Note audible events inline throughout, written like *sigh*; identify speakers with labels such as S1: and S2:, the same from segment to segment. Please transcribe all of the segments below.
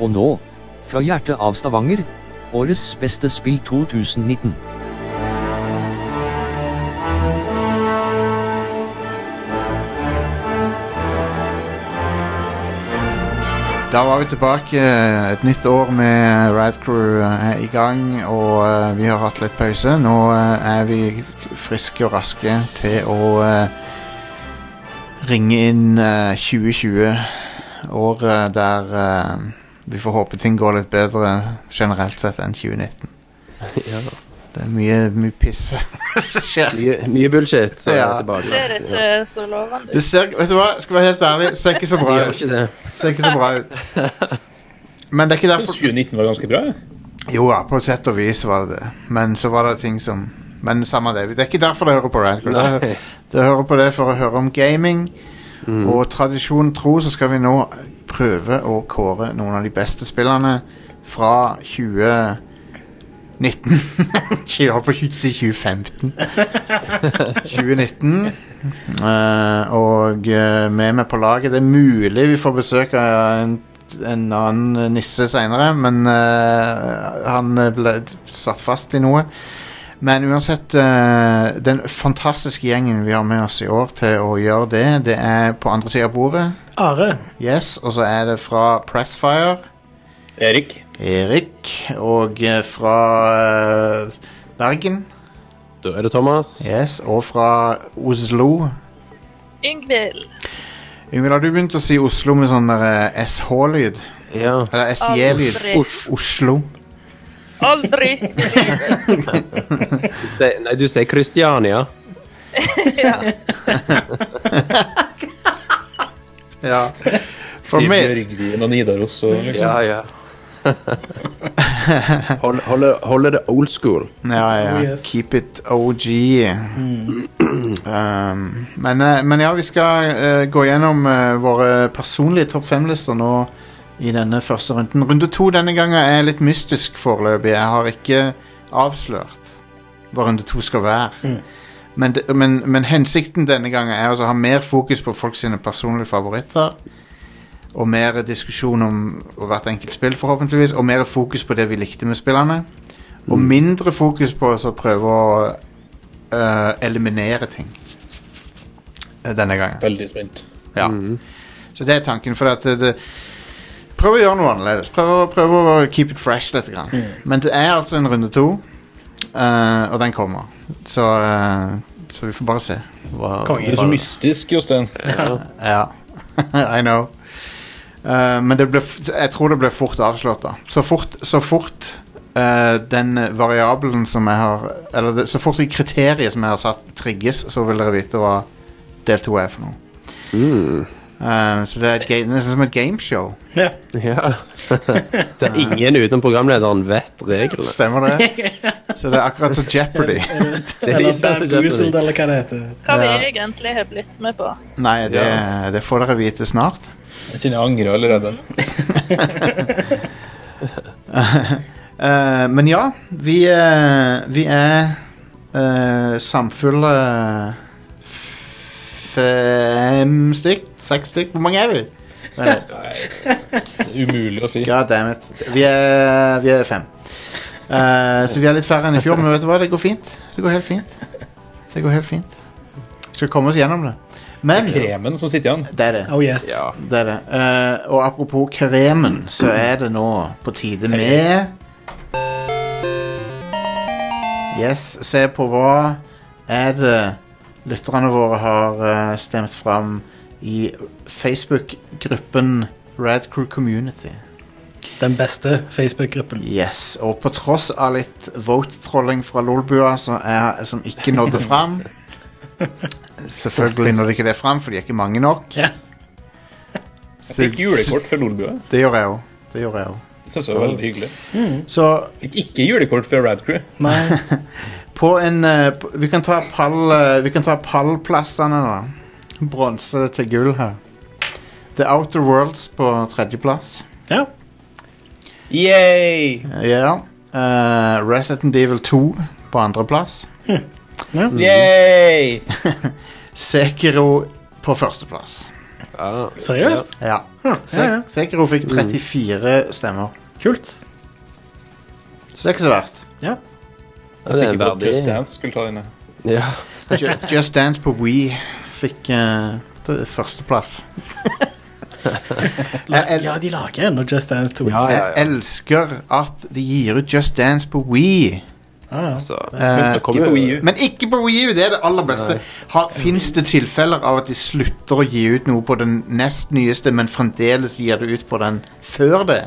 S1: Og nå, fra hjertet av Stavanger, årets beste spill 2019.
S2: Da var vi tilbake. eh, Et nytt år med Rad Crew eh, er i gang, og eh, vi har hatt litt pause. Nå eh, er vi friske og raske til å eh, ringe inn eh, 2020. Året der eh, vi får håpe ting går litt bedre generelt sett enn 2019.
S3: *laughs* Ja.
S2: Det er mye, mye
S3: *laughs*
S2: pisse som skjer.
S3: Mye, mye bullshit. Så
S2: Ja.
S3: er det tilbake.
S4: Ser ikke så lovende
S2: Det
S4: ut.
S2: ser, vet du hva? Skal være helt ærlig, ser ikke så
S3: Ja.
S2: bra
S3: Gjør
S2: ut.
S3: ikke det.
S2: Ser ikke så bra ut.
S3: *laughs*
S2: Men det er ikke
S5: Jeg
S2: derfor
S5: synes 2019 var ganske bra. jeg.
S2: Jo ja, på et sett og vis var det det. Men så var det ting som Men samme det. Det er ikke derfor det hører på Radcrow. Det,
S3: Nei.
S2: det hører på det for å høre om gaming.
S3: Mm.
S2: Og tradisjon tro så skal vi nå prøve å kåre noen av de beste spillene fra 2019 *laughs* Jeg holdt på å si 2015. 2019. Eh, og eh, med meg på laget Det er mulig vi får besøk av en, en annen nisse senere, men eh, han ble satt fast i noe. Men uansett, eh, den fantastiske gjengen vi har med oss i år til å gjøre det, det er på andre sida av bordet.
S6: Are.
S2: Yes, og så er det fra Pressfire,
S5: Erik.
S2: Erik, og eh, fra eh, Bergen.
S3: Da er det Thomas.
S2: Yes, og fra Oslo.
S4: Yngvild.
S2: Yngvild, har du begynt å si Oslo med sånn der eh, SH-lyd?
S3: Ja.
S2: Eller SJ-lyd?
S4: Aldri.
S2: Oslo.
S4: Aldri.
S3: Det, nei, du sier Kristiania.
S4: Ja.
S2: Ja. For
S5: Siden
S2: meg
S5: Jørgen og Nidaros og liksom.
S3: Ja, ja. Hold, holde, holde det old school.
S2: Ja, ja.
S6: Oh, yes. Mm.
S2: Keep it OG. *clears throat* Um, men, eh, men ja, vi skal eh, gå gjennom eh, våre personlige topp fem-lister nå i denne første runden. Runde to denne gangen er litt mystisk foreløpig. Jeg har ikke avslørt hva runde to skal være. Men, det- men, men hensikten denne gangen er altså å ha mer fokus på folk sine personlige favoritter. Og mer diskusjon om hvert enkelt spill, forhåpentligvis. Og mer fokus på det vi likte med spillene. Og mindre fokus på å så prøve å øh, eliminere ting. Eh, Denne gangen.
S5: Veldig spent.
S2: Ja.
S3: Mm.
S2: Så det er tanken. For at det, det Prøv å gjøre noe annerledes. Prøv, å- prøv å keep it fresh litt. Grann. Men det er altså en runde to, eh, og den kommer. Så, eh, så vi får bare se. Hva,
S6: Konge.
S5: Det er så mystisk, Jostein.
S2: ja. *laughs* I know. Eh, men det ble, f- jeg tror det ble fort avslørt, da. Så fort, så fort eh, den variabelen som jeg har Eller det, så fort det kriteriet som jeg har satt, trigges, så vil dere vite hva del to er for noe.
S3: Mm.
S2: Eh, så det er et ga- nesten som et gameshow.
S6: Ja.
S3: Ja. *laughs* Det er ingen utenom programlederen vet reglene.
S2: Stemmer det? Så det er akkurat som
S3: *laughs*
S2: Jeopardy.
S3: er
S6: Eller
S3: litt sånn som
S6: Bamboozled, eller hva det heter.
S4: Hva vi
S2: Ja.
S4: egentlig har blitt med på.
S2: Nei, det,
S3: Ja.
S2: det får dere vite *laughs* snart.
S5: Jeg kjenner jeg angrer allerede.
S2: Eh, men ja, vi, eh, vi er eh, samfulle fem stykk, seks stykk. Hvor mange er vi? *laughs* Nei,
S5: Umulig å si.
S2: God damn it. Vi er, vi er fem. Eh, så vi er litt færre enn i fjor, men vet du hva? Det går fint. Det går helt fint. Det går helt fint. Vi skal komme oss gjennom det. Men det
S5: Kremen som sitter igjen.
S2: er det.
S6: Oh yes.
S3: Ja.
S2: Det er det. Eh, og apropos kremen, så er det nå på tide med Yes, se på hva er det lytterne våre har eh, stemt fram i Facebook-gruppen Rad Crew Community.
S6: Den beste Facebook-gruppen.
S2: Yes, og på tross av litt vote-trolling fra Lolbua som, er, som ikke nådde fram Selvfølgelig nådde ikke det fram, for de er ikke mange nok.
S6: Ja.
S5: Jeg fikk julekort fra Lolbua.
S2: Det gjør jeg òg. Det gjør jeg òg.
S5: Synes det var veldig hyggelig.
S2: Så
S5: Fikk ikke julekort fra Radcrew.
S6: Nei.
S2: På en eh, p- Vi kan ta pall eh, Vi kan ta pallplassene da Bronse til gull her The Outer Worlds på tredjeplass
S6: Ja.
S5: Yay!
S2: Ja eh, Resident Evil 2 på andreplass
S5: Yay!
S2: Sekiro på førsteplass
S3: Ja.
S6: Seriøst?
S2: Ja.
S6: Ja, ja.
S2: Se- Sekiro fikk 34 stemmer.
S6: Kult.
S2: Så det er ikke så verst.
S5: Jeg er sikker
S3: en
S5: på at Just
S3: verdig-
S5: Dance skulle ta henne.
S3: Ja.
S2: Ju- Just Dance på Wii fikk eh, t- førsteplass. *laughs* Eh, jeg, el
S6: Ja, de lager ennå Just Dance 2.
S3: Ja, ja,
S2: jeg
S3: ja.
S2: elsker at de gir ut Just Dance på Wii.
S6: Ah, ja.
S3: Altså,
S2: Eh,
S3: det kommer
S5: Ikke på Wii
S3: jo
S5: U.
S2: men ikke på Wii U, det er det aller beste. Fins det tilfeller av at de slutter å gi ut noe på den nest nyeste, men fremdeles gir det ut på den før det?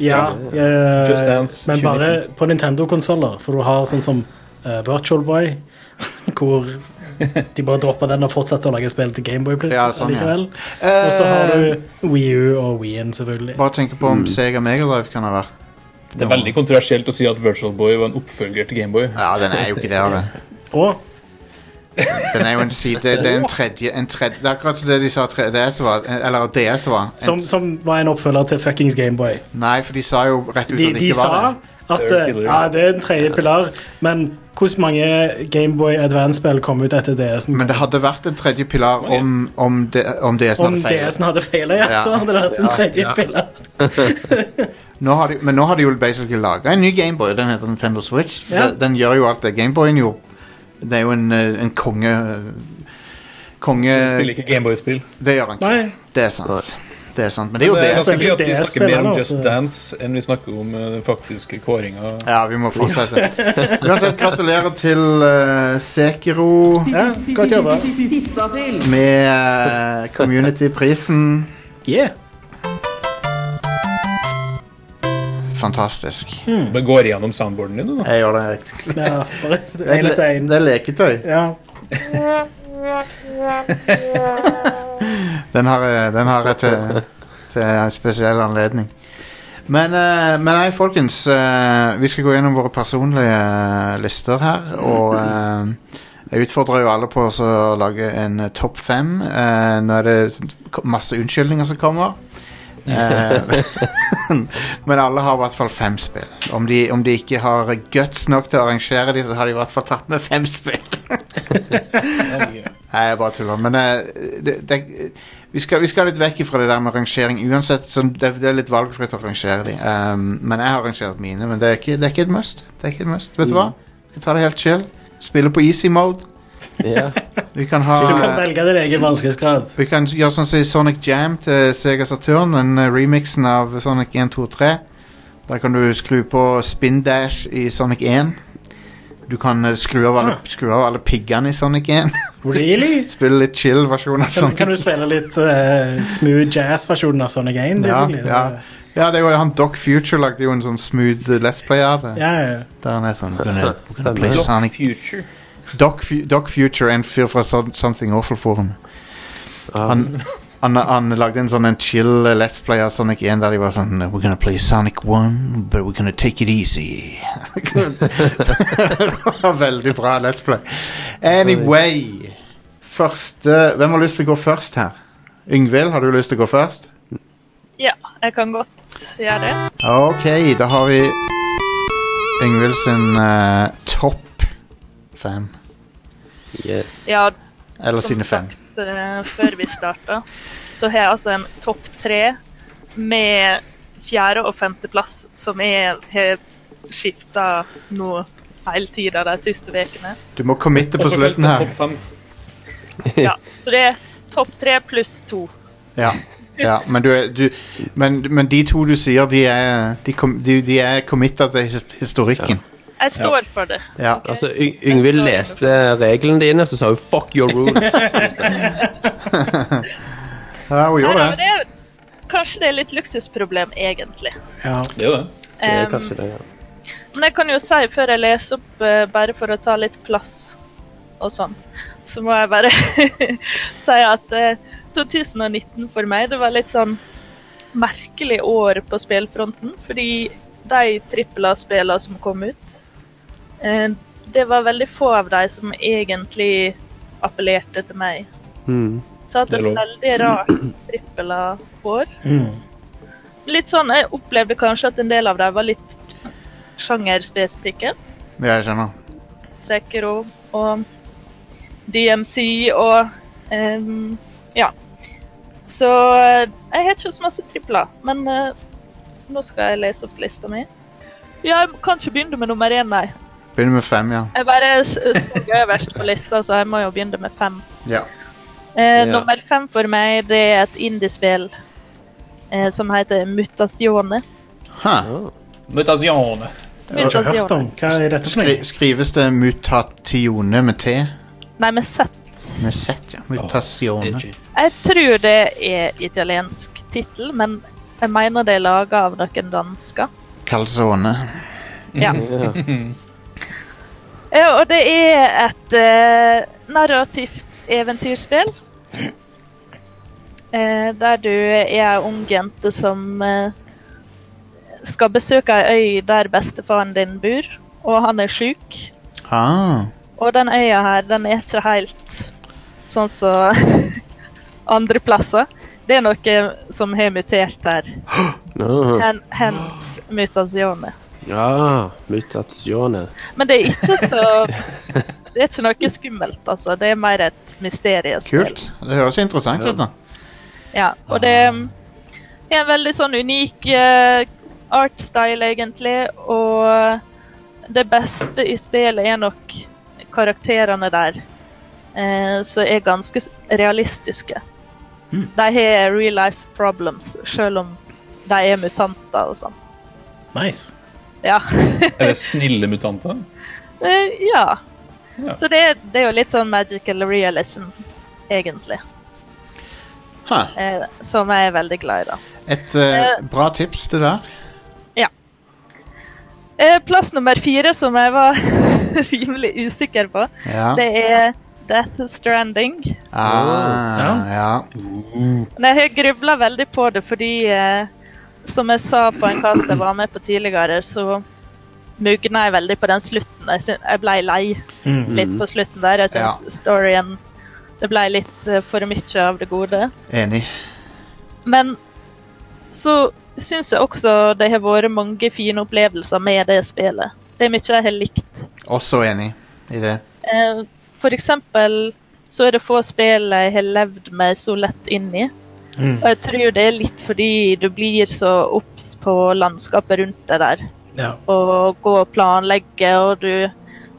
S6: Ja, eh,
S5: Just Dance
S6: men bare på Nintendo-konsoller, for du har sånn som eh, Virtual Boy, *laughs* hvor de bare dropper den og fortsetter å lage spill til Gameboy
S2: Ja, sånn, ja.
S6: likevel. Og så har du Wii U og Wien, selvfølgelig.
S2: Eh, Bare tenk på om
S3: Mm.
S2: Sega Megadrive kan ha vært
S5: Det er veldig kontroversielt å si at Virtual Boy var en oppfølger til Gameboy.
S2: Ja, den er jo ikke det. Are.
S6: Og
S2: Den er jo en side Det, det er en tredje, en tredje Det er akkurat som det de sa tre- DS var. Eller at DS var. En,
S6: som, som var en oppfølger til fuckings Gameboy.
S2: Nei, for de sa jo rett ut
S6: De,
S2: at det
S6: de
S2: ikke var
S6: sa
S2: det.
S6: at
S5: Third
S6: eh,
S5: pillar.
S6: ja, det er en tredje pilar, men hvordan mange Gameboy Advance-spill kom ut etter DS-en?
S2: Men det hadde vært en tredje pilar om, om, de, om DS-en
S6: Om
S2: hadde feilet.
S6: DS-en hadde feila, ja,
S2: Ja.
S6: da hadde det vært en tredje pilar.
S2: Nå har de, men nå har de jo basically laga en ny Gameboy. Den heter Nintendo Switch. For
S6: Ja.
S2: Den, den gjør jo alt det Gameboyen gjorde. Det er jo en, eh, en konge Konge
S5: Spiller ikke Gameboy-spill.
S2: Det gjør han ikke.
S6: Nei,
S2: Det er sant. Det er sant. Men det er jo
S5: Det er
S2: det.
S5: ganske gøy at vi
S6: det
S5: snakker mer om
S6: spiller,
S5: Just
S6: altså.
S5: Dance enn vi snakker om eh, den faktiske kåringa.
S2: Ja, vi må fortsette. Uansett, gratulerer til eh, Sekiro.
S6: ja, godt jobba.
S2: med eh, Community-prisen.
S6: Yeah.
S2: Fantastisk.
S5: Bare går igjennom soundboarden din, du, da.
S2: Jeg gjør det.
S6: Ja, bare
S2: Det
S6: en etter
S2: er,
S6: en.
S2: det er leketøy.
S6: Ja.
S2: Den har, jeg- den har jeg til, til en spesiell anledning. Men, eh, men nei, folkens. eh, vi skal gå gjennom våre personlige eh, lister her. Og eh, jeg utfordrer jo alle på å så lage en eh, topp fem. Eh, nå er det sånt- masse unnskyldninger som kommer. Eh, *laughs* men alle har i hvert fall fem spill. Om de, om de ikke har guts nok til å arrangere de, så har de i hvert fall tatt med fem spill. Nei, jeg bare tuller. Men eh, det, det, vi, skal, vi skal litt vekk fra det der med rangering. Uansett, så det, det er litt valgfritt å rangere de. Um, men jeg har rangert mine, men det er ikke, det er ikke et must. Det er ikke et must. Vet du hva?
S6: Mm.
S2: Vi kan ta det helt chill. Spille på easy mode.
S3: Ja.
S2: Vi kan ha
S6: Du kan velge din egen vanskelighetsgrad.
S2: vi kan gjøre sånn som i Sonic Jam til Sega Saturn, den eh, remixen av Sonic 1, 2, 3. Der kan du skru på spin dash i Sonic 1. Du kan eh, skru av
S6: Ah.
S2: alle, skru av alle piggene i Sonic 1.
S6: Really?
S2: *laughs* Spille litt chill versjon av
S6: Kan,
S2: Sonic
S6: kan du spille litt eh, smooth jazz-versjonen av Sonic 1?
S2: Ja,
S6: basically?
S2: ja. Ja, det er jo han Doc Future lagde jo en sånn smooth eh, Let's Play av det.
S6: Ja, ja.
S2: Der han er sånn we're gonna- we're gonna
S3: Stemmer.
S2: play
S5: Doc
S2: Sonic.
S5: Future.
S2: Doc, Fu- Doc Future er en fyr fra Som- Something Awful-forumet. Han, han, han lagde en sånn en chill eh, Let's Play av Sonic 1 der de var sånn We're gonna play Sonic 1, but we're gonna take it easy. *laughs* det var veldig bra Let's Play. Anyway Første Hvem har lyst til å gå først her? Yngvild, har du lyst til å gå først?
S4: Ja, jeg kan godt gjøre det.
S2: Ok, da har vi Yngvild sin eh, topp fem.
S3: Yes.
S4: Ja,
S2: Eller
S4: som
S2: sine fem.
S4: sagt eh, før vi starta, så har jeg altså en topp tre med fjerde- og femteplass som jeg har skifta nå hele tida de
S2: *laughs*
S4: siste ukene.
S2: Du må committe på
S5: Også kalt
S2: slutten her.
S5: Topp fem.
S4: Ja, så det er topp tre pluss to.
S2: Ja, ja men, du er, du, men, men de to du sier, de er, de kom, de, de er committed til his- historikken.
S4: Jeg står for det.
S2: Ja.
S3: Altså, Y- Yngvild leste reglene dine, så sa hun 'fuck your rules'.
S2: ja, hun
S4: Nei,
S2: gjorde
S4: nei, men
S2: det.
S4: det er, kanskje det er litt luksusproblem, egentlig.
S6: ja.
S5: Det er jo det.
S3: Det er
S4: Em,
S3: kanskje det, ja.
S4: Men jeg kan jo si før jeg leser opp, eh, bare for å ta litt plass og sånn, så må jeg bare *laughs* si at eh, 2019 for meg, det var litt sånn merkelig år på spillfronten, fordi de trippel-A-spillene som kom ut, eh, det var veldig få av de som egentlig appellerte til meg.
S3: Mm.
S4: Så jeg hadde
S5: Det er
S4: et veldig rart trippel-A-år. Litt sånn, jeg opplevde kanskje at en del av dem var litt sjangerspesifikke.
S2: Ja, jeg skjønner.
S4: Sekiro og DMC og ehm, ja. Så eh, jeg har ikke så masse tripler, men eh, nå skal jeg lese opp lista mi. Ja, jeg kan ikke begynne med nummer én, nei.
S2: Begynner med fem, ja.
S4: Jeg bare s- så øverst på lista, så jeg må jo begynne med fem.
S2: ja.
S4: Eh,
S3: Ja.
S4: Nummer fem for meg det er et indiespill eh, som heter Mutasione.
S2: Ha.
S5: Mutasione.
S6: Jeg har ikke hørt om. Hva er dette for
S2: Skri
S6: noe?
S2: skrives det mutatione med T?
S4: Nei, med Z.
S2: Med Z, ja. Mutasione.
S4: Jeg tror det er italiensk tittel, men jeg mener det er laga av noen dansker.
S2: Calzone.
S4: Ja.
S3: Ja.
S4: *laughs* Eh, Og det er et eh, narrativt eventyrspill. Eh, der du er ei ung jente som eh, skal besøke ei øy der bestefaren din bor, og han er sjuk.
S2: Ah.
S4: Og den øya her, den er ikke helt sånn som *laughs* andre plasser. Det er noe som har mutert her.
S3: Ja.
S4: Hen, hens mutasjoner.
S3: Ja, mutatione.
S4: Men det er ikke så Det er ikke noe skummelt, altså. Det er mer et mysteriespill.
S2: Kult. Det høres jo interessant ut, da.
S4: Ja, og det um, er en veldig sånn unik eh, art style, egentlig. Og det beste i spillet er nok karakterene der, eh, som er ganske s- realistiske. De har real life problems, selv om de er mutanter og sånn.
S6: Nice.
S4: Ja. *laughs*
S5: Er det snille mutanter?
S4: Eh, ja.
S5: Ja.
S4: Så det, det er jo litt sånn magical realism, egentlig.
S2: Ha.
S4: Eh, som jeg er veldig glad i, da.
S2: Et eh, bra tips, det der.
S4: Eh, plass nummer fire, som jeg var *laughs* rimelig usikker på,
S2: Ja.
S4: det er Death Stranding.
S2: Ah, ja.
S4: Men jeg har grubla veldig på det fordi, eh, som jeg sa på en cast jeg var med på tidligere, så mugna jeg veldig på den slutten. Jeg, syn- jeg blei lei litt på slutten der. Jeg syns storyen Det blei litt eh, for mye av det gode.
S2: Enig.
S4: Men så syns jeg også det har vært mange fine opplevelser med det spillet. Det er mye jeg har likt.
S2: Også enig i det.
S4: Eh, For eksempel så er det få spill jeg har levd meg så lett inn i.
S6: Mm.
S4: Og jeg tror det er litt fordi du blir så obs på landskapet rundt deg der.
S6: Ja.
S4: Og gå og planlegge, og du,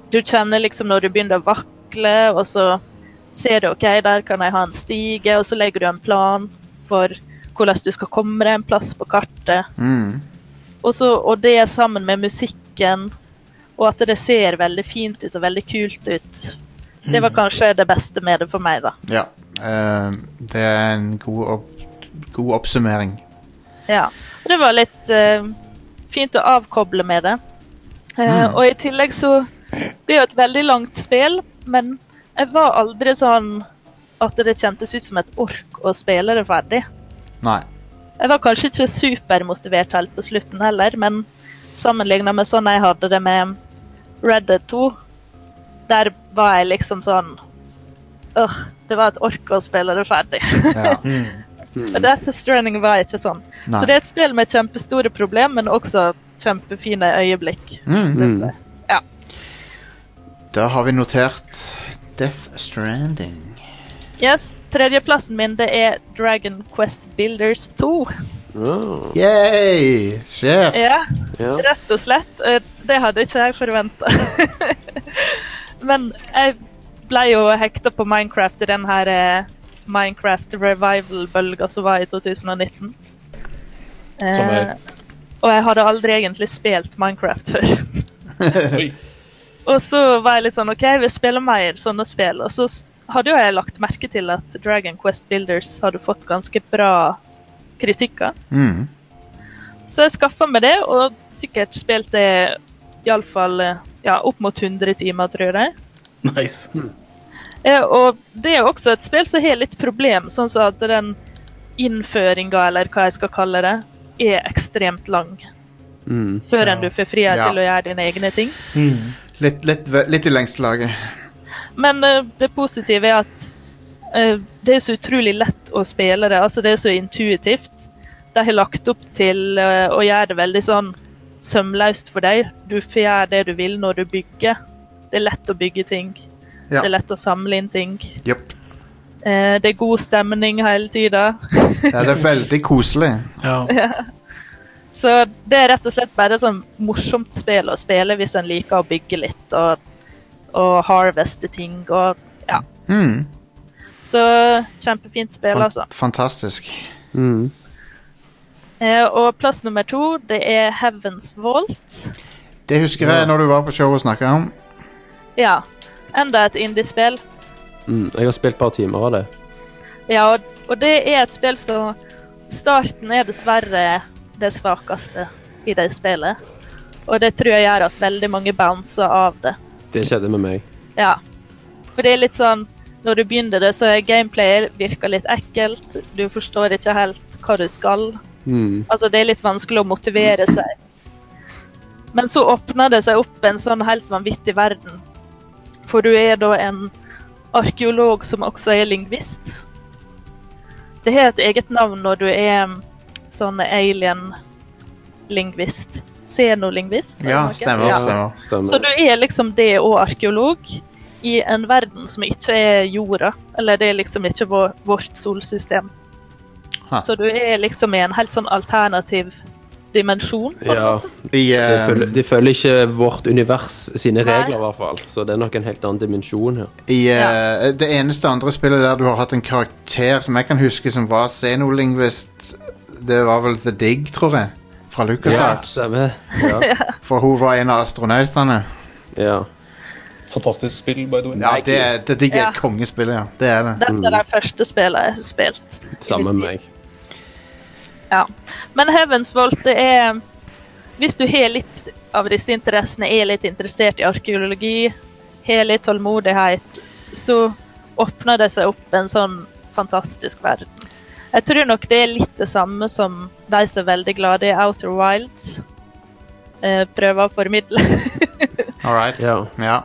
S4: du kjenner liksom når du begynner å vakle, og så ser du OK, der kan jeg ha en stige, og så legger du en plan for hvordan du skal komme deg en plass på kartet.
S2: Mm.
S4: Og, så, og det er sammen med musikken, og at det ser veldig fint ut og veldig kult ut. Det var kanskje det beste med det for meg, da.
S2: Ja. eh, det er en god, opp god oppsummering.
S4: Ja. Og det var litt eh, fint å avkoble med det. Eh, Og i tillegg så Det er jo et veldig langt spill, men jeg var aldri sånn at det kjentes ut som et ork å spille det ferdig.
S2: Nei.
S4: Jeg var kanskje ikke supermotivert helt på slutten heller, men sammenligna med sånn jeg hadde det med Red Dead 2, der var jeg liksom sånn Åh, det var et ork å spille det ferdig.
S2: Ja.
S4: *laughs* Og Death Stranding var ikke sånn.
S2: Nei.
S4: Så det er et spill med kjempestore problemer, men også kjempefine øyeblikk.
S2: Mm.
S4: Synes jeg.
S2: Da har vi notert Death Stranding.
S4: Yes, Tredjeplassen min det er Dragon Quest Builders 2.
S3: Ja.
S2: Yay! Sjef!
S4: Ja,
S3: Ja.
S4: rett og slett. Eh, Det hadde ikke jeg forventa. *laughs* Men jeg ble jo hekta på Minecraft i den her eh, Minecraft revival-bølga som var i 2019. Eh,
S5: Samme
S4: og jeg hadde aldri egentlig spilt Minecraft før.
S5: Oi.
S4: Og så var jeg litt sånn OK, jeg vil spille mer sånne spill. Og så s- hadde jo jeg lagt merke til at Dragon Quest Builders hadde fått ganske bra kritikker.
S2: Mm.
S4: Så jeg skaffa meg det, og sikkert spilt det iallfall eh, ja, opp mot 100 timer, tror jeg.
S6: Nice.
S4: Eh, Og det er jo også et spill som har litt problem, sånn som at den innføringa, eller hva jeg skal kalle det, er ekstremt lang.
S3: Mm.
S4: Før enn du får frihet
S2: Ja.
S4: til å gjøre dine egne ting.
S2: Litt, litt, ve- litt i lengste laget.
S4: Men eh, det positive er at eh, det er så utrolig lett å spille det. Altså, det er så intuitivt. De har lagt opp til eh, å gjøre det veldig sånn sømløst for deg. Du får gjøre det du vil når du bygger. Det er lett å bygge ting.
S2: Ja.
S4: Det er lett å samle inn ting.
S2: Jepp.
S4: Eh, det er god stemning hele tida.
S2: Ja, det er veldig koselig.
S6: Ja.
S4: Så det er rett og slett bare sånn morsomt spill å spille hvis en liker å bygge litt og, og harveste ting og ja.
S2: Mm.
S4: Så kjempefint spill, altså.
S2: Fan- Fantastisk.
S3: Mm.
S4: Eh, og plass nummer to, det er Heavens Vault.
S2: Det husker jeg når du var på showet og snakka om.
S4: Ja, enda et indiespill.
S3: Mm. Jeg har spilt et par timer av det.
S4: Ja, og, og det er et spill som Starten er dessverre det svakeste i det spillet. Og det tror jeg gjør at veldig mange bouncer av det.
S3: Det skjedde med meg.
S4: Ja. For det er litt sånn Når du begynner det, så er gameplayer virker litt ekkelt. Du forstår ikke helt hva du skal.
S3: Mm.
S4: Altså, det er litt vanskelig å motivere seg. Men så åpner det seg opp en sånn helt vanvittig verden. For du er da en arkeolog som også er lingvist. Det har et eget navn når du er mm, sånn alien-lingvist. Xenolingvist. eller
S2: Ja,
S4: noe.
S2: stemmer.
S4: Ja.
S2: stemmer.
S4: Så
S3: Stemmer.
S4: du er liksom det og arkeolog i en verden som ikke er jorda. Eller det er liksom ikke vår, vårt solsystem.
S2: Ha.
S4: Så du er liksom i en helt sånn alternativ dimensjon. på en
S3: Ja,
S4: måte.
S2: I,
S3: de
S2: eh,
S3: følger, de følger ikke vårt univers sine
S4: Nei.
S3: regler, i hvert fall. Så det er nok en helt annen dimensjon her.
S2: i eh, det eneste andre spillet der du har hatt en karakter som jeg kan huske som var xenolingvist, det var vel The Dig, tror jeg. Fra
S3: Ja,
S2: LucasArts.
S3: stemmer. Ja.
S2: For hun var en av astronautene.
S3: ja.
S5: Fantastisk spill, by the way.
S2: Ja, det, er- det digger
S4: Ja.
S2: jeg kongespillet, ja. Det er det.
S4: Dette er det første spillet jeg har spilt.
S3: Samme med meg.
S4: Ja. Men Heavens Vault, det er Hvis du har litt av disse interessene, er litt interessert i arkeologi, har litt tålmodighet, så åpner det seg opp en sånn fantastisk verden. Jeg tror nok det er litt det samme som de som er veldig glade i Outer Wilds, eh, prøver å formidle. *laughs*
S2: All right.
S3: Ja.
S2: Ja.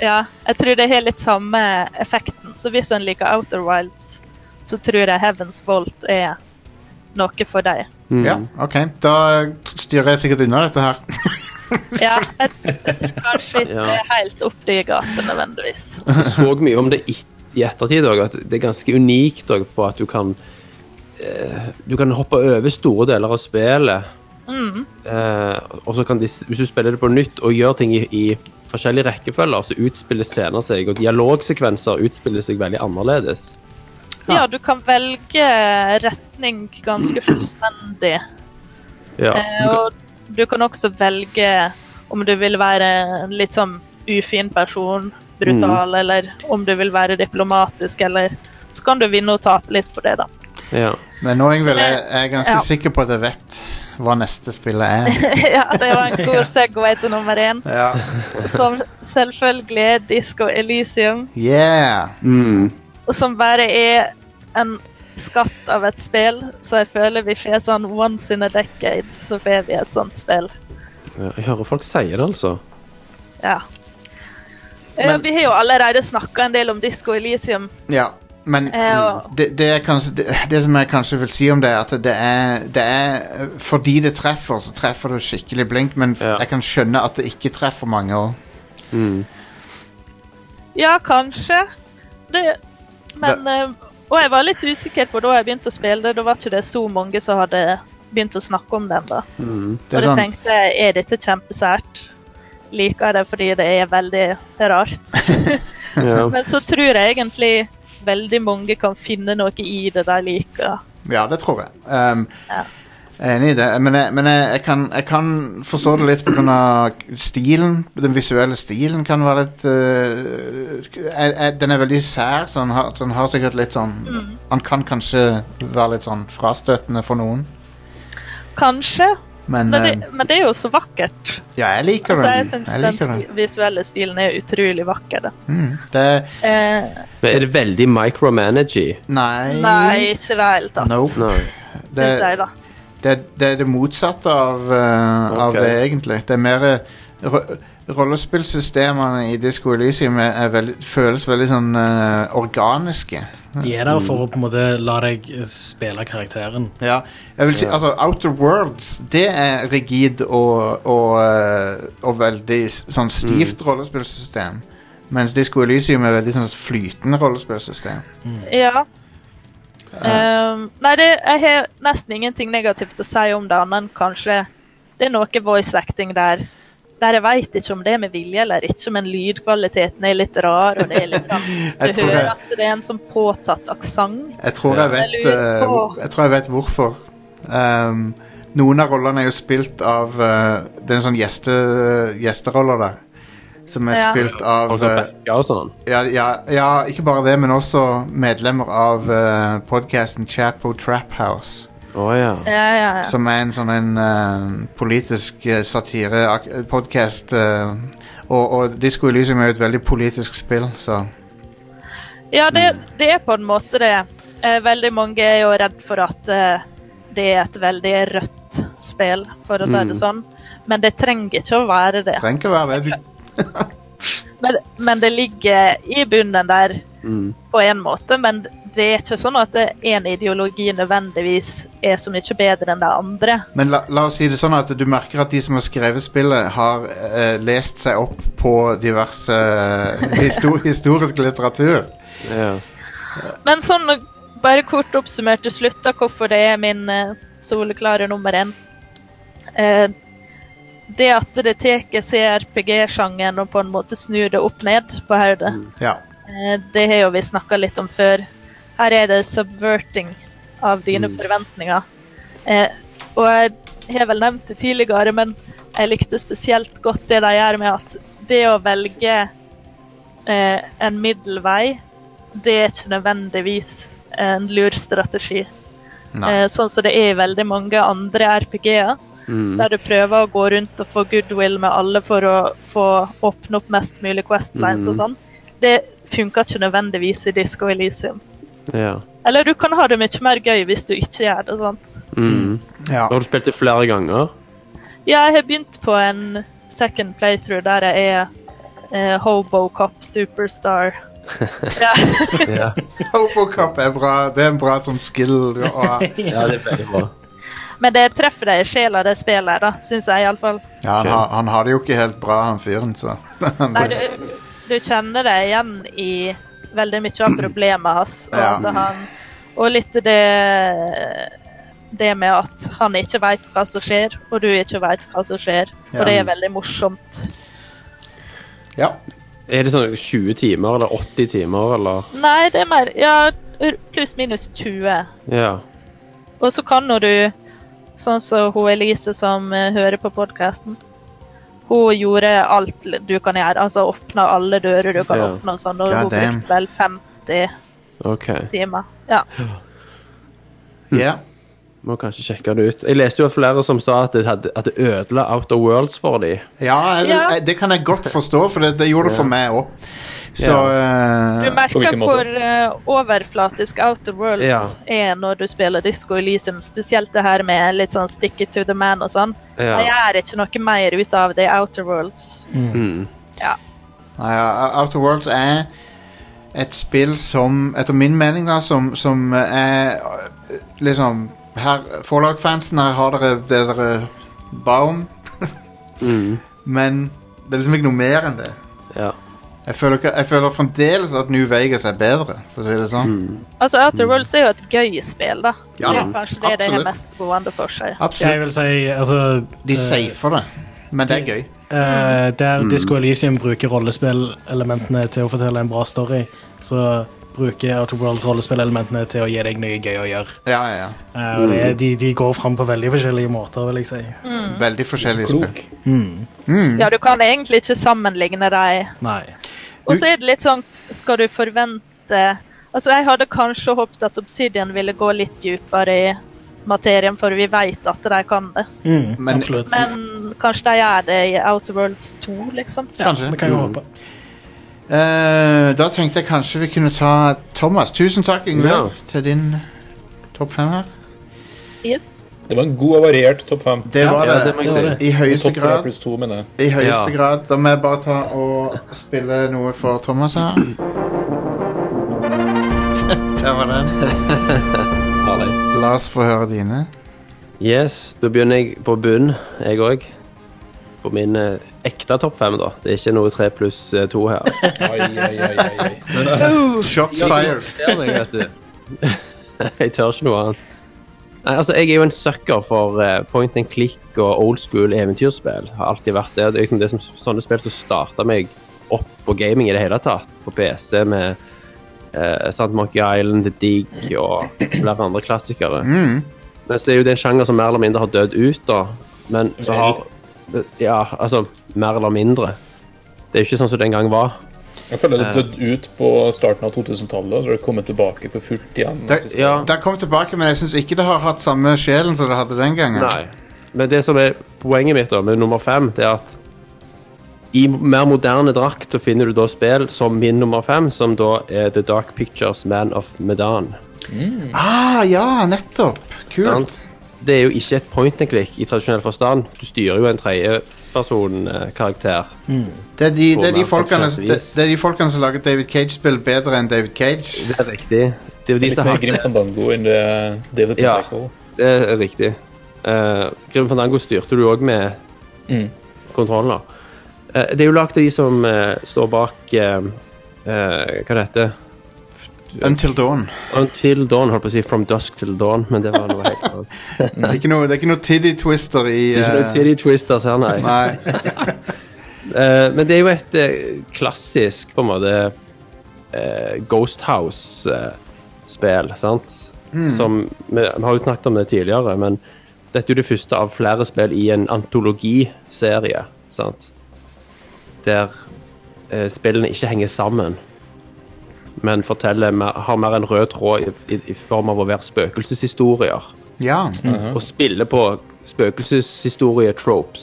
S4: ja, jeg tror det har litt samme effekten. Så hvis en liker Outer Wilds, så tror jeg Heavens Vault er noe for deg.
S3: Mm.
S2: ja, OK. Da styrer jeg sikkert unna dette her.
S4: Ja, jeg, jeg tror kanskje ikke
S3: Ja.
S4: det er helt opp de gatene nødvendigvis.
S3: Jeg så mye om det it- i ettertid òg, at det er ganske unikt også på at du kan eh, Du kan hoppe over store deler av spillet,
S4: Mm,
S3: eh, og så kan de, s- hvis du spiller det på nytt og gjør ting i, i forskjellige rekkefølger, så utspiller scener seg, og dialogsekvenser utspiller seg veldig annerledes.
S4: ja, du kan velge retning ganske fullstendig.
S3: Ja.
S4: Eh, og du kan også velge om du vil være en litt sånn ufin person, brutal, eller om du vil være diplomatisk, eller Så kan du vinne og tape litt på det, da. *laughs*
S3: ja.
S2: Men nå Ingvild,
S4: Så det-
S2: jeg jeg er ganske
S4: ja.
S2: sikker på at jeg vet hva neste spillet
S4: *laughs*
S2: er.
S4: ja, det var en god segway til nummer én,
S2: ja.
S4: som selvfølgelig er Disco Elysium.
S2: Yeah!
S3: Mm.
S4: som bare er en skatt av et spill, så jeg føler vi får sånn once in a decade, så får vi et sånt spill.
S3: ja. Jeg hører folk si det, altså.
S4: Ja. Eh, vi har jo allerede snakka en del om Disko Elisium.
S2: Ja, men
S4: Eh, og-
S2: det, det, er kanskje, det, det som jeg kanskje vil si om det, er at det er, det er eh, Fordi det treffer, så treffer det skikkelig blink, men f-
S3: Ja.
S2: jeg kan skjønne at det ikke treffer mange. Og,
S3: Mm.
S4: Ja, kanskje. Det, men eh, Og jeg var litt usikker på da jeg begynte å spille det, da var ikke det så mange som hadde begynt å snakke om den, da.
S3: Mm.
S2: det er
S4: Og da
S2: sånn,
S4: tenkte jeg er dette kjempesært? Liker jeg det fordi det er veldig rart?
S3: Ja.
S4: Men så tror jeg egentlig veldig mange kan finne noe i det de liker.
S2: ja, det tror jeg. Um,
S4: Ja.
S2: jeg er Enig i det, men, jeg, men jeg, jeg, kan, jeg kan forstå det litt pga. stilen. Den visuelle stilen kan være litt eh, jeg, jeg, Den er veldig sær, så den har, så den har sikkert litt sånn
S4: Mm.
S2: Han kan kanskje være litt sånn frastøtende for noen,
S4: Kanskje,
S2: men,
S4: men
S2: eh,
S4: det, men det er jo så vakkert.
S2: ja, jeg liker
S4: Altså, jeg
S2: den.
S4: syns den
S2: liker den.
S4: sti- visuelle stilen er utrolig vakker. Da.
S2: Mm, det
S4: Eh,
S3: Men er det veldig micromanagy?
S2: Nei.
S4: nei, ikke i det hele tatt,
S2: Nope.
S3: Nei.
S4: syns jeg, da.
S2: det, det er det motsatte av, eh, av
S3: Ok.
S2: det, egentlig. Det er mer eh, ro- Rollespillsystemene i Disco Elysium er, er veldig, føles veldig sånn eh, organiske.
S6: De er der for å på en måte la deg eh, spille karakteren.
S2: Ja, jeg vil si, altså Outer Worlds Det er
S3: Mm.
S2: rigid og, og, eh, og veldig s- sånn stivt rollespillsystem Mens Disco Elysium er veldig sånn flytende rollespillsystem.
S4: Ja. Ehm, nei, det, jeg har nesten ingenting negativt å si om det, men kanskje det er noe voice acting der. Der jeg veit ikke om det er med vilje eller ikke, men lydkvaliteten er litt rar. og det er litt sånn,
S2: *laughs* Jeg
S4: Du
S2: tror
S4: hører
S2: det.
S4: at det er en sånn påtatt aksent.
S2: Jeg tror jeg vet,
S4: Jeg lurer
S2: eh,
S4: på-
S2: hvor- jeg tror jeg vet hvorfor. Ehm, noen av rollene er jo spilt av eh, Det er en sånn gjeste, gjesteroller der. Som er
S4: Ja.
S2: spilt
S3: Og
S2: av
S3: så
S2: eh,
S3: backa og sånn.
S2: ja, ja, ja, ikke bare det, men også medlemmer av uh, podkasten Chapo Trap House.
S3: Å ja.
S4: Ja, ja, ja.
S2: Som er en sånn en eh, politisk eh, satire-podkast. eh, og, og Disko Elysium er jo et veldig politisk spill, så
S4: Ja, det, det er på en måte det. Eh, veldig mange er jo redd for at eh, det er et veldig rødt spill, for å si det sånn. Men det trenger ikke å være det.
S2: trenger ikke å være det. Du,
S4: Men, men det ligger i bunnen der
S3: Mm.
S4: på en måte, men det er ikke sånn at det- en ideologi nødvendigvis er så mye bedre enn det andre.
S2: men la, la oss si det sånn at du merker at de som har skrevet spillet, har eh, lest seg opp på diverse eh, histo *laughs* historisk litteratur.
S3: ja.
S4: Men sånn bare kort oppsummert til slutt da, hvorfor det er min eh, soleklare nummer én. Eh, det at det tar CRPG-sjangeren og på en måte snur det opp ned på hodet.
S2: Ja.
S4: Eh, Det har jo vi snakka litt om før. Her er det subverting av dine forventninger. Eh, og jeg har vel nevnt det tidligere, men jeg likte spesielt godt det de gjør med at det å velge eh, en middelvei, det er ikke nødvendigvis en lur strategi.
S2: Nei.
S4: Eh, sånn som det er i veldig mange andre RPG-er,
S3: Mm.
S4: der du prøver å gå rundt og få goodwill med alle for å få åpne opp mest mulig Questlines og sånn. Det funker ikke nødvendigvis i Disco Elysium.
S3: ja.
S4: Eller du kan ha det mye mer gøy hvis du ikke gjør det. sant?
S3: Mm.
S2: Ja. *laughs*
S3: Har du spilt det flere ganger?
S4: Ja, jeg har begynt på en second playthrough der jeg er eh, Hobocop superstar. Ja.
S3: Ja.
S2: Hobocop er bra. Det er en bra sånn skill. du har.
S4: *laughs*
S3: ja, det er veldig bra.
S4: Men det treffer deg i sjela, det spillet, her, da, syns jeg iallfall.
S2: Ja, han, har- han har det jo ikke helt bra, han fyren, så *laughs*
S4: Nei, du, du kjenner det igjen i veldig mye av problemet hans. Og,
S2: Ja.
S4: at han, og litt det det med at han ikke veit hva som skjer, og du ikke veit hva som skjer. Og
S2: Ja.
S4: det er veldig morsomt.
S2: Ja.
S3: Er det sånn 20 timer eller 80 timer, eller?
S4: Nei, det er mer Ja, pluss-minus 20.
S3: Ja.
S4: Og så kan nå du, sånn som hun Elise som eh, hører på podkasten Hun gjorde alt du kan gjøre, altså åpna alle dører du kan
S3: Ja.
S4: åpne og sånn, og
S2: God
S4: hun
S2: damn.
S4: brukte vel 50
S3: OK.
S4: timer. Ja.
S2: Ja.
S3: Må kanskje sjekke det ut. Jeg leste jo av flere som sa at det, hadde, at det ødela Outer Worlds for dem.
S2: Ja, jeg,
S4: Ja.
S2: Jeg, det kan jeg godt forstå, for det, det gjorde det for
S3: Ja.
S2: meg òg. Så
S4: Du
S2: eh,
S5: på
S4: merker
S5: hvilken måte?
S4: hvor eh, overflatisk Outer Worlds
S3: Ja.
S4: er når du spiller Disco Elysium, spesielt det her med litt sånn stick it to the man og sånn. Jeg gjør ikke noe mer ut av det i Outer Worlds.
S3: Mm.
S2: nei, ja, Outer Worlds er et spill som, etter min mening, da, som, som er eh, liksom her, Fallout-fansen, her har dere det dere ba om,
S3: Mm.
S2: men det er liksom ikke noe mer enn det.
S3: Ja.
S2: Jeg føler, ikke, jeg føler fremdeles at New Vegas er bedre, for å si det sånn.
S3: Mm.
S4: Altså, Outer Worlds er jo et gøy spill, da.
S2: Ja
S4: det
S2: da,
S4: er kanskje det det
S2: absolutt.
S4: har mest gående for seg.
S6: Jeg
S2: Absolutt.
S6: vil si altså,
S2: De
S6: eh,
S2: safer det, men det er gøy.
S6: Eh, der Disco Elysium bruker rollespillelementene til å fortelle en bra story, så bruker Outer World rollespillelementene til å gi deg noe gøy å gjøre.
S2: Ja, ja,
S6: Eh, og det, er- de, de går fram på veldig forskjellige måter, vil jeg si.
S2: ja. Veldig forskjellige spill.
S5: Klok.
S4: Ja, du kan egentlig ikke sammenligne dem.
S6: Nei.
S4: Og så er det litt sånn Skal du forvente Altså, jeg hadde kanskje håpet at Obsidian ville gå litt dypere i materien, for vi vet at de kan det.
S6: Mm,
S2: Men-
S6: absolutt.
S4: Men kanskje de gjør det i Outer Worlds 2, liksom.
S2: Kanskje.
S6: Vi kan jo håpe.
S2: Eh, da tenkte jeg kanskje vi kunne ta Thomas. Tusen takk, Yngve,
S3: Ja.
S2: til din topp fem her.
S4: Yes.
S5: Det var en god og variert topp fem.
S2: Det
S4: Ja.
S2: var
S3: Ja,
S2: det.
S3: det må jeg si.
S2: I høyeste
S5: Topp tre
S2: grad.
S5: pluss to, mener jeg.
S2: I høyeste
S3: Ja.
S2: grad. Da må jeg bare ta og spille noe for Thomas
S3: *clears throat*
S2: her. Der var den.
S3: Ha det.
S2: La oss få høre dine.
S3: Yes, da begynner jeg på bunnen, jeg òg. på min eh, ekte topp fem, da. Det er ikke noe tre pluss eh, to her.
S5: Ai, ai, ai, ai, ai.
S2: Shots fired.
S3: Det er meg, vet du. *laughs* jeg tør ikke noe annet. Nei, altså, Jeg er jo en sucker for eh, point and click og old school eventyrspill. Har alltid vært det. Det er liksom det som, sånne spill som starta meg opp på gaming i det hele tatt. På PC med eh, sant, Monkey Island, The Dig og flere andre klassikere.
S2: Mm.
S3: Men så er jo det en sjanger som mer eller mindre har dødd ut, da. Men så har Ja, altså Mer eller mindre. Det er jo ikke sånn som det en gang var.
S5: Jeg føler det døde ut på starten av 2000-tallet, så har det kommet tilbake for fullt igjen.
S2: Det,
S3: Ja.
S2: det har kommet tilbake, men jeg syns ikke det har hatt samme sjelen som det hadde den gangen.
S3: Nei. Men det som er poenget mitt da, med nummer fem, det er at i mer moderne drakt så finner du da spill som min nummer fem, som da er The Dark Pictures Man of Medan.
S2: Ah, ja, nettopp. Kult.
S3: Sant? Det er jo ikke et point and click i tradisjonell forstand. Du styrer jo en eh, tredjeperson-karakter.
S2: Det er de, det er de,
S3: På
S2: folkene,
S3: mer
S2: det,
S3: vis.
S2: det er de folkene som lager David Cage-spill bedre enn David Cage.
S3: Det er riktig. Det er jo de
S5: Litt
S3: som
S5: mer
S3: har
S5: Grim Fandango enn det David
S3: Ja.
S5: Tentacle.
S3: Det er eh, riktig. Eh, Grim Fandango styrte du òg med
S5: Mm.
S3: kontroller. Eh, det er jo lagd av de som eh, står bak eh, eh, Hva det heter
S2: Until Dawn.
S3: Until Dawn, holdt på å si. From Dusk Till Dawn, men det var noe helt annet.
S2: Det er ikke noe, det er ikke noe Tiddy Twister i
S3: Det er ikke noe
S2: eh,
S3: Titty Twisters her, nei.
S2: Nei.
S3: Eh, men det er jo et eh, klassisk, på en måte, eh, Ghost House-spill, eh, sant? Som, vi, vi har jo snakket om det tidligere, men dette er jo det første av flere spill i en antologiserie, sant? Der eh, spillene ikke henger sammen, men forteller, mer- har mer en rød tråd i, i, i form av å være spøkelseshistorier.
S2: Ja.
S3: og spiller på spøkelseshistorie-tropes.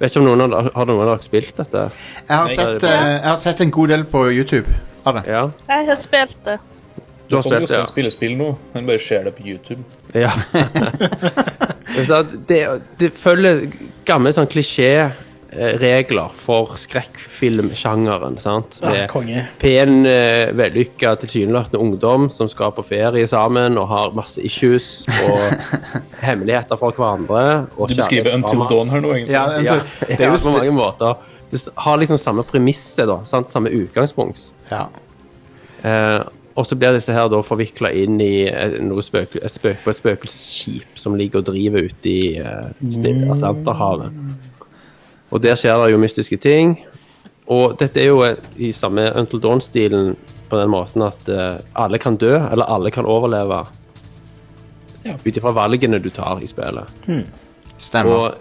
S3: Vet ikke om noen har, har noen av dere spilt dette?
S2: Jeg har, sett, eh, jeg har sett en god del på YouTube av det.
S3: Ja,
S4: Jeg har spilt det.
S3: du har
S5: Det er
S3: spilt
S5: sånn du
S3: det,
S5: skal
S3: ja.
S5: spille spill nå. En bare ser det på YouTube.
S3: ja. *laughs* Jeg sa at det, det følger gamle sånn klisjé-regler for skrekkfilmsjangeren, sant?
S6: Ja,
S3: Med
S6: konge.
S3: pen, eh, vellykka, tilsynelatende ungdom som skal på ferie sammen og har masse issues og
S5: *laughs*
S3: hemmeligheter for hverandre. Og
S5: Du beskriver Until
S3: kjærlighetsdrama.
S5: Dawn her nå, egentlig.
S2: Ja, det,
S3: *laughs* Ja,
S2: det er jo
S3: på mange
S2: st-
S3: måter. Det s- har liksom samme premisset, da. Sant? Samme utgangspunkt.
S2: ja.
S3: Eh, og så blir disse her da forvikla inn i eh, noe spøk, et spøk, på et spøkelsesskip som ligger og driver ute i eh,
S2: Mm.
S3: Stille- Atlanterhavet. Og der skjer det jo mystiske ting. Og dette er jo eh, i samme Until Dawn-stilen på den måten at eh, alle kan dø, eller alle kan overleve.
S5: Ja.
S3: Ut ifra valgene du tar i spillet.
S2: Stemmer.
S3: Og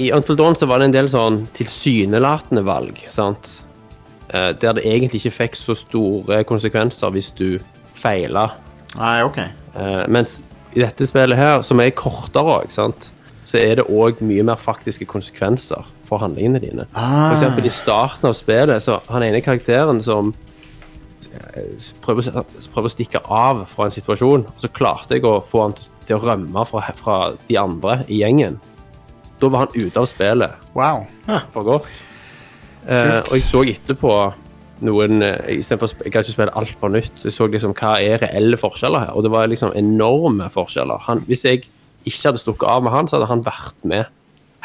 S3: i Until Dawn så var det en del sånn tilsynelatende valg, sant? Eh, Der det egentlig ikke fikk så store konsekvenser hvis du feila.
S2: Nei, OK.
S3: Eh, Mens i dette spillet her, som er kortere òg, sant, så er det òg mye mer faktiske konsekvenser for handlingene dine. For eksempel i starten av spillet, så han ene karakteren som eh, prøver, å- prøver å stikke av fra en situasjon, og så klarte jeg å få han til- til å rømme fra, fra de andre i gjengen. Da var han ute av spillet
S2: Wow.
S3: for godt. Eh, og jeg så etterpå noen eh, i stedet for å sp- Jeg kan ikke spille alt på nytt. så Jeg så liksom hva er reelle forskjeller her, og det var liksom enorme forskjeller. Han, hvis jeg ikke hadde stukket av med han, så hadde han vært med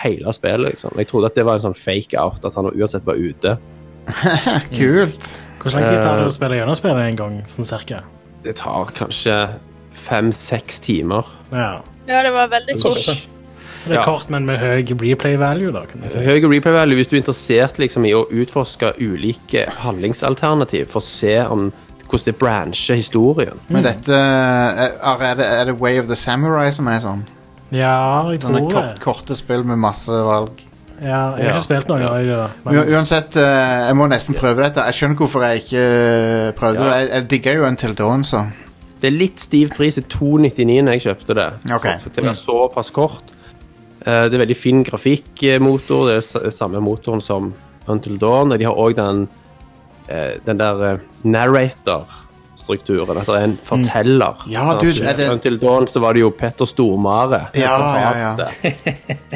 S3: hele spillet. liksom. Jeg trodde at det var en sånn fake out, at han uansett var ute.
S2: Kult.
S6: Hvor lang tid tar det å spille gjennom spillet en gang, sånn cirka?
S3: Det tar kanskje fem-seks timer.
S6: Ja.
S4: Ja, det var veldig kort.
S6: Så det
S3: Ja.
S6: er kort, men med høy replay value, da, kan du si.
S3: Høy replay value hvis du er interessert liksom, i å utforske ulike handlingsalternativ for å se om hvordan det brancher historien.
S2: Men dette eh, Are, er, det, er det Way of the Samurai som er sånn?
S6: Ja, jeg tror
S2: Sånne kort,
S6: det.
S2: korte spill med masse valg.
S6: Ja, jeg har
S3: Ja.
S6: ikke spilt noe, jeg, da.
S2: U
S6: Men
S2: uansett, eh, jeg må nesten prøve dette. Jeg skjønner hvorfor jeg ikke eh, prøvde
S3: Ja.
S2: det. Jeg, jeg digger jo Until Dawn, så.
S3: Det er litt stiv pris. Det er 299 når jeg kjøpte det.
S2: Ok. Mm.
S3: For- For til å være såpass kort. Eh, Det er veldig fin grafikkmotor. Det er s- eh, samme motoren som Until Dawn. Og de har òg den, eh, den der eh, narrator-strukturen. At det er en forteller.
S2: Mm. Ja,
S3: Sant?
S2: dude, er det-
S3: Until Dawn så var det jo Petter Stormare. som
S2: Ja, ja,
S3: fortalte.
S2: ja.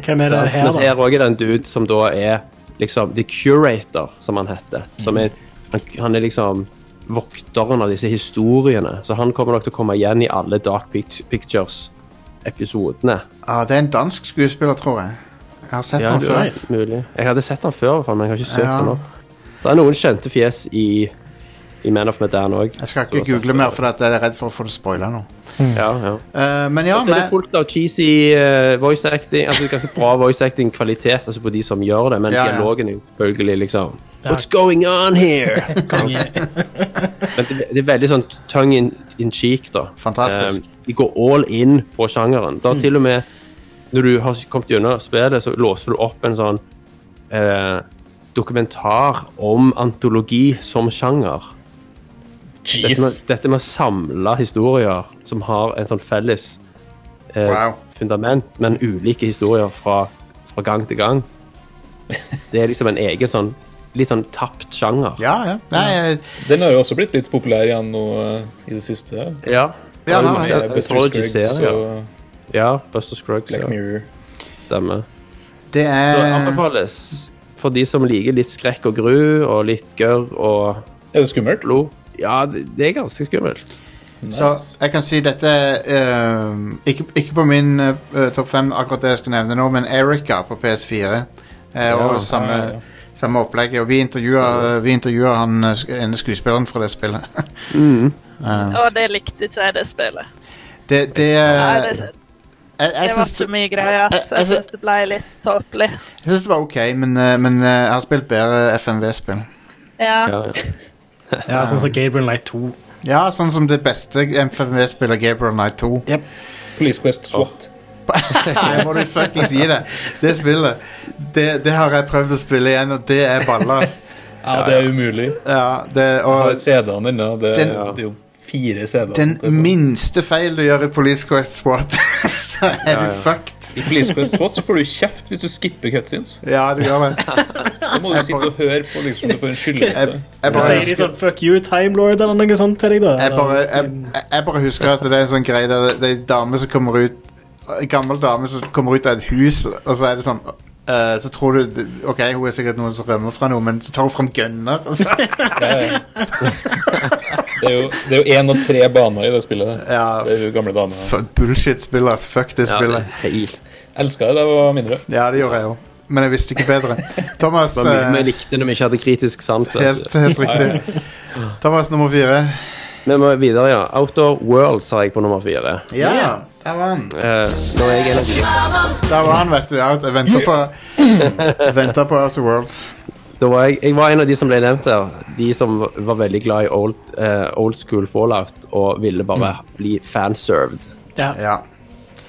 S6: hvem er det
S3: Sant?
S6: her,
S3: Mens
S6: da?
S3: her òg er det en dude som da er liksom The Curator, som han heter. Som er, han, han er liksom vokteren av disse historiene. Så han kommer nok til å komme igjen i alle Dark Pic- Pictures-episodene.
S2: Ah, det er en dansk skuespiller, tror jeg. Jeg har sett
S3: Ja,
S2: den
S3: du-
S2: før.
S6: nice.
S3: mulig. Jeg hadde sett han før, i hvert fall, men jeg har ikke søkt
S2: Ja.
S3: han opp. Det er noen kjente fjes i, i Man of Medan òg.
S2: Jeg skal ikke google mer, for at jeg er redd for å få det spoila nå.
S3: Ja, ja.
S2: Eh, men ja,
S3: Og så Altså, er
S2: men,
S3: det fullt av cheesy eh, voice acting, altså ganske bra voice acting-kvalitet altså på de som gjør det, men
S2: Ja, ja.
S3: dialogen er jo selvfølgelig liksom
S6: Ja.
S3: What's going on here? Men det, det er veldig sånn tongue in, in cheek, da.
S2: Fantastisk. Mm.
S3: Eh, de går all in på sjangeren. Da til og med når du har kommet gjennom spillet, så låser du opp en sånn eh, dokumentar om antologi som sjanger. Dette med,
S5: Jeez.
S3: dette med å samle historier som har en sånn felles eh,
S2: Wow.
S3: fundament, men ulike historier fra, fra gang til
S2: *laughs*
S3: gang. Det er liksom en egen sånn litt sånn tapt sjanger.
S2: ja, ja. Nei, jeg,
S5: Den har jo også blitt litt populær igjen nå eh, i det siste. her.
S3: Ja.
S2: Ja,
S3: Det er
S2: nei,
S3: masse
S2: ja,
S5: Det er Buster Scruggs
S3: antologiserier.
S5: og
S3: Ja, Buster Scruggs.
S5: Black
S3: Ja.
S5: Mirror.
S3: Stemmer.
S2: det
S3: Så
S2: er
S3: anbefales for de som liker litt skrekk og gru og litt gørr og
S5: Er det skummelt?
S3: blod. Ja, det det er ganske skummelt.
S2: Så jeg kan si dette eh, ikke, ikke på min eh, topp fem, akkurat det jeg skal nevne nå, men Erika på PS4. eh, og
S3: Ja,
S2: samme,
S5: ja, ja.
S2: samme opplegget. Og vi intervjuer, vi intervjuer han eh, sk- ene skuespilleren fra det spillet. *laughs*
S4: Og det likte ikke jeg det spillet.
S2: Det, det,
S4: Nei,
S2: eh,
S4: det,
S2: jeg,
S4: det
S2: jeg,
S4: var
S2: syns,
S4: ikke mye greier. ass.
S2: jeg
S4: Jeg
S2: sy-
S4: syns det ble litt tåpelig.
S2: jeg syns det var ok, men, eh, men eh, jeg har spilt bedre FMV-spill.
S4: Ja.
S3: Ja, ja.
S6: Ja, sånn som Gabriel Knight 2.
S2: Ja, sånn som det beste FMV-spillet, Gabriel Knight 2.
S5: Police Quest SWAT.
S2: Jeg må du fuckings gi det. Det spillet. Det, det har jeg prøvd å spille igjen, og det er ballas.
S5: Ja, det er umulig.
S2: Ja, det,
S5: Jeg har
S2: og
S5: CD-en ennå. Det,
S2: Den-
S5: det er jo fire CD-er.
S2: den
S5: Det er bare-
S2: minste feil du gjør i Police Quest SWAT, *laughs* så er du fucked.
S5: I Police Quest SWAT så får du kjeft hvis du skipper cutscenes.
S2: Ja, du gjør det.
S5: Da må du sitte og høre på liksom du får en skyldete.
S2: Jeg, jeg,
S6: Da
S2: bare,
S6: sier de
S2: husker,
S6: sånn Fuck you, Time Lord, eller noe sånt til deg, da.
S2: jeg, bare, jeg, jeg- jeg bare husker at det er en sånn greie der det er en dame som kommer ut En gammel dame som kommer ut av et hus, og så er det sånn eh, så tror du OK, hun er sikkert noen som rømmer fra noe, men så tar hun fram gunner. og så-
S5: Det er jo- det er jo én og tre baner i det spillet. der.
S2: Ja,
S5: Det er jo gamle dame.
S2: f- Bullshit-spill, altså. Fuck det
S3: Ja, det
S2: spillet.
S3: er helt.
S5: Elska det da jeg var mindre.
S2: Ja, det gjorde jeg jo. Men jeg visste ikke bedre.
S3: *laughs*
S2: Thomas,
S3: Det var mye vi
S2: eh,
S3: likte når vi ikke hadde kritisk sans. vet
S2: helt,
S3: du.
S2: helt riktig. Thomas nummer fire.
S3: Vi må videre, ja. Outdoor Worlds har jeg på nummer fire.
S2: Ja, der var han.
S3: Eh, så er jeg en av de.
S2: Der var han, vet du. Jeg jeg venter på,
S3: *laughs*
S2: venter på Outer Worlds.
S3: Da var jeg, jeg var en av de som ble nevnt her. De som var veldig glad i old, eh, old school fallout og ville bare bli fanserved.
S6: ja.
S2: Ja.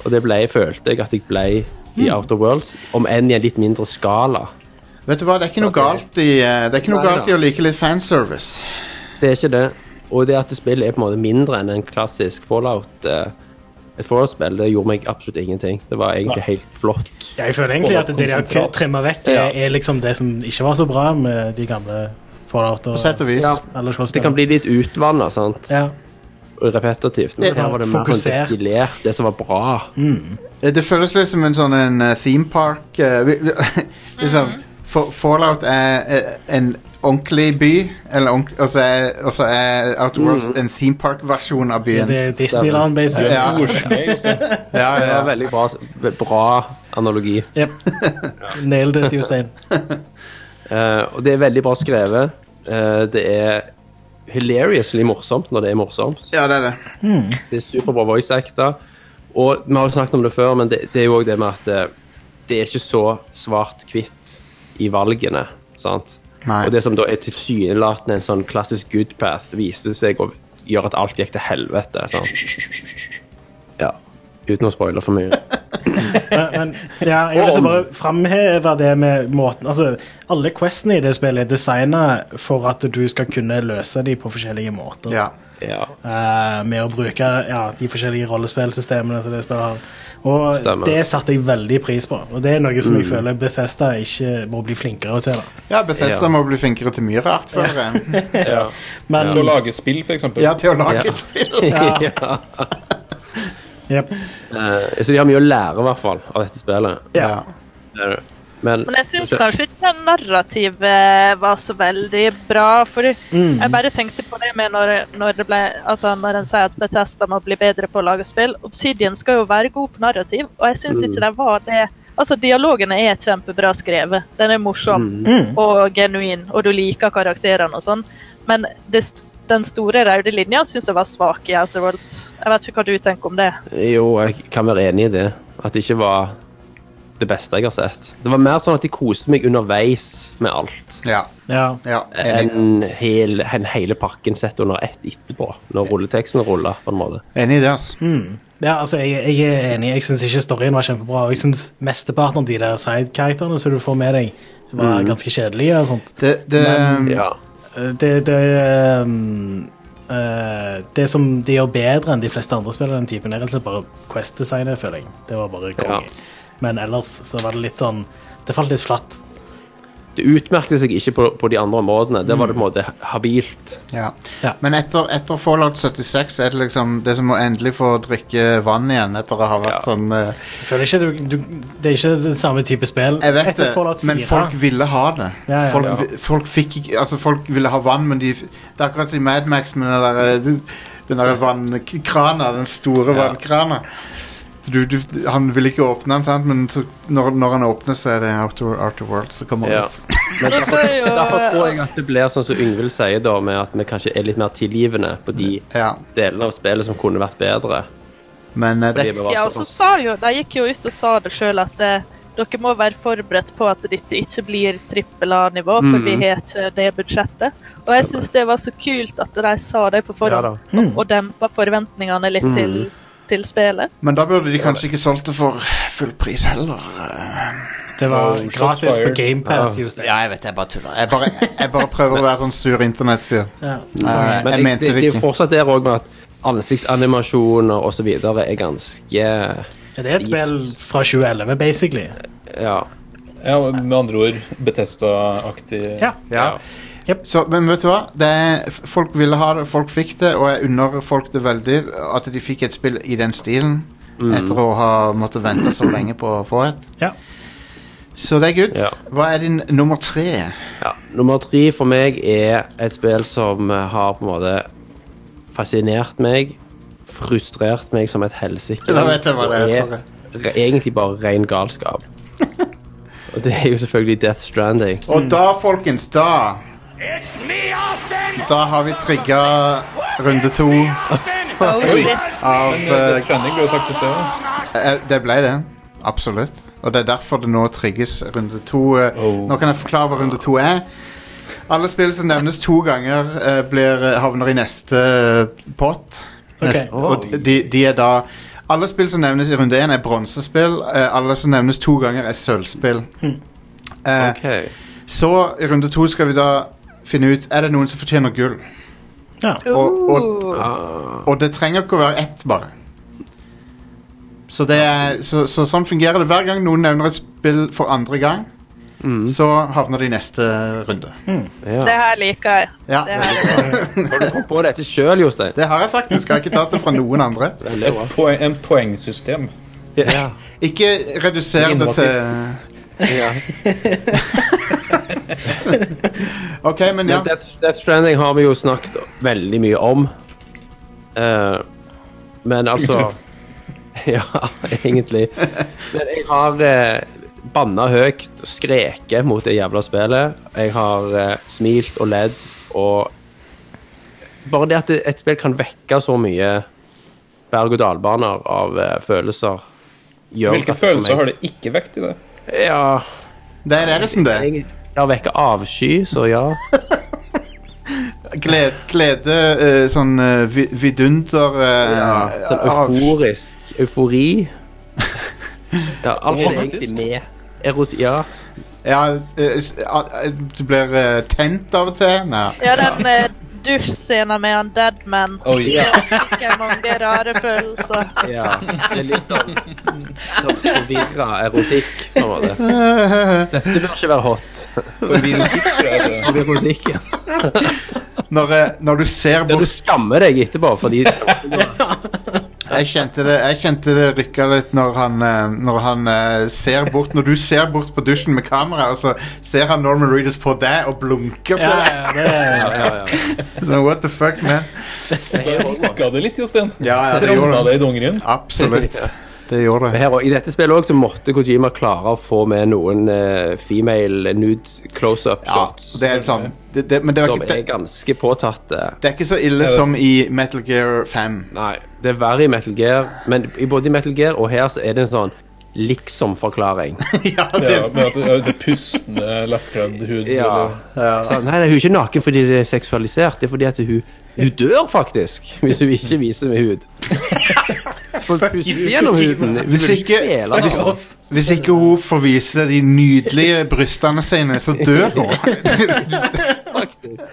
S3: Og det ble, følte jeg at jeg ble i Outer Worlds, om enn i en litt mindre skala.
S2: Vet du hva, det er ikke noe galt i, eh, det er ikke noe
S3: Nei,
S2: galt i
S3: da.
S2: å like litt fanservice.
S3: Det er ikke det. Og det at spillet er på en måte mindre enn en klassisk fallout eh, et Fallout-spill, det gjorde meg absolutt ingenting. Det var egentlig helt flott.
S6: Ja, jeg føler egentlig at det de har
S5: Konsentrat.
S6: trimma vekk,
S3: Ja.
S6: er, er liksom det som ikke var så bra med de gamle Fallout og
S2: På sett og vis.
S3: Ja.
S6: eller
S3: Det kan bli litt utvanna, sant?
S6: ja.
S3: Og repetitivt.
S2: Det-
S3: Men her var det mer sånn
S6: Fokusert. Mm.
S3: destillert, det som var bra.
S2: Eh, Det føles litt som en sånn en eh, theme park eh, vi- vi- *laughs* Liksom Fa- Fallout er eh, en ordentlig by, eller ordent- og så er, og så er Outer Worlds en theme park-versjon av byen.
S6: Det er Disneyland, basically.
S2: Ja.
S6: *laughs*
S5: Ordsmed, Jostein.
S2: Ja,
S3: Det var
S2: ja.
S3: veldig bra, bra analogi.
S6: Yep. Nailed it, Jostein.
S3: Eh, og det er veldig bra skrevet. Eh, det er hilariously morsomt når det er morsomt.
S2: ja, det er det.
S3: Det er superbra voice acta. Og vi har jo snakket om det før, men det, det er jo òg det med at eh, det er ikke så svart-hvitt i valgene. sant?
S2: Nei.
S3: Og det som da er tilsynelatende en sånn klassisk good path, viser seg å gjøre at alt gikk til helvete. sant? Ja. Uten å spoile for mye.
S6: Men, men ja, jeg vil ikke bare framheve det med måten Altså, alle questene i det spillet er designa for at du skal kunne løse de på forskjellige måter.
S2: Ja.
S3: Ja,
S6: Eh, med å bruke ja, de forskjellige rollespillsystemene som det spillet har. Og
S3: Stemmer. Mm.
S6: det satte jeg veldig pris på, og det er noe som jeg føler Bethesda ikke må bli flinkere til. Da.
S2: ja, Bethesda
S3: Ja.
S2: må bli flinkere til mye rart, føler jeg.
S3: ja.
S6: Men
S5: Til å lage spill, for eksempel.
S2: Ja, til å lage
S3: Ja.
S2: et spill.
S3: ja.
S6: jep.
S3: Eh, så de har mye å lære, i hvert fall, av dette spillet.
S6: ja.
S2: Ja.
S3: Det er det. Men,
S4: Men jeg syns kanskje ikke det narrativet var så veldig bra. For jeg bare tenkte på det med når, når, det ble, altså når en sier at Bethesda må bli bedre på å lage spill. Obsidian skal jo være god på narrativ, og jeg syns ikke de var det. Altså, dialogene er kjempebra skrevet. Den er morsom og genuin, og du liker karakterene og sånn. Men det, st- den store røde linja syns jeg var svak i Outer Worlds. Jeg vet ikke hva du tenker om det.
S3: Jo, jeg kan være enig i det. At det ikke var det beste jeg har sett. Det var mer sånn at de koste meg underveis med alt.
S2: Ja.
S6: Ja.
S2: ja enig.
S3: Enn hel, en hele pakken sett under ett etterpå, når rulleteksten ruller. på en måte.
S2: enig i det, ass. Mm.
S6: ja, altså, jeg, jeg er enig. Jeg syns ikke storyen var kjempebra. Og jeg syns mesteparten av de der sidekarakterene som du får med deg, var
S3: Mm.
S6: ganske kjedelige. og sånt.
S2: Det, det, mm,
S3: Ja.
S6: Eh, Det, det, ehm, eh, det som de gjør bedre enn de fleste andre spill av den typen, er altså bare Quest-designet, føler jeg. Det var bare konge.
S3: Ja.
S6: Men ellers så var det litt sånn Det falt litt flatt.
S3: Det utmerket seg ikke på, på de andre områdene. Der var det på en måte habilt.
S2: ja.
S6: Ja.
S2: Men etter, etter Fallout 76 er det liksom det som å endelig få drikke vann igjen etter å ha vært
S3: Ja.
S2: sånn eh,
S6: Jeg føler ikke du, du, Det er ikke den samme type spill.
S2: Jeg vet
S6: Etter
S2: det,
S6: Fallout
S2: men
S6: 4.
S2: folk ville ha det.
S6: Ja, ja,
S2: folk,
S6: ja.
S2: vi- folk fikk ikke Altså, folk ville ha vann, men de f- Det er akkurat som i Mad Max med den der, eh, du- den der vannkrana, den store
S3: Ja.
S2: vannkrana. Så Du, du, han ville ikke åpne den, sant? men så, når, når han åpner, så er det Outer, outer World. Så kommer
S3: Ja.
S2: det.
S3: Men
S4: Nå
S3: derfor,
S4: skal jeg jo-
S3: derfor tror jeg at det blir sånn som Yngvild sier, da, med at vi kanskje er litt mer tilgivende på de
S2: Ja.
S3: delene av spillet som kunne vært bedre.
S2: Men eh,
S3: Fordi
S2: det,
S3: vi var
S4: Ja, og så
S3: såpass-
S4: sa jo, De gikk jo ut og sa det sjøl at eh, dere må være forberedt på at dette ikke blir trippel A-nivå, for vi har ikke det budsjettet. Og jeg syns det var så kult at de sa det på
S3: Ja
S4: forhånd, og, og dempa forventningene litt til, til spillet.
S2: men da burde de kanskje ikke solgt det for full pris heller.
S6: Det var
S5: Oh, shots
S6: gratis
S5: fired.
S6: på GamePass.
S3: Ja.
S6: just det.
S2: Ja, jeg vet, jeg bare tuller. Jeg bare, jeg bare prøver å være sånn sur internettfyr.
S6: Ja.
S2: Eh,
S3: Men
S2: jeg
S3: jeg,
S2: mente
S3: det, det
S2: det
S3: er jo
S2: ikke.
S3: fortsatt der òg med at ansiktsanimasjoner osv. er ganske
S6: Det er et spill fra 2011, basically.
S3: Ja.
S5: Ja, med andre ord Betesta-aktig.
S6: Ja.
S2: Ja.
S6: Jep.
S2: Så, men vet du hva? Det er, f- folk ville ha det, folk fikk det, og jeg unner folk det veldig at de fikk et spill i den stilen. Etter å ha måttet vente så lenge på å få et.
S6: Ja.
S2: Så det er good.
S3: Ja.
S2: Hva er din nummer tre?
S3: ja. Nummer tre for meg er et spill som har på en måte fascinert meg, frustrert meg som et helsike.
S2: Da vet jeg hva det er,
S3: og er re- Egentlig bare ren
S2: *laughs*
S3: galskap. Og det er jo selvfølgelig Death Stranding.
S2: Og da, folkens, da
S7: It's me, Austin!
S2: Da har vi trigga runde to
S6: *laughs*
S7: Austin!
S4: Oh, shit.
S6: Ah,
S2: av
S5: Men, eh,
S2: eh,
S5: Death Stranding ble jo sagt i sted. da.
S2: eh, Det ble det. Absolutt. Og det er derfor det nå trigges runde to. eh.
S5: Oh.
S2: Nå kan jeg forklare hva runde to er. Alle spill som nevnes to ganger, eh, blir, havner i neste eh, pott.
S6: Ok.
S2: Nest, og de, de er da Alle spill som nevnes i runde én, er bronsespill. eh, alle som nevnes to ganger, er sølvspill. Eh,
S3: Ok.
S2: Så i runde to skal vi da finne ut Er det noen som fortjener gull.
S6: Ja.
S2: Og, og,
S3: Ah,
S2: og det trenger ikke å være ett, bare. Så, det er, så, så sånn fungerer det. Hver gang noen nevner et spill for andre gang,
S3: Mm.
S2: så havner det i neste runde.
S4: Det
S3: ja.
S4: her liker jeg.
S2: Ja,
S4: Det her er
S3: Har du kommet på dette sjøl, Jostein?
S2: Det har jeg faktisk. Jeg har ikke tatt det fra noen andre.
S3: Veldig bra.
S5: Et poeng, en poengsystem.
S3: Ja.
S2: *laughs* Ikke reduser det til *laughs* OK, men ja.
S3: Men Death, Death Stranding har vi jo snakket veldig mye om. Eh, men altså *laughs* Ja, egentlig. Men jeg har eh, banna høyt og skreket mot det jævla spillet. Jeg har eh, smilt og ledd og Bare det at det- et spill kan vekke så mye berg-og-dal-baner av eh, følelser gjør
S5: Hvilke følelser har det ikke vekt i det?
S3: Ja,
S2: Det er det som det er.
S3: jeg, det har vekket avsky, så ja.
S2: Glede, glede eh, sånn eh, vi- vidunder eh,
S3: Ja, sånn
S2: av-
S3: euforisk. *laughs* Eufori. Ja, alt er
S5: Romantisk.
S3: egentlig med. Erot ja.
S2: Ja, eh, s- ah, eh, du blir eh, tent av og til. Nei.
S4: Ja, den eh, dusjscenen med han Deadman.
S5: Oh, ja.
S4: Ikke mange rare følelser.
S3: ja. Det er litt sånn sånn forvirra erotikk, på en måte. Dette bør ikke være hot. Erotikk, ja.
S2: Når, eh, når du ser
S3: Ja,
S2: bort
S3: du skammer deg etterpå, fordi
S2: Jeg kjente det, jeg kjente det rykka litt når han, eh, når han eh, ser bort Når du ser bort på dusjen med kamera, og så ser han Norman Reedus på deg og blunker til
S6: Ja,
S2: deg.
S6: ja, det er,
S3: ja, ja,
S2: *laughs*
S3: ja.
S2: Sånn, what the fuck, man?
S5: Ga det litt, Jostein.
S2: Ja, ja, det gjorde
S5: Ramla
S2: det.
S5: det i dongerien.
S2: Absolutt. Det gjorde
S3: *laughs* Men
S2: det.
S3: Her, og I dette spillet også, så måtte Kojima klare å få med noen eh, female nude
S2: Ja,
S3: close-up-shots.
S2: det er liksom det, det, Men det er,
S3: Som
S2: ikke,
S3: er
S2: det,
S3: ganske påtatte.
S2: det er ikke så ille som i Metal Gear 5.
S3: Nei, det er verre i Metal Gear, men i både i Metal Gear og her så er det en sånn liksom-forklaring.
S2: ja, det,
S5: Ja, med at det, ja, det pustende, lettkledd hud
S3: Ja.
S5: eller-
S3: Så, nei, nei, hun er ikke naken fordi det er seksualisert, det er fordi at hun, hun dør faktisk hvis hun ikke viser med hud. Folk puster gjennom huden. Hun
S2: Hvis
S3: vil
S2: ikke,
S3: spille,
S2: hvis,
S3: altså.
S2: hvis ikke hun får vise de nydelige brystene sine, så dør hun.
S3: Faktisk.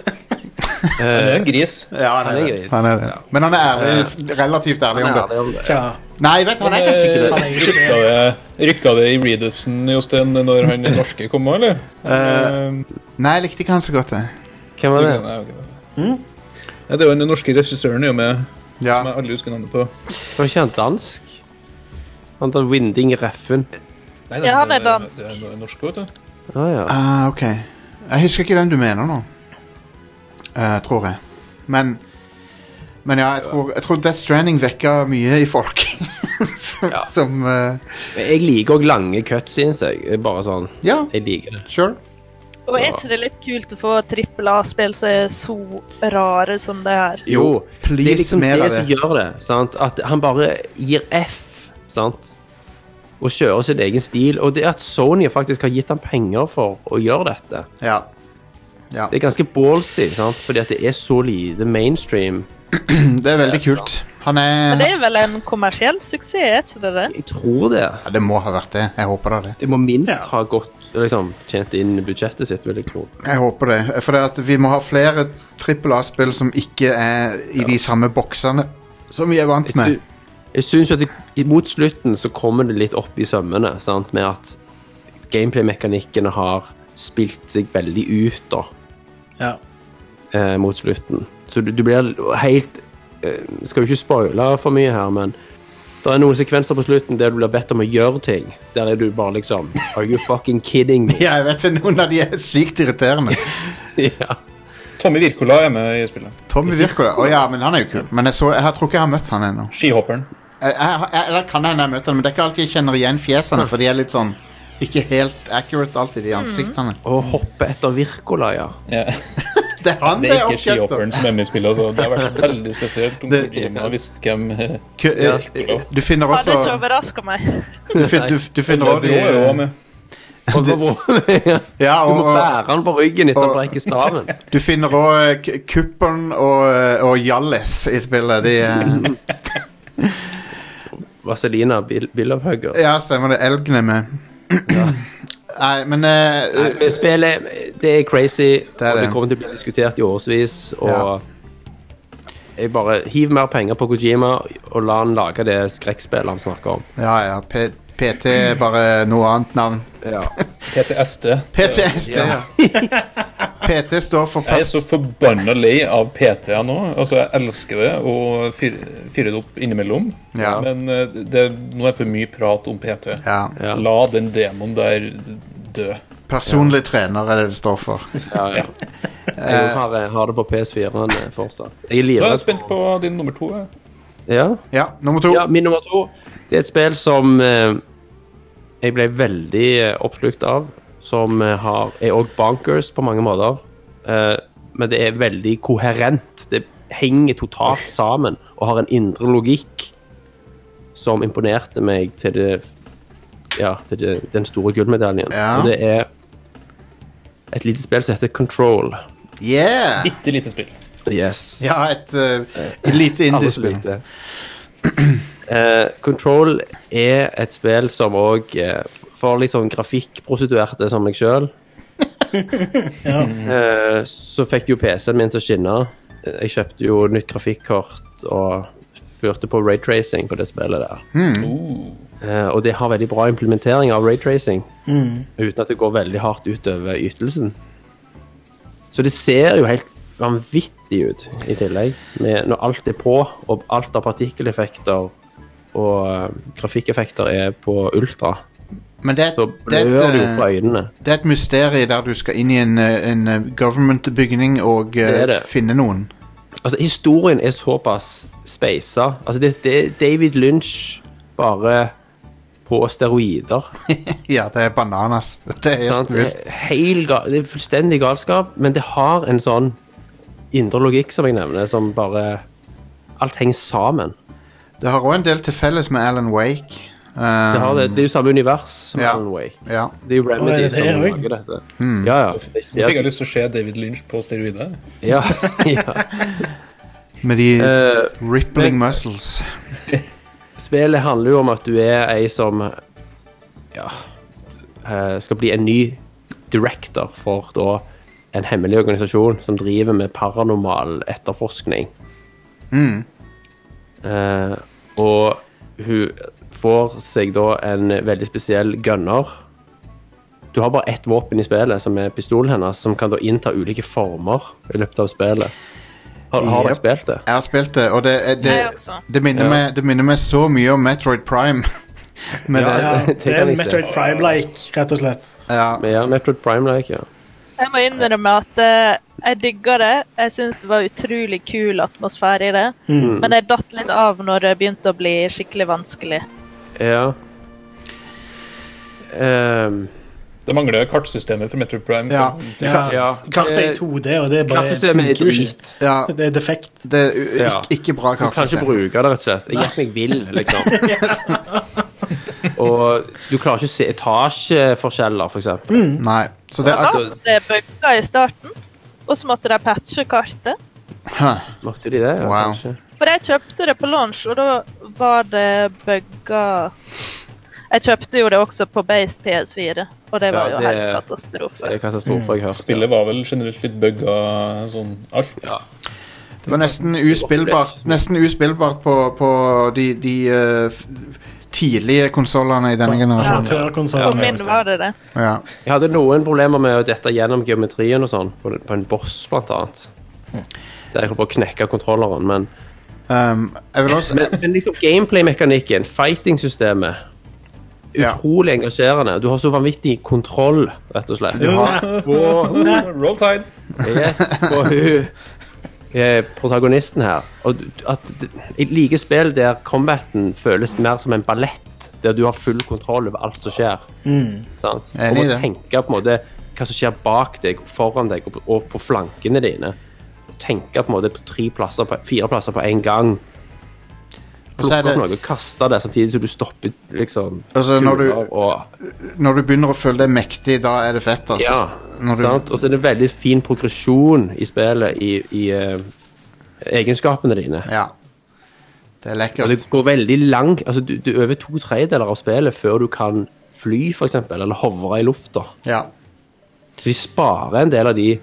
S5: Det er
S3: Eh,
S5: en gris.
S2: Ja, han
S3: Han er gris.
S2: Han er det. Men han er ærlig, relativt ærlig om
S3: han er
S2: det.
S3: ærlig om det.
S6: Tja.
S2: Nei, vet, han er kanskje ikke det.
S5: Rykka det, rykka det i Reedussen, Jostein, når han den norske kom òg, eller?
S2: Eh,
S5: Eh,
S2: Nei, jeg likte ikke han så godt, jeg.
S3: Hvem var det?
S5: Nei, ok. Nei, Det er jo den norske regissøren er jo med,
S2: Ja.
S5: som jeg aldri husker navnet på.
S3: Var ikke han dansk? Han der Winding Reffen.
S5: Nei,
S4: Ja, han er
S5: det-
S4: dansk.
S5: Det er norsk, vet du.
S3: Å ja.
S2: Ah, ok. Jeg husker ikke hvem du mener nå. Eh, tror jeg. Men Men ja, jeg tror, jeg tror Death Stranding vekka mye i folk. som
S3: Ja.
S2: *laughs* som eh,
S3: Men Jeg liker òg lange cutscenes. Jeg Det er bare sånn,
S2: Ja,
S3: jeg liker det.
S2: sure.
S4: Og er ikke det litt kult å få trippel A-spill som er så rare som det her?
S2: Jo,
S3: det er
S2: please
S3: liksom
S2: mer
S3: det
S2: av
S3: som
S2: det.
S3: gjør det. Sant? At han bare gir F, sant. Og kjører sin egen stil. Og det at Sony faktisk har gitt ham penger for å gjøre dette,
S2: Ja. ja.
S3: det er ganske ballsy, sant? fordi at det er så lite mainstream.
S2: Det er veldig kult. Han
S4: Men
S2: er
S4: det er vel en kommersiell suksess, er ikke det det?
S3: Jeg tror det.
S2: ja, Det må ha vært det. Jeg håper det er det.
S3: Det må minst
S6: Ja.
S3: ha gått liksom, tjent inn budsjettet sitt, vil jeg tro.
S2: Jeg håper det. For det at vi må ha flere trippel A-spill som ikke er i de samme boksene som vi er vant
S3: Jeg
S2: med.
S3: sy- Jeg syns jo at det, mot slutten så kommer det litt opp i sømmene, sant, med at gameplay-mekanikkene har spilt seg veldig ut, da,
S6: Ja.
S3: eh, mot slutten. Så du, du blir helt eh, Skal jo ikke spoile for mye her, men det er noen sekvenser på slutten der du blir bedt om å gjøre ting. Der er du bare liksom Are you fucking kidding
S2: *laughs*
S3: me?
S2: Ja, jeg vet det. Noen av de er sykt irriterende.
S3: ja.
S5: Tommy Wirkola er med i spillet.
S2: Tommy Wirkola. Å ja, men han er jo kul. Men jeg, så, jeg tror ikke jeg har møtt han ennå.
S5: Skihopperen.
S2: Jeg- jeg- jeg- Eller kan hende jeg har møtt han, men det er ikke alltid jeg kjenner igjen fjesene, for de er litt sånn ikke helt accurate alltid, de ansiktene.
S3: Å hoppe etter Virkola, ja.
S5: Ja.
S2: Det er han
S5: Det
S2: det
S5: er
S2: er
S5: ikke skihopperen
S2: oppkjøpt
S5: som er med i spillet. Altså. Det har vært veldig spesielt om
S2: Det-
S5: Kojima har visst hvem eh,
S2: av. Du finner
S4: Hadde ikke
S2: også
S4: overraska meg. *laughs*
S2: Du, fin, du, du finner også
S5: Ladio er jo også
S2: de
S5: med.
S3: Og så må- *laughs*
S2: Ja,
S3: Du må
S2: og, og
S3: bære han på ryggen etter
S2: og-
S3: å brekke
S2: *laughs*
S3: staven.
S2: du finner òg Kuppern og, eh, og Hjallis i spillet. De eh, er
S3: Vaselina Bill- Billowhugger.
S2: Ja, stemmer det. Elgen er med. Nei, men eh,
S3: Nei, men spillet det er crazy,
S2: er
S3: og det
S2: det.
S3: kommer til å bli diskutert i årevis. Og
S2: Ja.
S3: jeg bare hiv mer penger på Kojima, og la han lage det skrekkspillet han snakker om.
S2: Ja, ja. P PT er bare noe annet navn.
S3: *laughs* Ja.
S5: PTSD.
S2: PTSD, ja. PT står for
S5: Jeg er
S2: pers
S5: så forbanna lei av PT nå. Altså, jeg elsker det og fyr- fyrer det opp innimellom.
S2: Ja.
S5: Men eh, det, nå er det for mye prat om PT.
S2: ja.
S3: Ja.
S5: La den demoen der dø.
S2: Personlig trener er det det står for.
S3: Ja, *laughs* ja. Jeg har, har det på PS4-en eh, fortsatt. Eh, Jeg er
S5: Nå er jeg
S3: livredd.
S5: spent på din nummer to. eh. jeg.
S3: Ja.
S2: Ja, nummer to.
S3: ja, min nummer to. Det er et spill som eh, jeg ble veldig eh, oppslukt av. Som eh, har, er òg bonkers på mange måter. Eh, men det er veldig koherent. Det henger totalt sammen og har en indre logikk som imponerte meg til, det, ja, til det, den store gullmedaljen.
S2: Ja.
S3: Og det er et lite spill som heter Control.
S2: Yeah!
S5: Bitte lite spill.
S3: Yes.
S2: Ja, et, eh, et lite
S3: Alle som
S2: indiespill.
S3: likte det. *clears throat* Eh, Control er et spill som òg For litt sånn grafikkprostituerte som meg sjøl, eh, så fikk jo PC-en min til å skinne. Eh, Jeg kjøpte jo nytt grafikkort og førte på raytracing på det spillet der. Eh, og det har veldig bra implementering av raytracing, uten at det går veldig hardt utover ytelsen. Så det ser jo helt vanvittig ut i tillegg, med, når alt er på, og alt av partikkeleffekter og eh, grafikkeffekter er på ultra,
S2: Men det er,
S3: så
S2: et- det,
S3: blør
S2: er
S3: det jo
S2: et,
S3: fra
S2: eh,
S3: øynene.
S2: det er et mysterium der du skal inn i en, eh, en eh, government-bygning og eh,
S3: Det er det.
S2: finne noen.
S3: Altså, historien er såpass speisa. Altså, det, det er David Lynch bare på steroider.
S2: Ja, det er bananas. *laughs* Det er helt
S3: Sant? Det
S2: vilt.
S3: er Heil ga- det er fullstendig galskap, men det har en sånn indre logikk, som jeg nevner, som bare Alt henger sammen.
S2: Det har òg en del til felles med Alan Wake. Um,
S3: Det, har det, det er jo samme univers som
S2: Ja.
S3: Alan Wake.
S2: Ja.
S3: Det er jo
S6: Å, er
S3: Remedy
S6: det det
S3: som
S6: òg?
S3: lager dette. Ja,
S5: Nå fikk
S3: ja.
S5: jeg lyst til å se David Lynch på steroider.
S3: ja, ja. *laughs*
S2: Med de
S3: Eh,
S2: rippling
S3: men-
S2: muscles.
S3: Spillet handler jo om at du er ei som ja, eh, skal bli en ny director for da en hemmelig organisasjon som driver med paranormal etterforskning. Eh, og hun får seg da en veldig spesiell gunner. Du har bare ett våpen i spillet, som er pistolen hennes, som kan da innta ulike former i løpet av spillet. Har, har dere
S2: Yep.
S3: spilt det?
S2: Jeg har spilt det, og det, det,
S4: Jeg også.
S2: det, minner,
S3: Ja.
S2: meg, det minner meg så mye om Metroid Prime. *laughs* Med
S3: Ja,
S2: det.
S6: Ja,
S3: det
S6: det
S3: kan
S6: er
S3: jeg se.
S6: Metroid Prime-like, rett og slett.
S2: Ja.
S3: Ja, Metroid Prime-like, ja.
S4: Jeg må innrømme at eh, jeg digga det. Jeg syns det var utrolig kul atmosfære i det.
S3: Mm.
S4: Men jeg datt litt av når det begynte å bli skikkelig vanskelig.
S3: Ja. Ehm,
S5: Det mangler kartsystemet for Metro Prime.
S2: Ja.
S6: Ja.
S3: ja.
S6: Kartet er i
S3: Eh,
S6: 2D, og det er bare
S3: Kraftsystemet er
S6: funker jo ikke.
S3: drit.
S2: ja.
S6: Det er defekt.
S2: Det er u-
S3: Ja.
S2: ikke, ikke bra
S3: Du kan ikke
S2: kartsystem.
S3: bruke det, rett og slett. Jeg gikk meg
S2: *laughs*
S3: vill, liksom. Og du klarer ikke å se etasjeforskjeller, for eksempel.
S2: Nei. Så det er altså-
S4: Ja,
S2: akkurat
S3: Altså-
S4: det bugga i starten, og så måtte de patche kartet.
S2: Huh.
S3: Måtte de det? Ja,
S2: Wow.
S3: kanskje.
S4: For jeg kjøpte det på launch, og da var det bugga Jeg kjøpte jo det også på base PS4, og det var
S3: Ja,
S4: jo
S3: det-
S4: helt
S3: Det
S4: katastrofe.
S3: er katastrofe, jeg har hørt.
S5: Spillet var vel generelt litt bugga sånn alt.
S2: Det var nesten uspillbart, nesten uspillbart på, på de, de eh, f- tidlige konsollene i denne generasjonen.
S4: På
S6: Amatørkonsollen.
S4: min var det det.
S2: Sånn, Ja.
S3: Jeg hadde noen problemer med å dette gjennom geometrien og sånn, på, på en boss, blant annet.
S2: Hm.
S3: Der jeg holdt på å knekke kontrolleren, men
S2: Um, jeg vil også
S3: Men, men liksom gameplay-mekanikken, fighting-systemet
S2: Ja.
S3: Utrolig engasjerende. Du har så vanvittig kontroll, rett og slett.
S2: du har,
S5: Og *laughs* Roll Tide.
S3: Yes, på hun eh, protagonisten her. Og du- at d- Jeg liker spill der combaten føles mer som en ballett, der du har full kontroll over alt som skjer. Sant?
S2: Mm. Enig
S3: Og
S2: i
S3: å
S2: det.
S3: tenke på en måte hva som skjer bak deg, foran deg og på, og på flankene dine. Tenke på en måte på tre plasser, på, fire plasser på en gang.
S2: så er
S3: Plukke opp
S2: det-
S3: noe, kaste det, samtidig som du stopper liksom
S2: Altså, når du-
S3: kuler og
S2: når du begynner å føle deg mektig, da er det fett, altså.
S3: ja,
S2: Når du,
S3: sant? Og så er det veldig fin progresjon i spillet i, i eh, egenskapene dine.
S2: ja. Det er
S3: Og det
S2: lekkert.
S3: går veldig lang altså du, du er over to tredjedeler av spillet før du kan fly, for eksempel, eller hovre i lufta.
S2: Ja.
S3: Så de sparer en del av de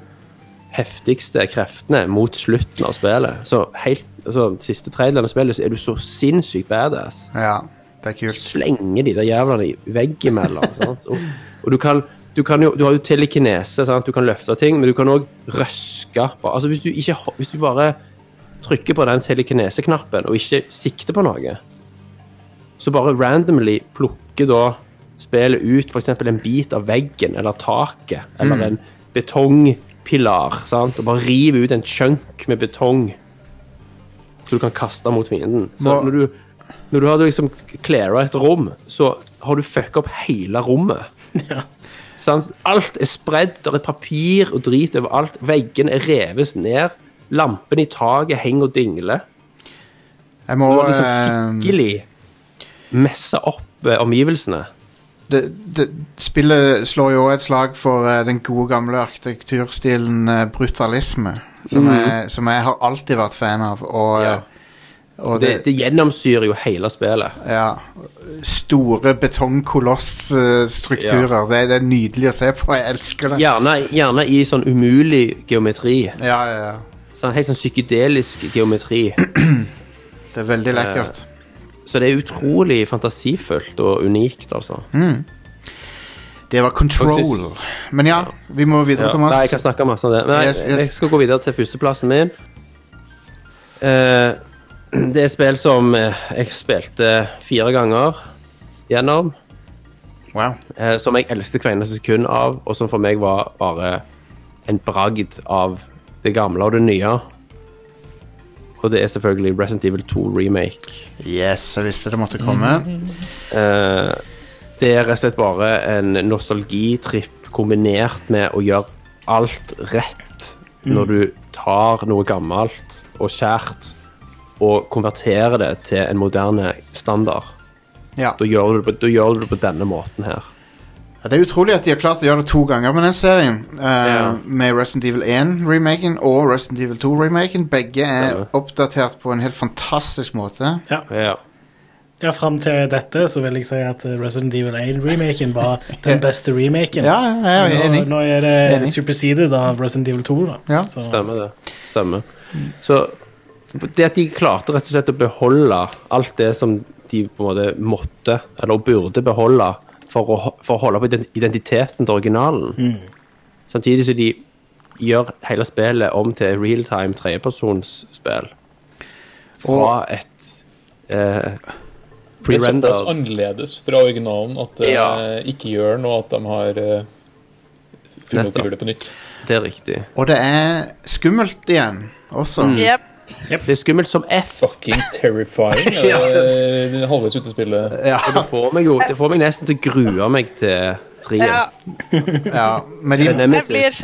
S3: heftigste kreftene mot slutten av spillet. Så helt, altså, siste tredjedelen av spillet så er du så sinnssykt badass.
S2: ja. Det er kult.
S3: slenger de der jævlene i veggimellom. *laughs* sant? Og, og du kan du, kan jo, du har jo telekinese, sant? du kan løfte ting, men du kan òg røske. på- Altså hvis du, ikke, ho- hvis du bare trykker på den telekineseknappen og ikke sikter på noe, så bare randomly plukker da spillet ut f.eks. en bit av veggen eller taket
S2: Mm.
S3: eller en betongpilar, sant? og bare river ut en chunk med betong så du kan kaste mot fienden. Så
S2: Må-
S3: når du når du har liksom cleara et rom, så har du fucka opp hele rommet. Sant? Alt er spredd, der er papir og drit overalt. Veggene er reves ned. Lampene i taket henger og dingler.
S2: Jeg må
S3: Du
S2: eh,
S3: har liksom skikkelig messa opp eh, omgivelsene.
S2: det, det, Spillet slår jo også et slag for eh, den gode gamle arkitekturstilen eh, brutalisme. Som, jeg, som jeg har alltid vært fan av. Og,
S3: Mhm.
S2: eh,
S3: Ja.
S2: og
S3: Det, det gjennomsyrer jo hele spillet.
S2: Ja. Store betongkolossstrukturer. Det, er- det er nydelig å se på. Jeg elsker det.
S3: Gjerne, gjerne i sånn umulig geometri.
S2: Ja, ja, ja.
S3: Sånn, helt sånn psykedelisk geometri.
S2: Det er
S3: Eh.
S2: veldig lekkert.
S3: Så det er utrolig fantasifullt og unikt, altså.
S2: Det var control.
S3: Faktisk-
S2: Men ja, vi må videre, Thomas.
S3: Nei, jeg kan snakke masse om det. Men jeg-
S2: Yes, yes.
S3: jeg skal gå videre til førsteplassen min. Eh, det er et spill som eh, jeg spilte fire ganger gjennom.
S2: Wow.
S3: eh, som jeg elsket hver eneste sekund av, og som for meg var bare en bragd av det gamle og det nye. Og Og det er selvfølgelig Resident Evil 2 Remake.
S2: Yes, jeg visste det måtte komme.
S3: Eh, det er rett og slett bare en nostalgitripp kombinert med å gjøre alt rett når du tar noe gammelt og kjært og konverterer det til en moderne standard.
S2: Ja.
S3: Da gjør du det på, da gjør du det på denne måten her.
S2: Ja, Det er utrolig at de har klart å gjøre det to ganger med den serien. Eh,
S3: Ja.
S2: Med Resident Evil 1-remaken og Resident Evil 2-remaken. Begge er
S3: Stemmer.
S2: oppdatert på en helt fantastisk måte.
S3: Ja.
S6: Ja, Fram til dette så vil jeg si at eh, Resident Evil 1-remaken var den beste remaken.
S2: Ja, ja, jeg er
S6: nå,
S2: enig.
S6: nå er det
S2: Enig.
S6: superseded av Resident Evil 2. da.
S2: Ja.
S6: Så-
S3: Stemmer det. Stemmer. Så det at de klarte rett og slett å beholde alt det som de på en måte måtte, eller burde beholde, for å, ho- for å holde på ident- identiteten til originalen. Samtidig som de gjør hele spillet om til realtime tredjepersonsspill. Fra et eh,
S5: Det er såpass
S3: pre-rendered
S5: annerledes fra originalen at det
S3: Ja.
S5: ikke gjør noe at de har eh, funnet opp
S3: Nettopp.
S5: å gjøre det på nytt.
S3: Det er riktig.
S2: Og det er skummelt igjen også.
S3: Mm.
S4: Jep.
S3: Det er skummelt som F.
S5: Fucking
S2: *laughs*
S5: terrifying.
S2: Ja.
S5: Er det halvveis ute i spillet?
S2: Ja,
S3: Det får meg jo det får meg nesten til å grue meg til treen.
S4: Ja.
S2: ja. Men
S3: Eller
S2: de,
S3: Nemesis.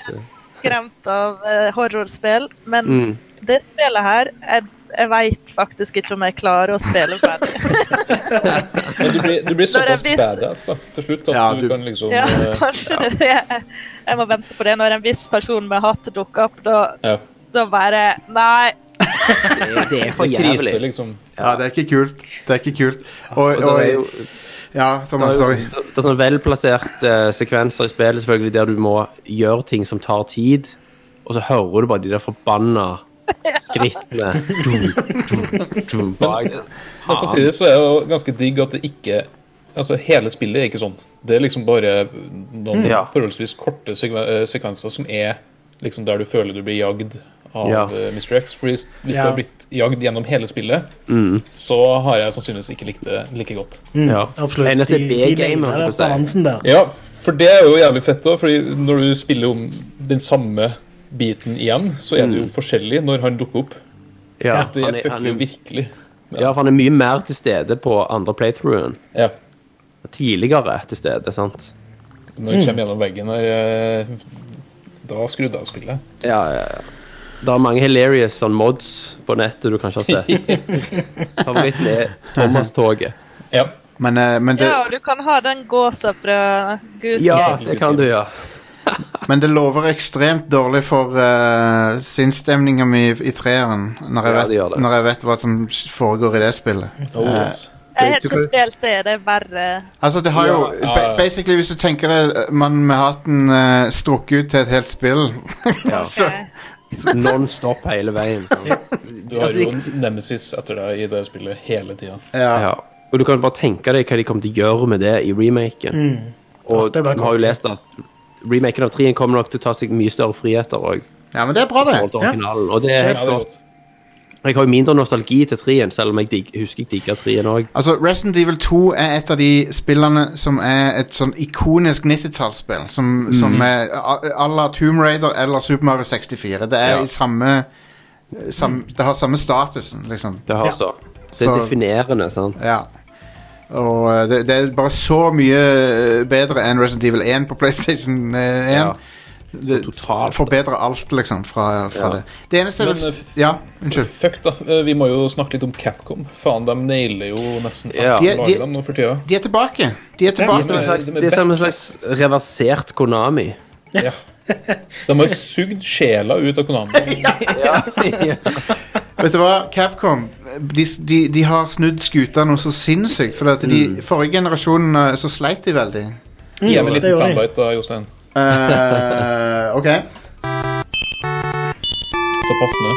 S4: skremt av eh, horrorspill, men
S3: Mm.
S4: det spillet her Jeg, jeg veit faktisk ikke om jeg klarer å spille ferdig. *laughs*
S5: Men du blir, du blir
S4: Når jeg
S5: såpass
S4: blir-
S5: badass da, til slutt at
S2: Ja,
S5: du,
S2: du-
S5: kan liksom
S4: Ja,
S5: eh,
S4: kanskje det er det. Jeg må vente på det. Når en viss person med hatt dukker opp, da,
S5: ja,
S4: da bare Nei.
S3: Det, det er for
S5: Det er krise,
S3: jævlig.
S5: liksom.
S2: ja, det er ikke kult. Det er ikke kult. Og,
S3: Og det er jo,
S2: og Ja,
S3: det
S2: Thomas,
S3: er jo
S2: sorry.
S3: det er sånne velplasserte sekvenser i spillet selvfølgelig der du må gjøre ting som tar tid, og så hører du bare de der forbanna skrittene Dum, dum, dum, bak.
S5: Men samtidig så er det jo ganske digg at det ikke Altså, hele spillet er ikke sånn. Det er liksom bare noen
S3: Ja.
S5: forholdsvis korte sekve- eh, sekvenser som er liksom der du føler du blir jagd av
S3: Ja.
S5: eh, Mr. X. For hvis hvis du
S6: Ja.
S5: har blitt jagd gjennom hele spillet,
S3: Mm.
S5: så har jeg sannsynligvis ikke likt det like godt.
S3: Ja.
S6: Absolutt.
S3: Det eneste
S6: De- de
S3: B-game,
S6: nailer
S3: holdt jeg på å si.
S6: balansen der.
S5: Ja, for det er jo jævlig fett òg, Fordi når du spiller om den samme biten igjen, så er det jo forskjellig når han dukker opp.
S3: Mm. Ja,
S5: Det
S3: han er,
S5: fucker
S3: han
S5: jo
S3: er,
S5: virkelig.
S3: ja, for han er mye mer til stede på andre playthroughen.
S5: Ja.
S3: Tidligere til stede, sant?
S5: Når du kommer gjennom veggen her, eh, da skrudde jeg av spillet.
S3: Ja, ja, ja. Det er mange hilarious sånn mods på nettet du kanskje har sett. Favoritten er Thomas-toget.
S5: Ja.
S2: Men, eh, men, det,
S4: Ja, og du kan ha den gåsa fra Goose
S3: Ja,
S5: Helt
S3: det kan du, ja.
S2: men det lover ekstremt dårlig for uh, sinnsstemninga mi i treeren, når jeg,
S3: Ja, det gjør
S2: vet,
S3: det.
S2: når jeg vet hva som foregår i det spillet.
S5: Oh, yes.
S4: Jeg har ikke spilt det. Det er verre.
S2: Altså, det har jo
S5: Ja.
S2: ba- Basically, hvis du tenker deg eh, mannen med hatten uh, strukket ut til et helt spill så,
S3: Non stop hele veien. sant?
S5: Du
S2: altså,
S5: har jo Nemesis etter deg i det spillet hele tida.
S2: ja.
S3: Ja. Og du kan bare tenke deg hva de kommer til å gjøre med det i remaken. Og
S6: Mm. Det
S3: vi
S6: blir
S3: har jo lest at remaken av 3 kommer nok til å ta seg mye større friheter òg.
S2: ja, men det er bra, det.
S3: Og det er
S5: Ja, det
S3: helt
S5: er
S3: flott.
S5: godt.
S3: Jeg har jo mindre nostalgi til 3 selv om jeg dig husker jeg digga 3 òg.
S2: Altså, Resident Evil 2 er et av de spillene som er et sånn ikonisk 90-tallsspill. Som, som
S3: Mhm.
S2: er a- à la Tomb Raider eller Super Mario 64. Det er
S3: Ja.
S2: i samme, eh, sam, Det har samme statusen, liksom.
S3: Det har
S6: Ja.
S3: så. Det er
S2: Så-
S3: definerende, sant.
S2: Ja. Og eh, det, det er bare så mye eh, bedre enn Resident Evil 1 på PlayStation eh, 1.
S3: Ja.
S2: Det
S3: totalt.
S2: forbedrer alt, liksom, fra, fra
S3: Ja.
S2: det. Det eneste jeg vil
S5: Men,
S2: s- Ja, unnskyld.
S5: Fuck, da. Eh, Vi må jo snakke litt om Capcom. Faen, de nailer jo nesten
S3: Ja.
S5: alt
S2: De- de-
S5: lager dem nå for tida.
S2: De er tilbake. De er tilbake.
S3: Det er som en slags, det er som en slags reversert Konami.
S5: Ja. De har sugd sjela ut
S2: *laughs*
S5: av Konami.
S3: *laughs*
S2: Vet du hva, Capcom de, de, de har snudd skuta noe så sinnssykt. For at de
S3: Mm.
S2: forrige generasjonen eh, så sleit de veldig.
S5: Gi dem en
S6: Mm, det
S5: liten
S6: gjorde de.
S5: soundbite, da, Jostein.
S2: Eh, *laughs* OK.
S5: Så passende.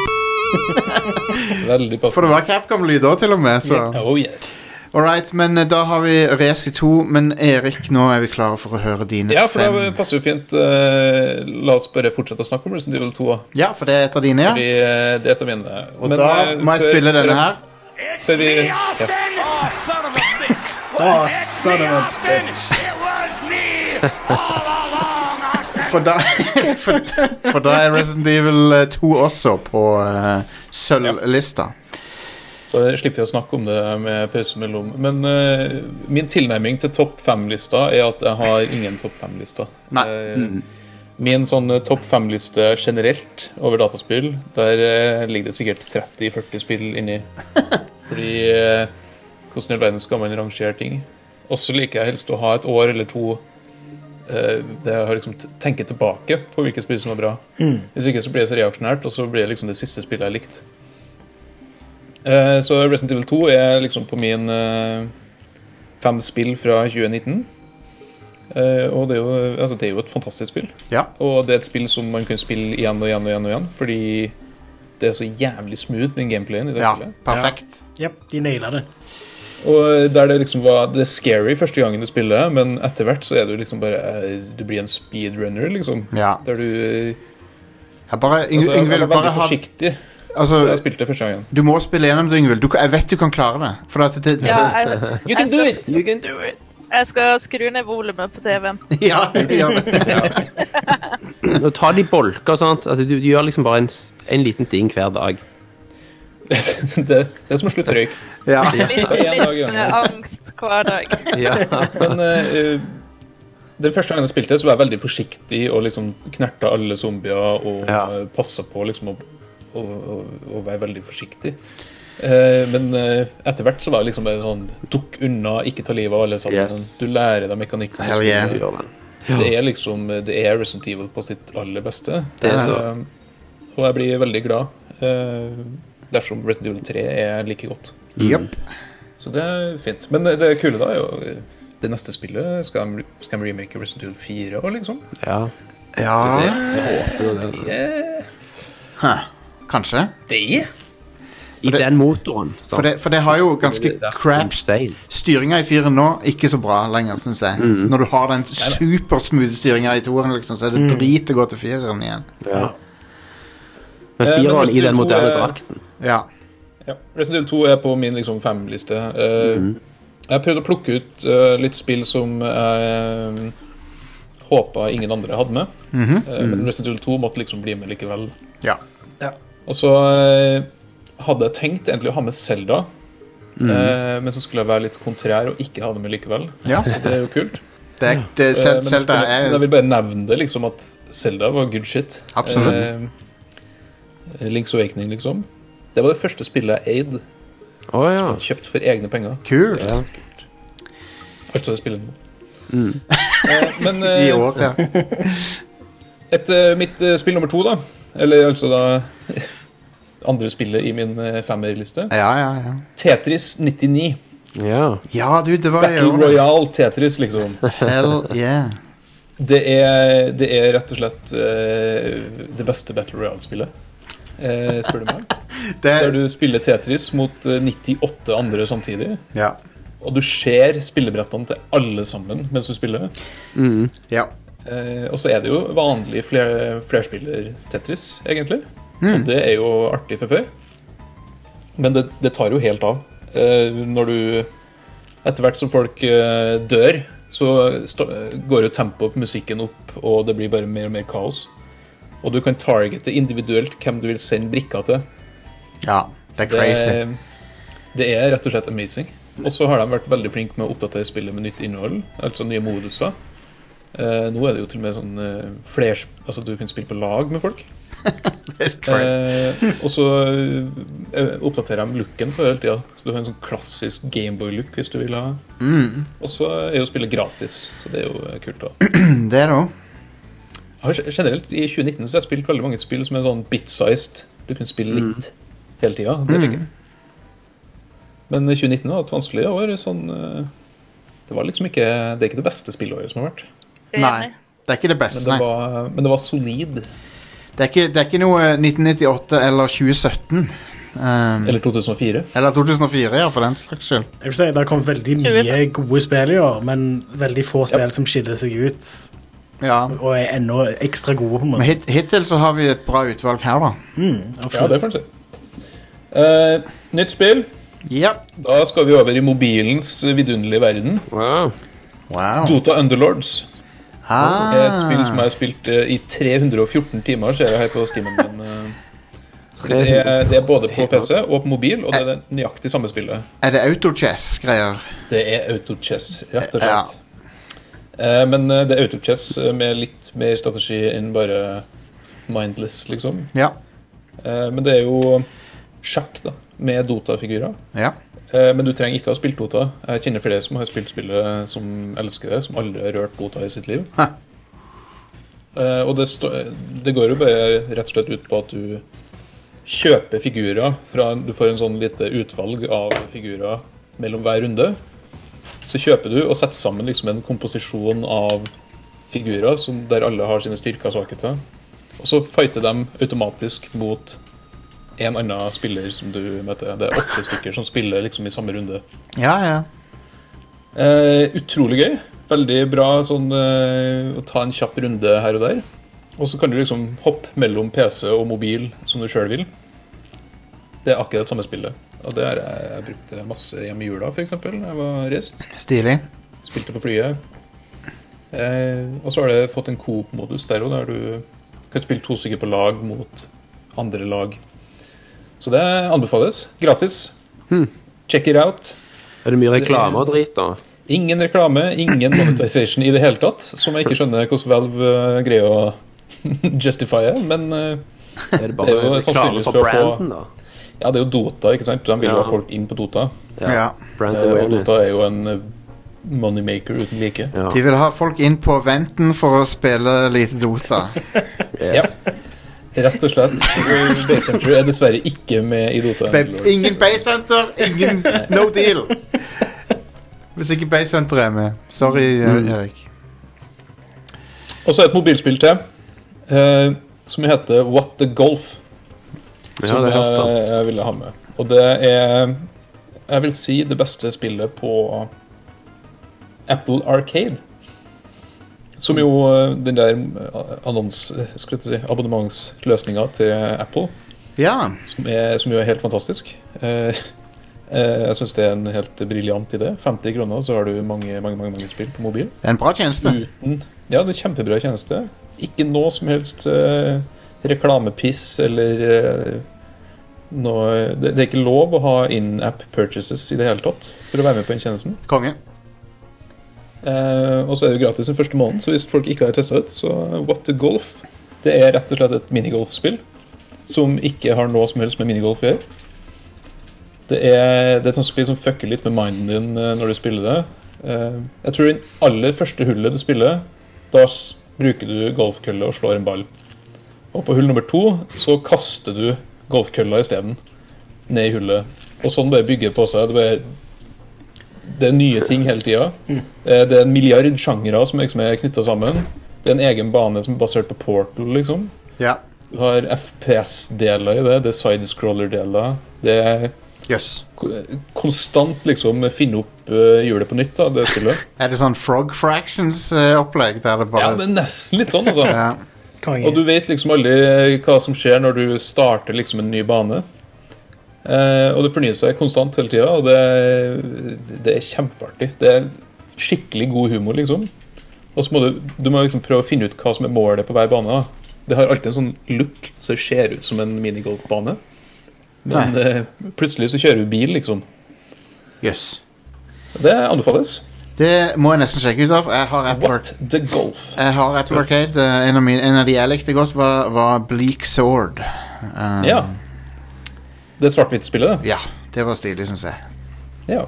S2: *laughs*
S5: Veldig
S2: For
S5: passende.
S2: det var Capcom-lyder, til og med. Så.
S5: Oh yes.
S2: Alright, men eh, da har vi Resi 2. Men Erik, nå er vi klare for å høre dine
S5: Ja, for
S2: fem.
S5: det passer jo fint. Eh, La oss bare fortsette å snakke om Resident Evil 2. da.
S2: Ja, for det er et av dine,
S5: Fordi
S2: ja.
S5: eh, det er et av mine. eh,
S2: Og da må jeg spille denne her.
S7: It's
S5: Baby.
S7: me,
S5: Yeah.
S7: Austin! Oh, son of a bitch!
S6: Oh,
S7: It's
S6: son
S7: me,
S6: of a
S7: Austin! It was me all along, Austin!
S2: For da, *laughs* for, for da er Resident Evil eh, 2 også på eh, sølvlista.
S5: Så slipper vi å snakke om det med pause mellom. Men eh, min tilnærming til topp fem-lista er at jeg har ingen topp fem-lister.
S2: Nei.
S5: Eh, Min sånn eh, topp fem-liste generelt over dataspill, der eh, ligger det sikkert 30-40 spill inni. Fordi eh, hvordan i all verden skal man rangere ting? Og så liker jeg helst å ha et år eller to eh, der jeg har liksom t- tenker tilbake på hvilke spill som var bra. Hvis ikke så blir det så reaksjonært, og så blir det liksom det siste spillet jeg likte. Eh, Så Resident Evil 2 er liksom på min eh, fem spill fra 2019. Eh, og det er, jo, altså det er jo et fantastisk spill.
S2: Ja.
S5: Og det er et spill som man kunne spille igjen og igjen og igjen, og igjen fordi det er så jævlig smooth, den gameplayen. i det
S2: ja.
S5: spillet.
S2: Perfekt.
S6: Jep, de naila det.
S5: Og der det liksom var det er scary første gangen du spiller, men etter hvert så er du liksom bare eh, Du blir en speedrunner, liksom.
S2: Ja.
S5: Der du eh,
S2: Jeg bare, Yng-
S5: altså, jeg
S2: Yngvild,
S5: var
S2: bare
S5: veldig
S2: ha
S5: forsiktig da jeg
S2: altså,
S5: spilte første gangen.
S2: Du må spille gjennom det, Yngvild. Du, kan- jeg vet du kan klare det. For at det, det
S4: Ja, jeg,
S5: You can
S4: Jeg
S5: do
S4: skal-
S5: it! You can do it!
S4: jeg skal skru ned volumet på TV-en.
S2: *laughs* ja,
S5: Mm.
S2: ja.
S3: Nå tar de bolker, sant. Altså, du, du gjør liksom bare en, s- en liten ting hver dag.
S5: *laughs* det, det er som å slutte å røyke.
S2: ja.
S4: Litt,
S5: *laughs* En dag i
S4: litt
S5: gangen.
S4: angst hver dag.
S3: Ja.
S5: Men eh, eh, den første gangen jeg spilte, så var jeg veldig forsiktig og liksom knerta alle zombier og
S3: Ja.
S5: ja. passa på liksom å, å, å, å være veldig forsiktig. Eh, men eh, etter hvert så var det liksom bare sånn Dukk unna, ikke ta livet av alle sammen.
S3: Yes.
S5: Du lærer deg mekanikken.
S3: Oh,
S2: Hell yeah.
S3: Du gjør det.
S5: Det er liksom Det er Resident Evil på sitt aller beste.
S3: Det er
S5: Eh,
S3: så.
S5: og jeg blir veldig glad eh, dersom Resident Evil 3 er like godt.
S2: Jep.
S5: Så det er fint. Men det det kule da er jo eh, det neste spillet skal de, skal de remake Resident Evil 4 og liksom.
S3: Ja.
S2: Ja,
S3: Jeg håper jo det.
S2: kanskje.
S5: Det?
S3: I den motoren. sant?
S2: For det, for det har jo ganske
S3: Det er
S2: crap
S3: insane.
S2: Styringa i fyren nå, ikke så bra lenger, syns jeg.
S5: Mm.
S2: Når du har den supersmooth styringa i toeren, liksom, så er
S5: Mm.
S2: det drit å gå til fireren igjen.
S3: Ja. Men
S5: Eh, men
S3: fireren i
S5: Resident
S3: den
S5: Evil
S3: moderne
S5: to er-
S3: drakten.
S2: Ja.
S5: Ja. Resident Evil 2 er på min liksom fem-liste. Eh, Jeg prøvde å plukke ut eh, litt spill som jeg håpa ingen andre hadde med. Eh, men Resident Evil 2 måtte liksom bli med likevel.
S2: ja.
S5: Og så eh, hadde jeg tenkt egentlig å ha med Selda, men så skulle jeg være litt kontrær og ikke ha det med likevel.
S2: Ja.
S5: Så det er jo kult.
S2: Det er, det,
S5: Eh,
S2: Zel-
S5: men-
S2: Zelda
S5: men
S2: er
S5: Jeg vil bare nevne det, liksom, at Selda var good shit.
S2: Absolutt.
S5: Eh, Link's Awakening, liksom. Det var det første spillet jeg eide,
S3: Å ja.
S2: Ah.
S5: kjøpt for egne penger.
S2: kult
S3: ja.
S5: Altså det spillet nå. Eh,
S2: *laughs*
S5: men
S2: Mm.
S5: eh,
S2: i år. Ja.
S5: et, eh, mitt eh, spill nummer to, da, eller altså da *laughs* andre spillet i min eh, femmerliste,
S2: ja, ja, ja.
S5: Tetris 99.
S3: ja.
S2: Ja, du, det var i
S5: Battle
S2: år.
S5: Royale Tetris, liksom.
S2: Hell yeah.
S5: Det er, det er rett og slett eh, det beste Battle Royale-spillet, eh, spør du meg. Der
S2: Det,
S5: du spiller Tetris mot eh, 98 andre samtidig.
S2: ja.
S5: Og du ser spillebrettene til alle sammen mens du spiller.
S2: ja.
S5: Eh, og så er det jo vanlig fler, flerspiller-Tetris, egentlig. Og det er jo artig for før. Men det, det tar jo helt av. Eh, når du Etter hvert som folk eh, dør, så sta- går jo tempoet på musikken opp, og det blir bare mer og mer kaos. Og du kan targete individuelt hvem du vil sende brikka til.
S2: Ja. Det er crazy.
S5: Det, det er rett og slett amazing. Og så har de vært veldig flinke med å oppdatere spillet med nytt innhold, altså nye moduser. Eh, nå er det jo til og med sånn eh, flers... Altså du kan spille på lag med folk. Eh, og så eh, oppdaterer de looken på hele tida, så du har en sånn klassisk Gameboy-look hvis du vil ha. Og så er jo spillet gratis, så det er jo eh, kult. da
S2: Det er det òg.
S5: jeg har generelt I 2019 så har jeg spilt veldig mange spill som er sånn bit-sized. Du kunne spille litt hele tida. Det liker jeg. Men eh, 2019 var et vanskelig år. Sånn, eh, det var liksom ikke Det er ikke det beste spillåret som har vært.
S2: Nei. Det er ikke det
S5: Men
S2: beste,
S5: det
S2: nei.
S5: var, men det var solid.
S2: Det er ikke, det er ikke noe eh, 1998 eller 2017. Um,
S5: Eller 2004.
S2: eller 2004, ja, for den slags skyld.
S6: Jeg vil si, Det har kommet veldig mye gode spill i år, men veldig få spill som skiller seg ut
S2: Ja.
S6: og er enda ekstra gode. på en
S2: Men
S6: måte.
S2: hit, hittil så har vi et bra utvalg her, da.
S5: Ja, det
S6: Absolutt.
S5: får en si. Eh, nytt spill.
S2: Ja.
S5: Da skal vi over i mobilens vidunderlige verden.
S3: Wow.
S2: Wow. Ah.
S5: Dota Underlords. Et spill som jeg har spilt eh, i 314 timer, ser jeg her på skimmen min. eh. Det er, det er både på PC og på mobil, og det er det nøyaktig samme spillet.
S2: Er det autochess-greier?
S5: Det er autochess, rett og
S2: Ja.
S5: slett. Eh, Men eh, det er autochess eh, med litt mer strategi enn bare mindless, liksom.
S2: Ja.
S5: Eh, Men det er jo sjakk, da, med Dota-figurer.
S2: ja.
S5: Eh, Men du trenger ikke ha spilt Dota. Jeg kjenner flere som har spilt spillet som elsker det, som aldri har rørt Dota i sitt liv.
S2: Hæ.
S5: Eh, Og det, stå, det går jo bare rett og slett ut på at du kjøper figurer fra Du får en sånn lite utvalg av figurer mellom hver runde. Så kjøper du og setter sammen liksom en komposisjon av figurer som, der alle har sine styrker og svakheter. Og så fighter de automatisk mot en annen spiller som du møter. Det er åtte stykker som spiller liksom i samme runde.
S2: Ja, ja.
S5: Eh, utrolig gøy. Veldig bra sånn eh, å ta en kjapp runde her og der. Og så kan du liksom hoppe mellom PC og mobil som du sjøl vil. Det er akkurat samme spillet. Og det har jeg, jeg brukt masse hjemme i jula, f.eks. Da jeg var reist.
S2: Stilig.
S5: Spilte på flyet. Eh, og så har det fått en coop-modus der òg, der du kan spille to stykker på lag mot andre lag. Så det anbefales. Gratis. Hmm. Check it out.
S3: Er det mye reklame og drit, da?
S5: Ingen reklame, ingen monetization i det hele tatt, som jeg ikke skjønner hvordan Valve eh, greier å *laughs* justifie, men eh,
S3: Er det bare
S5: Det er jo
S3: reklame
S5: sannsynligvis
S3: for
S5: for å få-
S3: branden, da?
S5: ja, det er jo Dota, ikke sant? De vil
S3: Ja.
S5: jo ha folk inn på Dota.
S2: Ja.
S3: Brand
S5: Eh, Og
S3: awareness.
S5: Dota er jo en eh, moneymaker uten like.
S3: ja.
S2: De vil ha folk inn på venten for å spille lite Dota.
S3: Yes.
S5: Rett og slett. Baycenter er dessverre ikke med i Dota.
S2: Bay- Ingen Baysenter, ingen No deal! Hvis ikke Baysenter er med. Sorry, eh, Erik.
S5: Og så er det et mobilspill til, eh, som heter What the Golf.
S3: Ja,
S5: som
S3: det har jeg hørt om.
S5: jeg, jeg ville ha med. Og det er Jeg vil si det beste spillet på Apple Arcade. Som jo eh, den der eh, annons... Skal jeg si, abonnementsløsninga til Apple,
S2: Ja.
S5: som, er, som jo er helt fantastisk. Eh, eh, jeg syns det er en helt briljant idé. 50 kroner, så har du mange, mange, mange, mange spill på mobil.
S2: Det er en bra tjeneste.
S5: Uten Ja, det er kjempebra tjeneste. Ikke noe som helst eh, reklamepiss eller eh, noe det, det er ikke lov å ha in-app purchases i det hele tatt for å være med på den tjenesten.
S2: Konge.
S5: Eh, og så er det jo gratis den første måneden, så hvis folk ikke har testa ut, så what the golf. Det er rett og slett et minigolfspill som ikke har noe som helst med minigolf å gjøre. Det er, det er et sånt spill som fucker litt med minden din eh, når du spiller det. Eh, jeg tror den aller første hullet du spiller, da s bruker du golfkølle og slår en ball. Og på hull nummer to så kaster du golfkølla isteden ned i hullet. Og sånn bare bygger det på seg. Det, bare, det er nye ting hele tida. Eh, Det er en milliard sjangere som liksom er knytta sammen. Det er en egen bane som er basert på Portal, liksom.
S2: Ja.
S5: Du har FPS-deler i det. Det er sidescroller-deler. Det er
S2: Jøss. Yes.
S5: ko- konstant liksom finne opp eh, hjulet på nytt, da, det spillet.
S2: Er det sånn Frog Fractions-opplegg? der det
S5: Ja,
S2: bare
S5: det er nesten litt sånn, altså.
S2: ja.
S6: Konge.
S5: Og du vet liksom aldri hva som skjer når du starter liksom en ny bane. Eh, og det fornyer seg konstant hele tida, og det, det er kjempeartig. Det er skikkelig god humor, liksom. Og så må du, du må liksom prøve å finne ut hva som er målet på hver bane. Da. Det har alltid en sånn look så det ser ut som en minigolfbane. Men
S2: Nei.
S5: eh, plutselig så kjører du bil, liksom.
S2: Jøss.
S5: Det anbefales.
S2: Det må jeg nesten sjekke ut av. Jeg har Apple, Arc-
S5: What the golf.
S2: jeg har Apple Arcade. Eh, En av, mine, en av de jeg likte godt, var, var Bleak Sword. Eh,
S5: Ja. Det er svart-hvitt-spillet, det.
S2: ja. Det var stilig, syns jeg.
S5: Ja.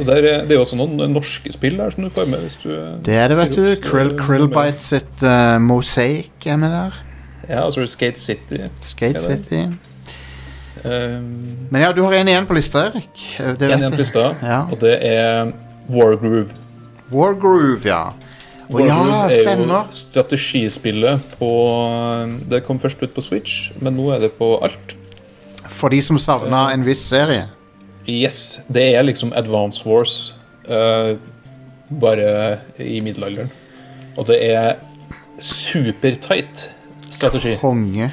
S5: Og der, er- det er også noen eh, norske spill der som du får med hvis du eh,
S2: Det er det, vet du.
S5: Jo, så-
S2: Krill, Krillbite sitt uh, Mosaic er med der.
S5: Ja, og så er det Skate City. Eh,
S2: Skate
S5: Er det?
S2: City.
S5: Um,
S2: Men ja, du har en igjen på lista, Erik. Eh, Det
S5: en
S2: vet
S5: igjen på
S2: jeg.
S5: lista,
S2: Ja.
S5: og det er Wargroove.
S2: Wargroove, ja. Å ja,
S5: er
S2: stemmer.
S5: jo strategispillet på eh, Det kom først ut på Switch, men nå er det på alt.
S2: For de som savna en viss serie.
S5: Yes, det er liksom Advance Wars, eh, bare i middelalderen. Og det er supertight strategi.
S2: Konge.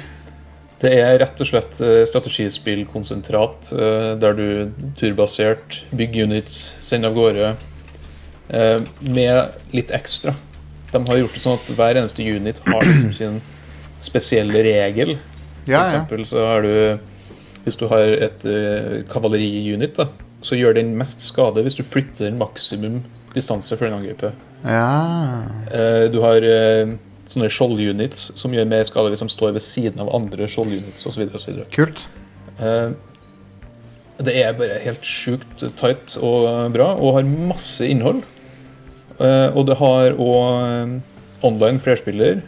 S5: Det er rett og slett eh, strategispillkonsentrat, eh, der du turbasert bygger units, sender av gårde, eh, med litt ekstra. De har gjort det sånn at hver eneste unit har liksom sin spesielle regel.
S2: Ja, Ah, ja.
S5: For eksempel så har du Hvis du har et eh, kavaleriunit, da, så gjør den mest skade hvis du flytter den maksimum distanse før den angriper.
S2: ja.
S5: Eh, du har eh, sånne skjoldunits som gjør mer skade hvis de står ved siden av andre skjoldunits osv. videre
S2: Kult.
S5: Eh, Det er bare helt sjukt tight og bra, og har masse innhold. Eh, Og det har òg online flerspiller.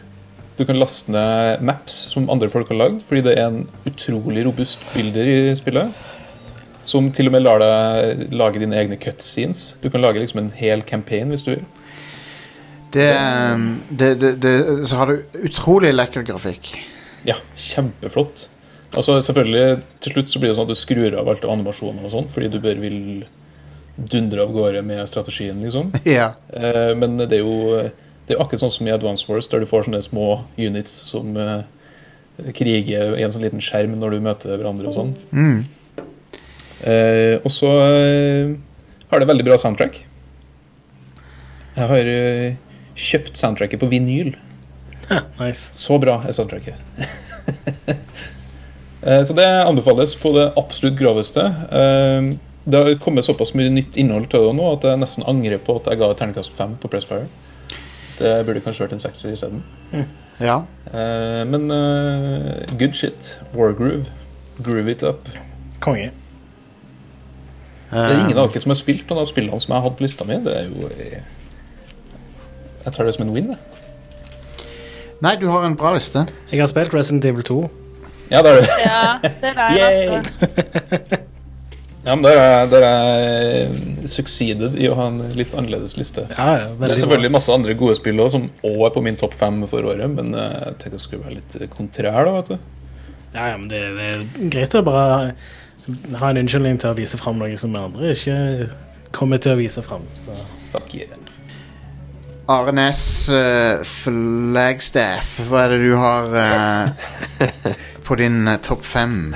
S5: Du kan laste ned maps som andre folk har lagd, fordi det er en utrolig robust bilder i spillet. Som til og med lar deg lage dine egne cutscenes. Du kan lage liksom en hel campaign hvis du vil.
S2: Det, ehm, det, det, det Så har du utrolig lekker grafikk.
S5: Ja, kjempeflott. Altså selvfølgelig, Til slutt så blir det sånn at du skrur av alt av animasjoner og sånn, fordi du bare vil dundre av gårde med strategien, liksom.
S2: Ja.
S5: Eh, Men det er jo det er jo akkurat sånn som i Advance Wars, der du får sånne små units som eh, kriger i en sånn liten skjerm når du møter hverandre og sånn.
S2: Mm.
S5: Eh, og så eh, har det veldig bra soundtrack. Jeg har eh, kjøpt soundtracket på vinyl.
S6: Nice.
S5: Så bra er soundtracket. *laughs* Eh, så det anbefales på det absolutt groveste. Eh, Det har kommet såpass mye nytt innhold til det nå at jeg nesten angrer på at jeg ga et terningkast fem på Pressfire. Det burde kanskje vært en sekser isteden.
S2: ja.
S5: Eh, Men eh, good shit. Wargroove. Groove it up.
S6: Konge.
S5: Det er ingen av dere som har spilt noen av spillene som jeg har hatt på lista mi. Det er jo eh, Jeg tar det som en win, jeg.
S2: Nei, du har en bra liste.
S6: Jeg har spilt Resident Evil 2.
S5: Ja, det er det.
S4: Ja, det er det
S5: Yay!
S4: eneste.
S5: Ja, men der er, der er eh, succeeded i å ha en litt annerledes liste.
S6: Ja, ja,
S5: Det er
S6: veldig bra.
S5: selvfølgelig masse andre gode spill også, som også er på min topp fem for året, men eh, jeg tenkte jeg skulle være litt eh, kontrær, da, vet du.
S6: Ja, ja, men det, det er greit å bare ha en unnskyldning til å vise fram noe som andre ikke kommer til å vise fram. Så.
S5: Fuck yeah.
S2: RNS eh, Flagstaff, hva er det du har
S5: *laughs*
S2: eh, på din eh, topp fem?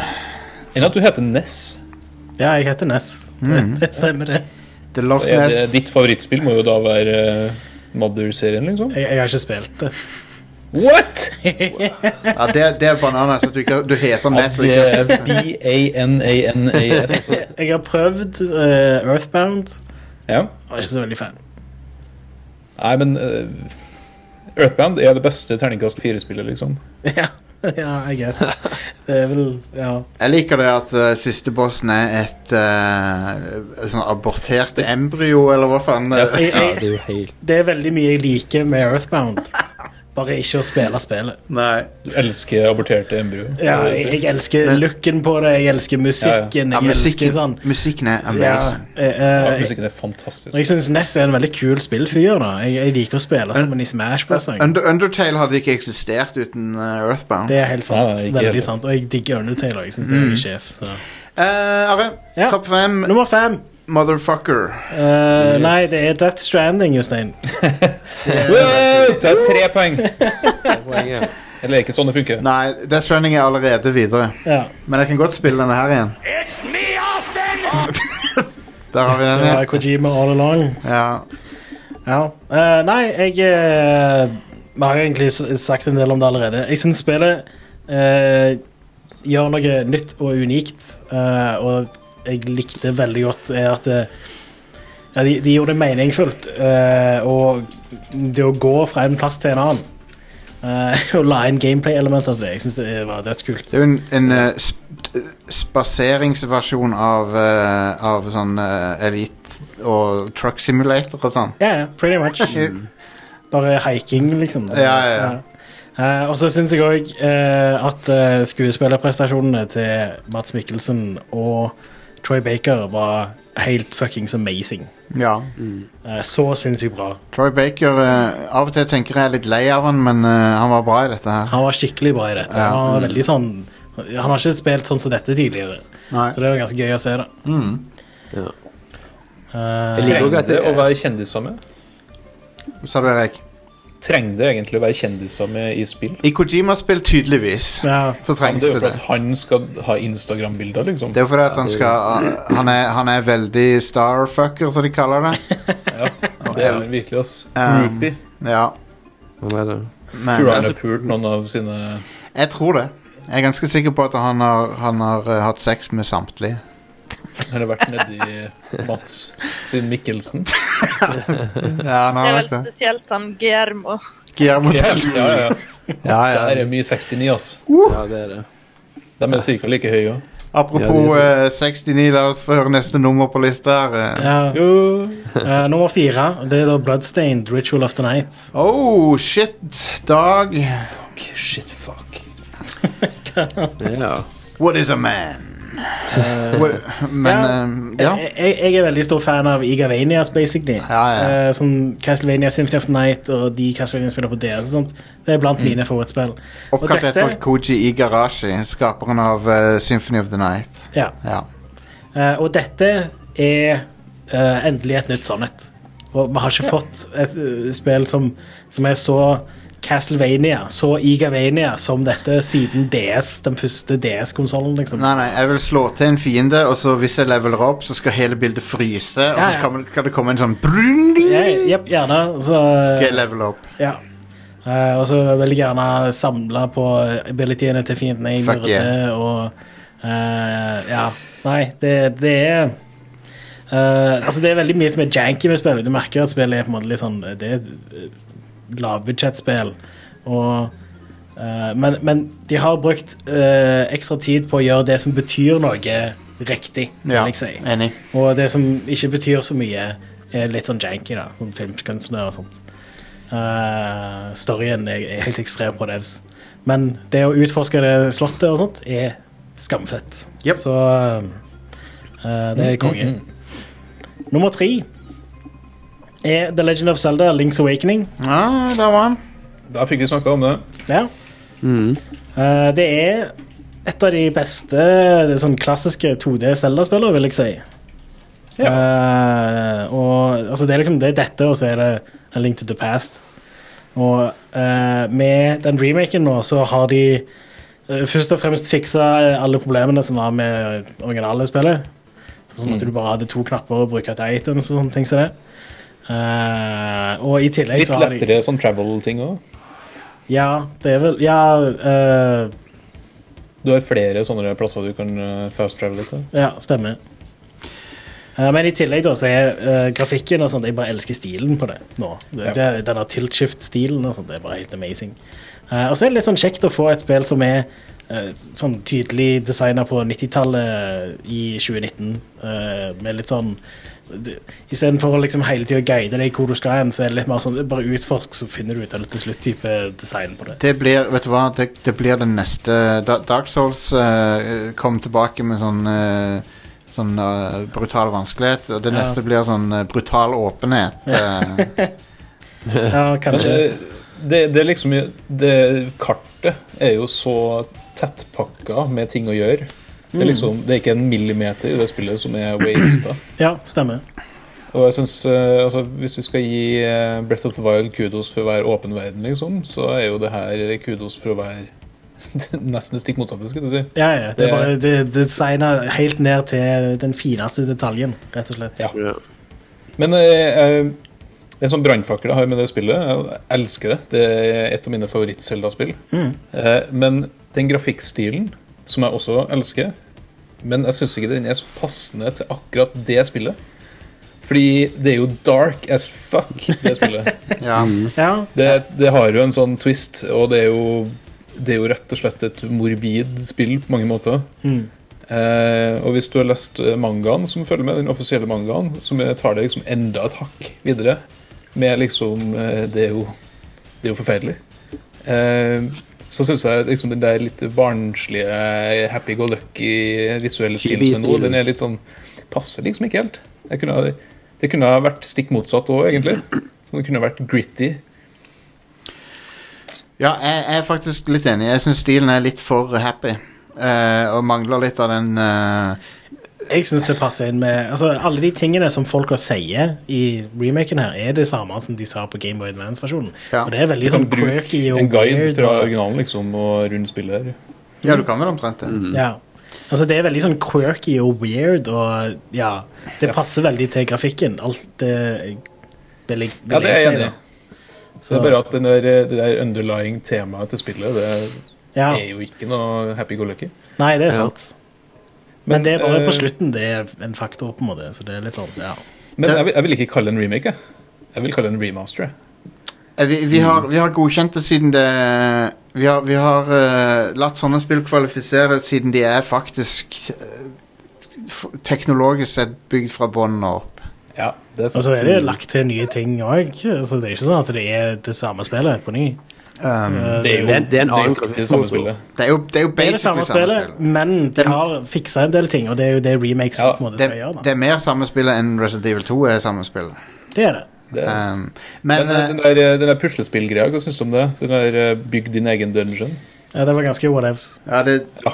S5: Enn at du heter Ness.
S6: Ja, jeg heter Ness. Det, det stemmer, det.
S2: The Loch
S5: Er det,
S2: Ness.
S5: ditt favorittspill må jo da være eh, Mother-serien, liksom.
S6: Jeg, jeg har ikke spilt det.
S5: What?!
S2: Ja, det, det er bananas at du, ikke, du heter Ness. og
S5: Det
S2: Ikke, har
S5: er
S2: spilt det.
S5: B-A-N-A-N-A-S.
S6: Jeg har prøvd eh, Earthbound.
S5: Ja.
S6: Jeg var ikke så veldig fan.
S5: Nei, men eh, Earthbound er det beste terningkast fire-spillet, liksom.
S6: *laughs* Ja, ja, I guess. Det er vel Ja.
S2: Jeg liker det at eh, siste bossen er et eh, sånn abortert embryo, eller hva faen. eh,
S6: Jeg,
S3: Ja, det
S6: jeg,
S3: er jo helt
S6: det er veldig mye jeg liker med Earthbound. Bare ikke å spille spillet.
S2: Nei.
S5: Du elsker aborterte embryoer.
S6: Ja, jeg, jeg elsker
S2: Men-
S6: looken på det, jeg elsker musikken,
S2: Ja,
S6: jeg elsker
S2: musikken,
S6: sånn
S2: musikken er
S6: ja,
S2: amazing.
S5: Ja,
S6: eh, eh,
S5: musikken er fantastisk.
S6: Jeg syns Ness er en veldig kul spillfyr. da Jeg, jeg liker å spille som en i Smash Bros. jeg.
S2: Under, Undertale hadde ikke eksistert uten eh, Earthbound.
S6: Det er helt
S5: Nei,
S6: sant.
S5: nei, ikke
S6: Veldig
S5: helt.
S6: sant. Og jeg digger Undertail. Jeg synes det er
S2: Mm.
S6: en sjef, så.
S2: Eh, Are,
S6: Ja.
S2: topp fem
S6: Nummer fem.
S2: Motherfucker.
S6: Eh,
S5: Yes.
S6: Nei, det er Death Stranding, Jostein.
S5: Wow, det er tre poeng!
S3: poenget.
S5: Eller ikke sånn det funker.
S2: Nei, Death Stranding er allerede videre.
S6: Ja,
S2: Men jeg kan godt spille denne her igjen.
S7: It's me, Austin!
S2: Der har vi den.
S6: det var
S2: igjen.
S6: Kojima all along.
S2: Ja.
S6: Ja. Eh, nei, jeg eh, Vi har egentlig s- sagt en del om det allerede. Jeg syns spillet eh, gjør noe nytt og unikt, eh, og jeg likte veldig godt er at det, ja, de, de gjorde det meningsfullt, eh, og det å gå fra en plass til en annen eh, *laughs* Og la inn gameplay-element av det. Jeg syns det var dødskult.
S2: Det er jo en, en eh, sp eh, spaseringsversjon av, eh, av sånn eh, Elite og Truck Simulator og sånn. Mm.
S6: Ja, ja, pretty
S2: *laughs*
S6: much. Bare hiking, liksom.
S2: Ja, ja, ja.
S6: Eh, og så syns jeg òg at eh, skuespillerprestasjonene til Mats Mikkelsen og Troy Baker var helt fuckings amazing.
S2: Ja.
S6: Eh, så sinnssykt bra.
S2: Troy Baker eh, Av og til tenker jeg er litt lei av han, men eh, han var bra i dette her.
S6: Han var skikkelig bra i dette.
S2: Ja. Mm.
S6: Han var veldig sånn Han har ikke spilt sånn som dette tidligere,
S2: Nei.
S6: så det var ganske gøy å se. da
S2: Mm.
S6: Eh,
S3: Jeg liker også
S5: Trenger
S3: at
S5: det
S3: det
S5: å være kjendiser med?
S2: Sa du, Erik?
S5: Trenger det egentlig å være kjendiser med i spill?
S2: I Kojima-spill, tydeligvis,
S6: ja,
S2: så
S5: Men
S2: trengs
S5: det
S2: det
S5: er jo for
S2: det.
S5: at han skal ha Instagram-bilder, liksom.
S2: Det er jo fordi at han skal eh, Han er, han er veldig *laughs* starfucker, som de kaller det.
S5: Ja, det er han virkelig, ass.
S2: Um,
S5: Groupie.
S2: Ja.
S3: Hva er det?
S2: Men,
S5: Tror du han har pult noen av sine
S2: jeg tror det. Jeg er ganske sikker på at han har, han har eh, hatt sex med samtlige.
S5: Eller vært nedi Mats sin Mikkelsen?
S2: Ja, han
S4: Det er
S2: har
S4: vel
S2: nok det.
S4: spesielt han Guillermo.
S2: Guillermo
S5: Ja,
S2: del
S5: ja, ja.
S2: Ja,
S5: Det
S2: ja.
S5: er mye 69, ass.
S3: Ja, det er det.
S5: De er cirka like høye òg.
S2: Apropos eh, 69, la oss få høre neste nummer på lista her. eh.
S6: Ja, eh, nummer fire det er da Bloodstained Ritual of the Night.
S2: Oh, shit, Dag.
S5: Shit,
S3: *laughs*
S5: fuck.
S3: Ja.
S2: What is a man? What, men
S6: Eh,
S2: eh, ja.
S6: ja. Jeg, jeg jeg er veldig stor fan av Igavanias, basically.
S2: Ja, ja.
S6: Eh, som Castlevania Symphony of the Night og de Castlevania spiller på DS. og sånt. Det er
S2: Mm.
S6: blant mine favorittspill. eh, Og
S2: Oppkalt
S6: dette-
S2: etter Koji Igarashi, skaperen av eh, Symphony of the Night.
S6: Ja.
S2: Ja.
S6: Eh, og dette er eh, endelig et nytt sannhet. Og vi har ikke fått et eh, spill som, som er så Castlevania, så Igavania, som dette siden DS, den første DS-konsollen, liksom.
S2: Nei, nei, jeg vil slå til en fiende, og så hvis jeg leveler opp, så skal hele bildet fryse, og
S6: Ja,
S2: så
S6: ja.
S2: kan, kan det komme en sånn brun ding,
S6: Ja,
S2: ding.
S6: Jepp, gjerne. Så,
S2: Skal jeg levele opp?
S6: Ja. Eh, og så vil jeg gjerne samle på abilityene til fiendene jeg
S2: Fuck
S6: myrder
S2: yeah.
S6: og eh, Ja. Nei, det, det er eh, Altså, det er veldig mye som er janky med spillet. Du merker at spillet er på en måte litt sånn Det er et lavbudsjettspill. Og eh, men, men de har brukt eh, ekstra tid på å gjøre det som betyr noe, riktig,
S2: Ja,
S6: vil jeg si.
S2: enig.
S6: Og det som ikke betyr så mye, er litt sånn janky, da. Sånn filmkunstner og sånt. Eh, storyen er, er helt ekstrem på devs. Men det å utforske det slottet og sånt er skamfett.
S2: Jep.
S6: Så eh, det er konge. Nummer tre er The Legend of Zelda, Links Awakening.
S2: Ja, der var han.
S5: Da fikk vi snakka om det.
S6: Ja.
S3: Mm.
S6: Eh, det er et av de beste det er sånn klassiske 2D Zelda-spillere, vil jeg si. Eh, og altså, det er liksom det er dette, og så er det A Link to the Past. Og eh, med den remaken nå, så har de eh, først og fremst fiksa alle problemene som var med originale spillet. Sånn
S5: Mm.
S6: som at du bare hadde to knapper å bruke til items og sånne ting som det. Eh, og i tillegg
S5: Litt
S6: så har de
S5: lettere sånn travel-ting òg.
S6: Ja, det er vel Ja. eh,
S5: Du har flere sånne plasser du kan eh, fast-travele til.
S6: Ja, stemmer. Eh, Men i tillegg da, så er eh, grafikken og sånt, jeg bare elsker stilen på det nå. Det,
S5: Ja.
S6: det, denne tilt-shift-stilen og sånt, det er bare helt amazing. Eh, og så er det litt sånn kjekt å få et spill som er eh, sånn tydelig designet på 90-tallet i 2019, eh, med litt sånn det- i stedet for å liksom hele tiden guide deg hvor du skal hen, så er det litt mer sånn, bare utforsk, så finner du ut av det til slutt type design på det.
S2: Det blir, vet du hva, det, det blir den neste Da- Dark Souls eh, kom tilbake med sånn eh, Sånn eh, brutal vanskelighet, og det
S6: Ja.
S2: neste blir sånn eh, brutal åpenhet. eh.
S6: Ja,
S5: Men
S6: kanskje.
S5: eh, det, det er liksom det, Kartet er jo så tettpakka med ting å gjøre. Det er liksom, det er ikke en millimeter i det spillet som er wasta.
S6: Ja, stemmer.
S5: Og jeg synes, eh, altså, Hvis du skal gi eh, Breath of the Wild kudos for å være åpen verden, liksom, så er jo det her kudos for å være *laughs* nesten det stikk motsatte. skulle du si.
S6: Ja, ja. Det er
S5: Det-
S6: bare det, designa helt ned til den fineste detaljen, rett og slett.
S5: Ja.
S3: Ja.
S5: Men eh, eh, en sånn brannfakkel jeg har med det spillet, jeg elsker det. Det er et av mine favoritt-Selda-spill. Eh, men den grafikkstilen, som jeg også elsker, men jeg syns ikke den er så passende til akkurat det spillet. Fordi det er jo dark as fuck, det spillet.
S2: ja.
S6: Ja,
S5: Det, det har jo en sånn twist, og det er jo, det er jo rett og slett et morbid spill på mange måter.
S6: Mhm.
S5: Eh, og hvis du har lest eh, mangaen som følger med, den offisielle mangaen, som eh, tar det liksom enda et hakk videre, med liksom eh, Det er jo, det er jo forferdelig. Eh, så syns jeg liksom den der litt barnslige, happy go lucky visuelle stilen til nå,
S3: Chibi-stilen.
S5: den er litt sånn Passer liksom ikke helt. Jeg kunne, ha- det kunne ha vært stikk motsatt òg, egentlig. Så det kunne ha vært gritty.
S2: Ja, jeg, jeg er faktisk litt enig. Jeg syns stilen er litt for happy. eh, og mangler litt av den eh,
S6: jeg syns det passer inn med altså, Alle de tingene som folk sier i remaken her, er det samme som de sa på Game Boy Advance-versjonen.
S2: Ja.
S6: Og det er veldig sånn
S5: Sånn bruk-
S6: quirky og
S5: En guide
S6: weird
S5: fra
S6: og-
S5: originalen, liksom, og rundt spillet her.
S2: Ja, du kan vel omtrent det.
S6: Ja. Altså, det er veldig sånn quirky og weird, og ja Det passer veldig til grafikken. Alt det vil jeg, vil
S5: Ja, det er jeg
S6: jeg si,
S5: enig i.
S6: da.
S5: Det er bare at den der, det der underlying temaet til spillet, det
S6: ja.
S5: er jo ikke noe happy go lucky.
S6: Nei, det er sant. Men det er bare på
S5: eh,
S6: slutten det er en faktor, på en måte. Så det er litt sånn, ja.
S5: Men jeg vil, jeg vil ikke kalle det en remake, jeg. Jeg vil kalle det en remaster. jeg.
S2: Eh, Vi, vi, har, vi har godkjent det siden det Vi har, vi har eh, latt sånne spill kvalifisere siden de er faktisk eh, f- teknologisk sett bygd fra bånn og opp.
S5: Ja, det er
S6: Og så er det lagt til nye ting òg, så det er ikke sånn at det er det samme spillet på ny.
S2: Um,
S6: Eh,
S5: Det er jo
S3: Det er- det er en
S5: det er
S3: annen
S5: jo ikke det samme
S3: grafikkmotor.
S5: spillet.
S2: det er jo, det er jo
S6: det er det
S2: basically
S6: samme spillet, men de
S2: Det-
S6: har fiksa en del ting, og det er jo det remakes
S5: Ja,
S6: på en måte
S2: Det,
S6: skal gjøre.
S2: det er mer samme spillet enn Resident Evil 2 er samme spillet.
S6: da. Det er det.
S5: Det er.
S2: Um,
S5: Men
S2: men
S5: eh,
S2: eh,
S5: den der, den der puslespillgreia, hva syns du om det? Den der eh, bygg din egen dungeon?
S6: Ja, det var ganske whatevs.
S2: ja, det,
S5: Ja.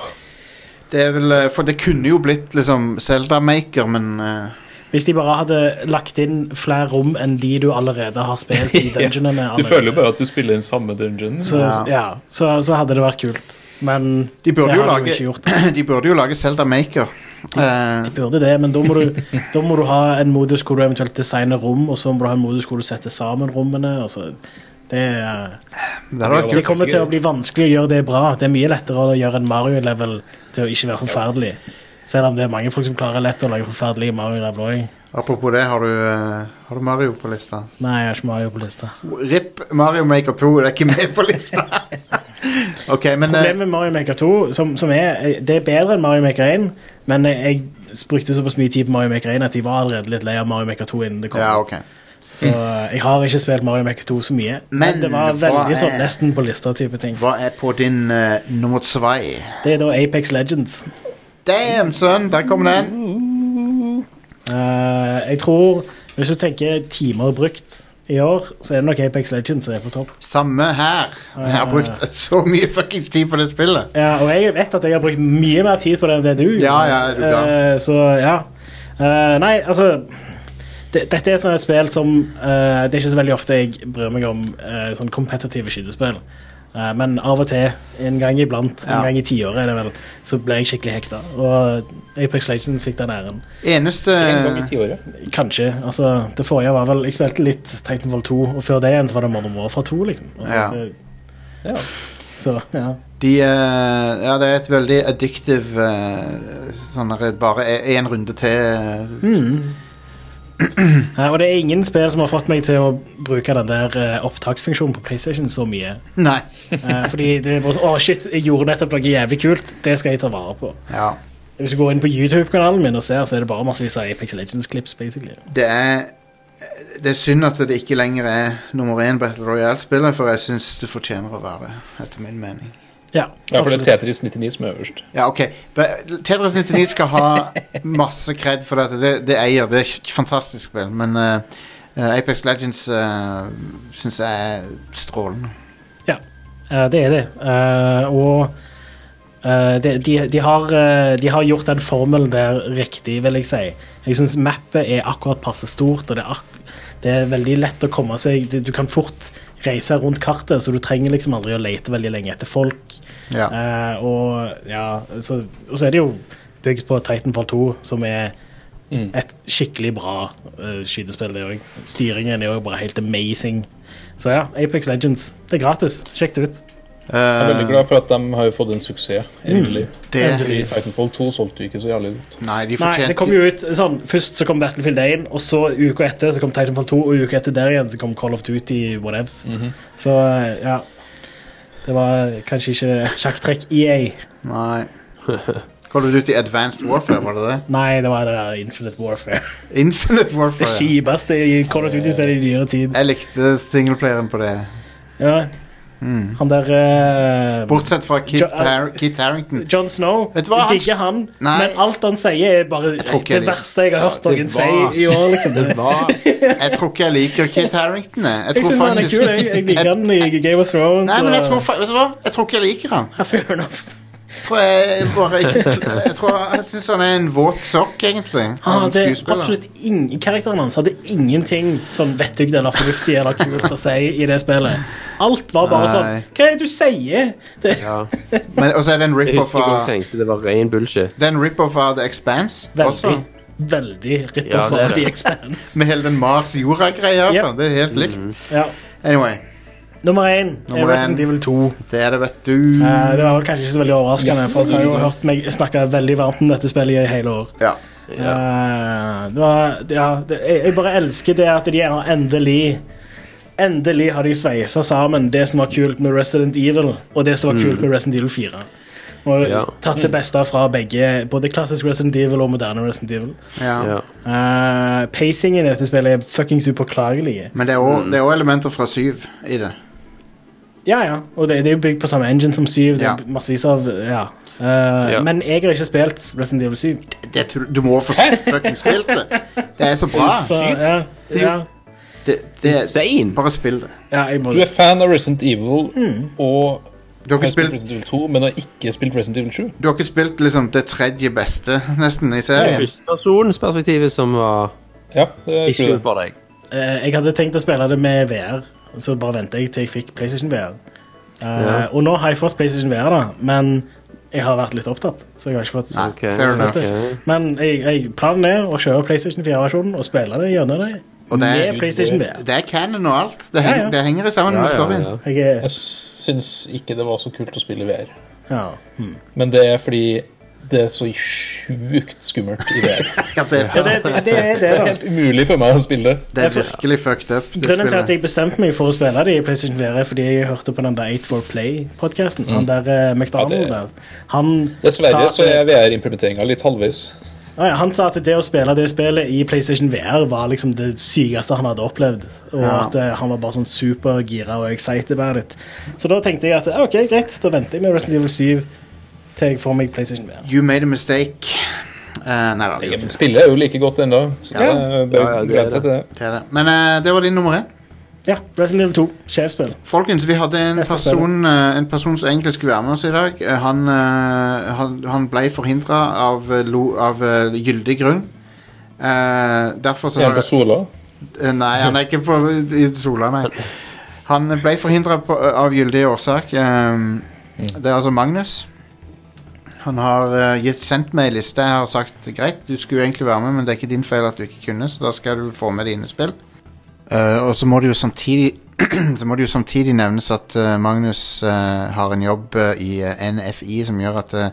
S2: det er vel eh, For det kunne jo blitt liksom Zelda-maker, men eh,
S6: Hvis de bare hadde lagt inn flere rom enn de du allerede har spilt i dungeonene.
S5: Du føler jo bare at du spiller den samme dungeonen.
S6: så,
S2: Ja.
S6: ja, så, så hadde det vært kult, men
S2: de,
S6: det
S2: burde
S6: har
S2: jo
S6: de jo
S2: lage,
S6: ikke
S2: *clears throat*
S6: gjort.
S2: de burde jo lage Zelda-maker. Eh,
S6: burde det, men da må, du, da må du ha en modus hvor du eventuelt designer rom, og så må du ha en modus hvor du setter sammen rommene. Altså, det, er-
S2: det hadde vært
S5: Ja,
S6: det kommer til å bli vanskelig å gjøre det bra. Det er mye lettere å gjøre en Mario-level til å ikke være forferdelig. Selv om det er mange folk som klarer lett å lage forferdelige Mario-level òg.
S2: Apropos det, har du, eh, har du Mario på lista?
S6: Nei, jeg har ikke Mario på lista.
S2: RIP Mario Maker 2 det er ikke med på lista! *laughs* ok, men eh,
S6: Problemet med Mario Maker 2, som, som er Det er bedre enn Mario Maker 1, men jeg brukte såpass mye tid på Mario Maker 1 at jeg var allerede litt lei av Mario Maker 2 innen det kom.
S2: Ja, ok.
S6: Så eh, jeg har ikke spilt Mario Maker 2 så mye. Men,
S2: Men
S6: det var
S2: hva
S6: veldig sånn
S2: er-
S6: nesten på lista type ting.
S2: Hva er på din eh, nummer tvei?
S6: Det er da Apex Legends.
S2: Damn, sønn! Der kom den!
S6: Eh, jeg tror, hvis du tenker timer brukt i år, så er det nok Apex Legends som er på topp.
S2: Samme her. Jeg har brukt så mye fuckings tid på det spillet.
S6: Ja, og jeg vet at jeg har brukt mye mer tid på det enn det du.
S2: Ja, ja, er du gal.
S6: Eh, så ja. Eh, nei, altså det, Dette er sånne spill som eh, Det er ikke så veldig ofte jeg bryr meg om eh, sånn kompetitive skytespill. Eh, men av og til, en gang iblant, en
S2: Ja.
S6: gang i tiåret, er det vel, så ble jeg skikkelig hekta. Og Apex Legends fikk den æren.
S2: Eneste
S5: En gang i tiåret.
S6: Kanskje. altså, Det forrige var vel Jeg spilte litt Titanfall 2, og før det igjen så var det Modern Warfare 2, liksom. Altså,
S2: Ja.
S6: Det,
S5: Ja.
S6: så, ja.
S2: de, eh, Ja, det er et veldig addictive eh, sånn her, Bare én runde til.
S6: Mm.
S2: eh,
S5: Mm.
S6: Ja, og det er ingen spill som har fått meg til å bruke den der eh, opptaksfunksjonen på PlayStation så mye.
S2: Nei.
S6: Eh, fordi det er bare sånn Å, shit, jeg gjorde nettopp noe jævlig kult. Det skal jeg ta vare på.
S2: Ja.
S6: Hvis du går inn på YouTube-kanalen min og ser, så er det bare massevis av Apex Legends-klips, basically.
S2: Det er eh, det er synd at det ikke lenger er nummer én Battle Royale-spiller, for jeg syns det fortjener å være det, etter min mening.
S6: Ja,
S5: Ja, for det er
S6: absolutt.
S5: Tetris 99 som er øverst.
S2: Ja, ok. Be- Tetris 99 skal ha masse cred for dette. Det, det eier. Det er et fantastisk spill. Men eh, eh, Apex Legends uh, syns jeg er strålende.
S6: Eh, det er det. Eh, og eh, de, de, de, har, eh, de har gjort den formelen der riktig, vil jeg si. Jeg syns mappet er akkurat passe stort, og det er, ak det er veldig lett å komme seg Du du kan fort reise rundt kartet, så du trenger liksom aldri å lete veldig lenge etter folk.
S2: Ja.
S6: Eh, og, ja, så, og så er det jo bygd på Titanfall 2, som er
S5: Mm.
S6: et skikkelig bra eh, skytespill. det også. Styringen er jo bare helt amazing. Så ja, Apex Legends. Det er gratis. Sjekk det ut.
S5: Jeg er veldig
S2: Eh,
S5: glad for at de har jo fått en suksess, endelig.
S2: det
S6: Endelig.
S5: Fordi Titanfall 2 solgte jo ikke så jævlig godt.
S2: Nei, de
S6: Nei,
S2: fortjente
S6: det kom jo ut sånn, Først så kom Battlefield 1, og så uka etter så kom Titanfall 2, og uka etter der igjen så kom Call of Duty whatevs. Så eh, ja Det var kanskje ikke et sjakktrekk E EA.
S2: Nei.
S6: *laughs*
S2: Call of Duty Advanced Warfare, var det det?
S6: Nei, det var det der Infinite Warfare. *laughs*
S2: Infinite
S6: Det
S2: Warfare. ja.
S6: kjipeste i Call of Duty-spillet i nyere tid.
S2: Jeg likte singleplayeren på det.
S6: Ja,
S2: Mm.
S6: han der eh,
S2: Bortsett fra Kit,
S6: Jo-
S2: Har Kit Harrington.
S6: John Snow.
S2: Vet du hva, han-
S6: Jeg digger han,
S2: Nei.
S6: men alt han sier, er bare
S2: tror ikke
S6: det
S2: jeg-
S6: verste jeg har hørt
S2: Ja, det
S6: noen
S2: var-
S6: si i år.
S2: *laughs*
S6: liksom
S2: Det
S6: *laughs*
S2: var- Jeg tror ikke jeg liker Kit Harrington. Jeg, jeg
S6: Jeg
S2: tror
S6: syns han er
S2: faktisk-
S6: kul. Jeg, jeg liker han i Game of Thrones.
S2: Nei, men jeg
S6: og-
S2: tror, fa- vet du hva? Jeg tror ikke jeg liker han.
S6: Ja, fair enough.
S2: Jeg tror jeg bare ikke Jeg tror jeg syns han er en våt sokk, egentlig.
S6: Han
S2: Han
S6: hadde
S2: skuespiller.
S6: absolutt ingen, karakteren hans hadde ingenting sånn vettugt eller fornuftig eller kult å si i det spillet. Alt var bare sånn
S2: Nei.
S6: Hva er det du sier? Det,
S3: Ja.
S2: Men også er det en
S3: Jeg
S2: rip-off
S3: husker jeg
S2: av
S3: tenkte det var ren bullshit.
S2: Det er en rip-off av The Expanse
S6: veldig,
S2: også.
S6: veldig
S3: Ja,
S6: ripper
S3: det er
S6: for The
S3: det.
S6: Expanse.
S2: Med hele den Mars-jorda-greia.
S6: Yep.
S3: Mm.
S2: altså. Det er helt likt.
S6: Ja.
S2: Anyway.
S6: Nummer én er
S2: Nummer
S6: Resident
S2: én.
S6: Evil 2.
S2: Det er det, vet du.
S6: Eh, det var vel kanskje ikke så veldig overraskende. Folk har jo hørt meg snakke veldig varmt om dette spillet i hele år.
S2: Ja.
S3: Ja.
S6: Eh, det var, ja, det, jeg jeg bare elsker det at de har endelig Endelig har de sveisa sammen det som var kult med Resident Evil, og det som var kult med Resident Evil 4. Og
S3: Mm. Ja.
S6: tatt det beste fra begge, både klassisk Resident Evil og moderne Resident Evil.
S2: ja.
S3: Ja.
S6: Eh, pacingen i dette spillet er fuckings upåklagelig.
S2: Men det er
S3: Mm.
S2: også- det er òg elementer fra syv i det.
S6: Ja, ja. Og det, det er jo bygd på samme engine som 7. Det
S2: Ja.
S6: er massevis av Ja. Eh,
S3: Ja.
S6: Men jeg har ikke spilt Resident Evil 7.
S2: det tror- du må få fucking spilt det. Det er så bra.
S6: *laughs* Så, ja,
S2: Ah, er jo-
S6: ja,
S2: Det, det,
S3: Insane!
S2: bare spill det.
S6: ja, jeg må
S5: Du er fan av Resident Evil
S2: Hmm.
S5: og
S2: Du har
S5: har
S2: ikke
S5: spilt
S2: spilt,
S5: Resident Evil 2, men har ikke spilt Resident Evil 7.
S2: du har ikke spilt liksom, det tredje beste nesten i serien.
S3: Førstepersonsperspektivet som var
S5: Ja, det er
S3: ikke
S5: ikke det.
S3: for deg.
S6: Eh, jeg hadde tenkt å spille det med VR, så bare venter jeg til jeg fikk PlayStation VR. Eh,
S3: Ja.
S6: Og nå har jeg fått PlayStation VR, da, men jeg har vært litt opptatt. Så jeg har ikke fått
S2: Nei,
S3: Ok,
S2: fair enough.
S3: ok.
S6: Men jeg, jeg planen er å kjøre PlayStation 4-versjonen og spille det gjennom det
S2: Og det er-
S6: med PlayStation VR.
S2: Det er canon og alt. Det, heng,
S6: Ja, ja.
S2: det henger sammen
S3: Ja,
S2: med
S3: ja,
S2: storyen.
S3: ja.
S6: Jeg er,
S5: Jeg syns ikke det var så kult å spille i VR.
S6: ja. hm.
S5: Men det er fordi det er så sjukt skummelt i
S2: *laughs*
S5: VR.
S2: Ja, det,
S6: ja,
S2: er,
S6: det, det, det er det,
S5: Det er
S6: da.
S5: helt umulig for meg å spille.
S2: det er virkelig fucked up. det
S6: Grunnen til at
S2: spillet.
S6: jeg bestemte meg for å spille det i PlayStation 4, er fordi jeg hørte på den der 8 for Play-podkasten. Han der eh, McDonald
S5: Mm. Ja,
S6: der. Han sa
S5: Dessverre
S6: at-
S5: så er VR-implementeringa litt halvveis.
S6: Ah, ja, han sa at det å spille det spillet i PlayStation VR var liksom det sykeste han hadde opplevd. Og
S2: Ja.
S6: at eh, han var bare sånn supergira og excited about it. Så da tenkte jeg at eh, ok, greit, da venter jeg med Resident Evil 7 til jeg får meg PlayStation VR.
S2: You made a mistake. Eh, nei da, det er jo ikke det.
S5: Spillet er jo like godt ennå, så
S2: Ja.
S5: det
S3: Ja,
S5: bør
S3: ja, det er
S5: begrense seg til det.
S2: det, er det. Men eh, det var din nummer én.
S6: Ja, Resident Evil 2. Sjefsspill.
S2: Folkens, vi hadde en
S6: Neste
S2: person, eh, en person som egentlig skulle være med oss i dag. Eh, Han, eh, han, han ble forhindra av, eh, lo- av eh, gyldig grunn. Eh, derfor så
S5: Er han på Sola?
S2: Eh, Nei, han er ikke på i sola, nei. Han ble forhindra av gyldig årsak. ehm, Det er altså Magnus. Han har eh, gitt, sendt meg ei liste. Jeg har sagt greit, du skulle jo egentlig være med, men det er ikke din feil at du ikke kunne, så da skal du få med dine spill. Eh, og så må det jo samtidig *clears throat* Så må det jo samtidig nevnes at eh, Magnus eh, har en jobb eh, i eh, NFI som gjør at eh,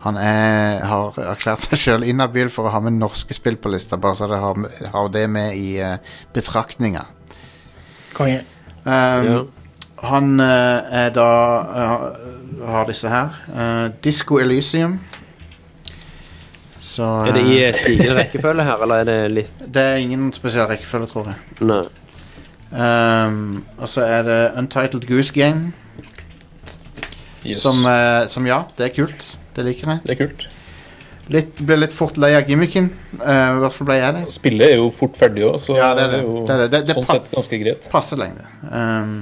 S2: han er, har erklært seg sjøl inhabil for å ha med norske spill på lista, bare så det har, har det med i eh, betraktninga.
S6: Konge.
S2: Um,
S3: Ja.
S2: Han eh, er da eh, har disse her. Uh, Disco Elysium. Så
S3: Er det i
S2: eh,
S3: eh, stigende rekkefølge her, eller er det litt
S2: det er ingen spesiell rekkefølge, tror jeg.
S3: Nei.
S2: Um, og så er det Untitled Goose Game,
S5: Yes.
S2: som, eh, som ja, det er kult. Det liker jeg.
S5: Det er kult.
S2: Litt, ble litt fort lei av gimmicken. eh, I hvert fall ble jeg det.
S5: Spillet er jo fort ferdig òg, så
S2: Ja, det er det.
S5: jo
S2: Det er det. Det- det
S5: sånn
S2: pa-
S5: sett ganske greit. *laughs*
S2: Passe lengde. Um,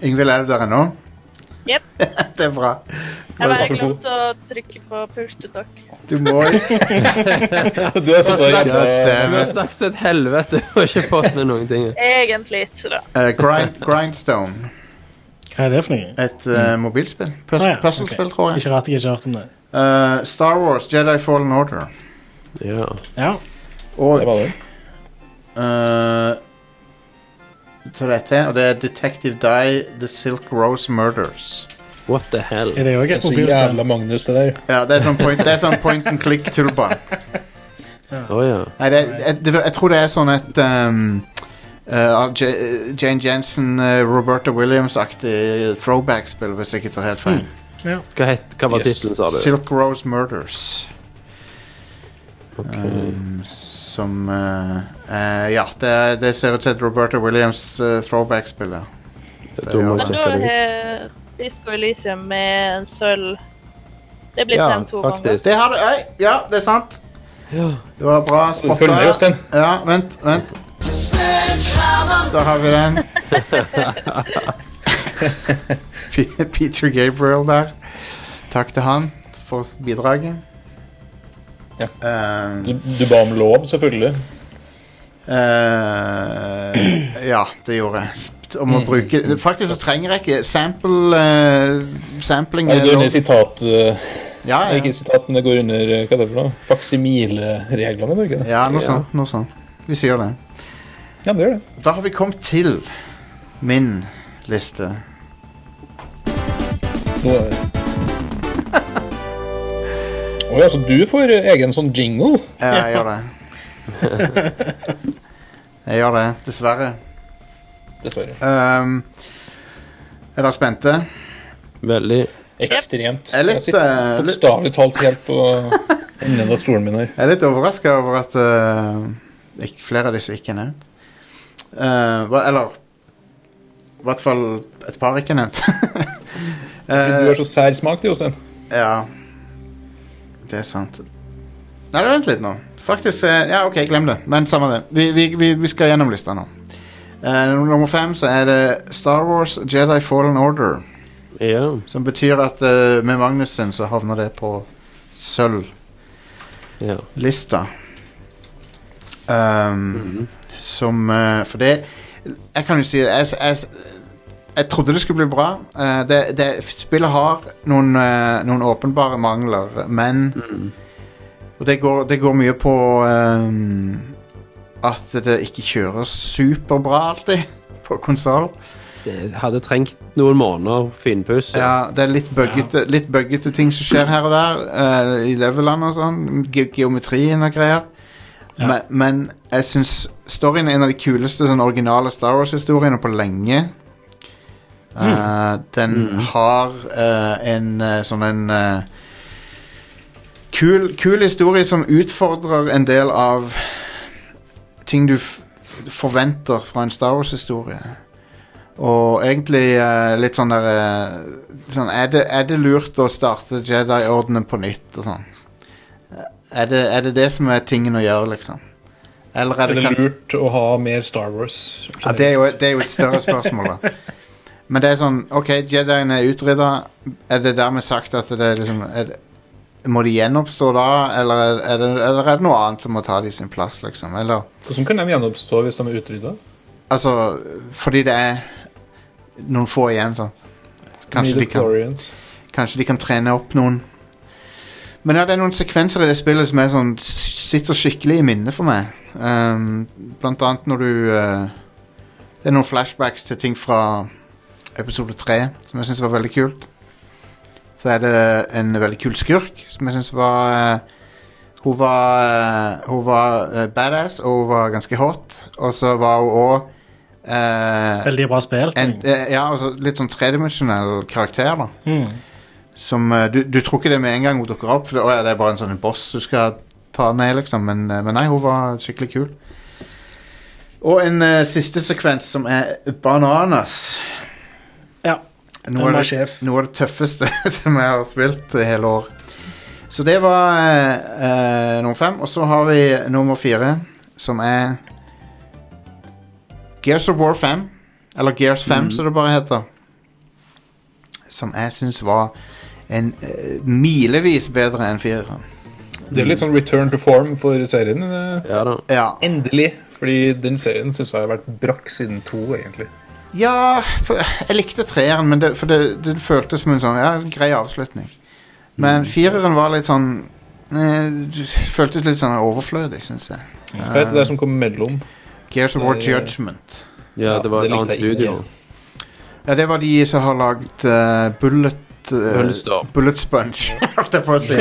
S2: Yngvild, er du der ennå?
S4: Jep.
S2: *laughs* det er bra.
S4: Jeg bare glemte å trykke på push to talk.
S2: Du
S3: *laughs*
S2: må
S5: Du er sånn der,
S3: Vi har snakket et helvete og ikke fått med noen ting.
S4: Egentlig ikke, da.
S2: Eh, grind, Grindstone.
S6: Hva er det for noe?
S2: Et eh, mobilspill. Pus
S6: Ah, ja,
S2: Puslespill,
S6: ok.
S2: tror jeg.
S6: Ikke rart jeg ikke har hørt om det.
S2: Eh, Star Wars Jedi Fallen Order.
S3: Ja.
S6: Ja.
S2: Og
S5: det var det.
S2: eh, Så det er til, og det er Detective Die The Silk Rose Murders.
S3: What the hell?
S6: Er det òg
S5: Det er
S6: et
S5: så
S6: mobilspill?
S5: jævla Magnus, det der.
S2: Ja, det er sånn point, det er sånn point and click-tullbane.
S3: Å ja.
S2: Nei, det, jeg, det, jeg tror det er sånn et ehm, eh, av J, Jane Jensen, eh, Roberta Williams-aktig throwback-spill, hvis jeg ikke tar helt
S6: Mm.
S2: feil.
S3: Hva, het, hva var
S5: Yes.
S3: tittelen, sa du?
S2: Silk Rose Murders.
S3: Ok.
S2: ehm, som eh, eh, Ja, det, er- det ser ut som et Roberta Williams eh, throwback-spill. ja.
S3: Da må jeg
S4: Men da
S3: sjekke det ut.
S4: har Disco Elysium med en sølv Det er blitt
S3: Ja,
S4: nevnt to ganger.
S3: faktisk.
S2: Det har du Oi, ja, det er sant.
S3: Ja.
S2: Det var bra
S5: Følg med,
S2: spotta.
S5: Jostein.
S2: Ja, vent, vent. Da har vi den. *laughs* Pe- Peter Gabriel der. Takk til han for bidraget.
S5: Ja.
S2: Ehm,
S5: Du, du ba om lov, selvfølgelig.
S2: eh, ja, det gjorde jeg. Sp- Om
S5: Mm.
S2: å bruke Faktisk så trenger jeg ikke sample eh, Sampling
S5: Nei,
S2: er
S5: Altså, det går
S2: lov. Ah,
S5: under sitat... eh,
S2: Ja,
S5: Nei,
S2: ja.
S5: ikke sitat, men det går under eh, hva er det for noe? Faksimilereglene, var det ikke det?
S2: ja noe
S3: Ja.
S2: sånt. Noe sånt. Vi sier det.
S5: Ja, det gjør det.
S2: Da har vi kommet til min liste.
S5: Nå er Oi, altså du får egen sånn jingle?
S2: Ja, jeg gjør det.
S5: *laughs*
S2: Jeg gjør det, dessverre.
S5: Dessverre.
S2: Ehm, er dere spente?
S3: Veldig.
S5: Ekstremt.
S2: Jeg er litt,
S5: jeg
S2: eh,
S5: sitter
S2: litt-
S5: bokstavelig talt helt på enden av stolen min her.
S2: Jeg er litt overraska over at eh, ikke, flere av disse ikke er nevnt. Eh, hva- eller i hvert fall et par ikke er nevnt. *laughs*
S5: For
S2: Eh,
S5: Du har så sær smak, du, Jostein.
S2: Ja. Det er sant. Nei, vent litt nå. Faktisk eh, Ja, OK, glem det. Men samme det. Vi, vi, vi, vi skal gjennom lista nå. Eh, nummer fem så er det Star Wars Jedi Fallen Order.
S3: Ja.
S2: Som betyr at eh, med Magnussen så havner det på sølvlista.
S3: ja.
S5: Mm.
S2: Ehm,
S3: Mhm.
S2: Som eh, For det Jeg kan jo si Jeg, jeg, jeg trodde det skulle bli bra. Eh, det, det, spillet har noen, eh, noen åpenbare mangler, men Og det går, det går mye på ehm, at det ikke kjører superbra alltid på konsoll.
S3: Det hadde trengt noen måneder finpuss.
S2: Ja, det er litt buggete, litt buggete ting som skjer her og der. eh, I levelene og sånn. Ge geometrien og greier. Men, men jeg syns storyen er en av de kuleste sånn originale Star Wars-historiene på lenge. Eh, den har eh, en eh, sånn en eh, kul, kul historie som utfordrer en del av ting du f forventer fra en Star Wars-historie. Og egentlig eh, litt sånn der eh, sånn, er, det, er det lurt å starte Jedi-ordenen på nytt og sånn? Eh, Er det, er det det som er tingen å gjøre, liksom? Eller
S5: Er
S2: er det
S5: det
S2: kan...
S5: lurt å ha mer Star Wars?
S2: Ja, det er, jo, det er jo et større spørsmål, da. Men det er sånn OK, Jedien er utrydda. Er det dermed sagt at det er liksom er det, Må de gjenoppstå da, eller er, er det, eller er det noe annet som må ta de sin plass, liksom? Eller
S5: Hvordan kan de gjenoppstå hvis de er utrydda?
S2: Altså, fordi det er noen få igjen, sånn. Kanskje de kan
S5: Midichlorians.
S2: Kanskje de kan trene opp noen Men ja, det er noen sekvenser i det spillet Som er sånn, s- sitter skikkelig i minne for meg Ehm, Blant annet når du eh, Det er noen flashbacks til ting fra Episode 3 Som jeg synes var veldig kult Så er det en veldig kul skurk Som jeg synes var eh, Hun var, eh, hun var eh, badass Og hun var ganske hot Og så var hun også eh,
S6: Veldig bra spilt.
S2: en, eh, ja, altså litt sånn tredimensionell karakter da
S6: Mm.
S2: som eh, du, du tror ikke det med en gang hun dukker opp. For det, å, ja, det er bare en sånn en boss du skal ta ned, liksom. Men, eh, men nei, hun var skikkelig kul. Og en eh, siste sekvens som er bananas.
S6: Ja. Den
S2: Noe av
S6: var
S2: det,
S6: sjef.
S2: noe av det tøffeste *laughs* som jeg har spilt i hele år. Så det var eh, eh, nummer fem. Og så har vi nummer fire, som er Gears of War 5. Eller Gears 5,
S6: Mhm.
S2: som det bare heter. Som jeg syns var en eh, milevis bedre enn fireren.
S5: Det er litt sånn return to form for serien. eh,
S3: Ja da.
S2: Ja.
S5: Endelig. Fordi den serien syns jeg har vært brakk siden to, egentlig.
S2: Ja, for, jeg likte treeren, men det, for det, det føltes som en sånn ja, grei avslutning. Men fireren var litt sånn eh, det Føltes litt sånn overflødig, syns jeg.
S5: Hva heter det der som kom mellom?
S2: Gears of War
S5: Nei, eh,
S2: Judgment.
S3: Ja, det var
S5: det
S3: et
S5: likte
S3: annet
S5: jeg ikke.
S3: studio.
S2: Ja, det var de som har lagd eh, Bullet eh,
S3: Bulletstorm.
S2: Bullet Sponge, *laughs* holdt jeg på å si.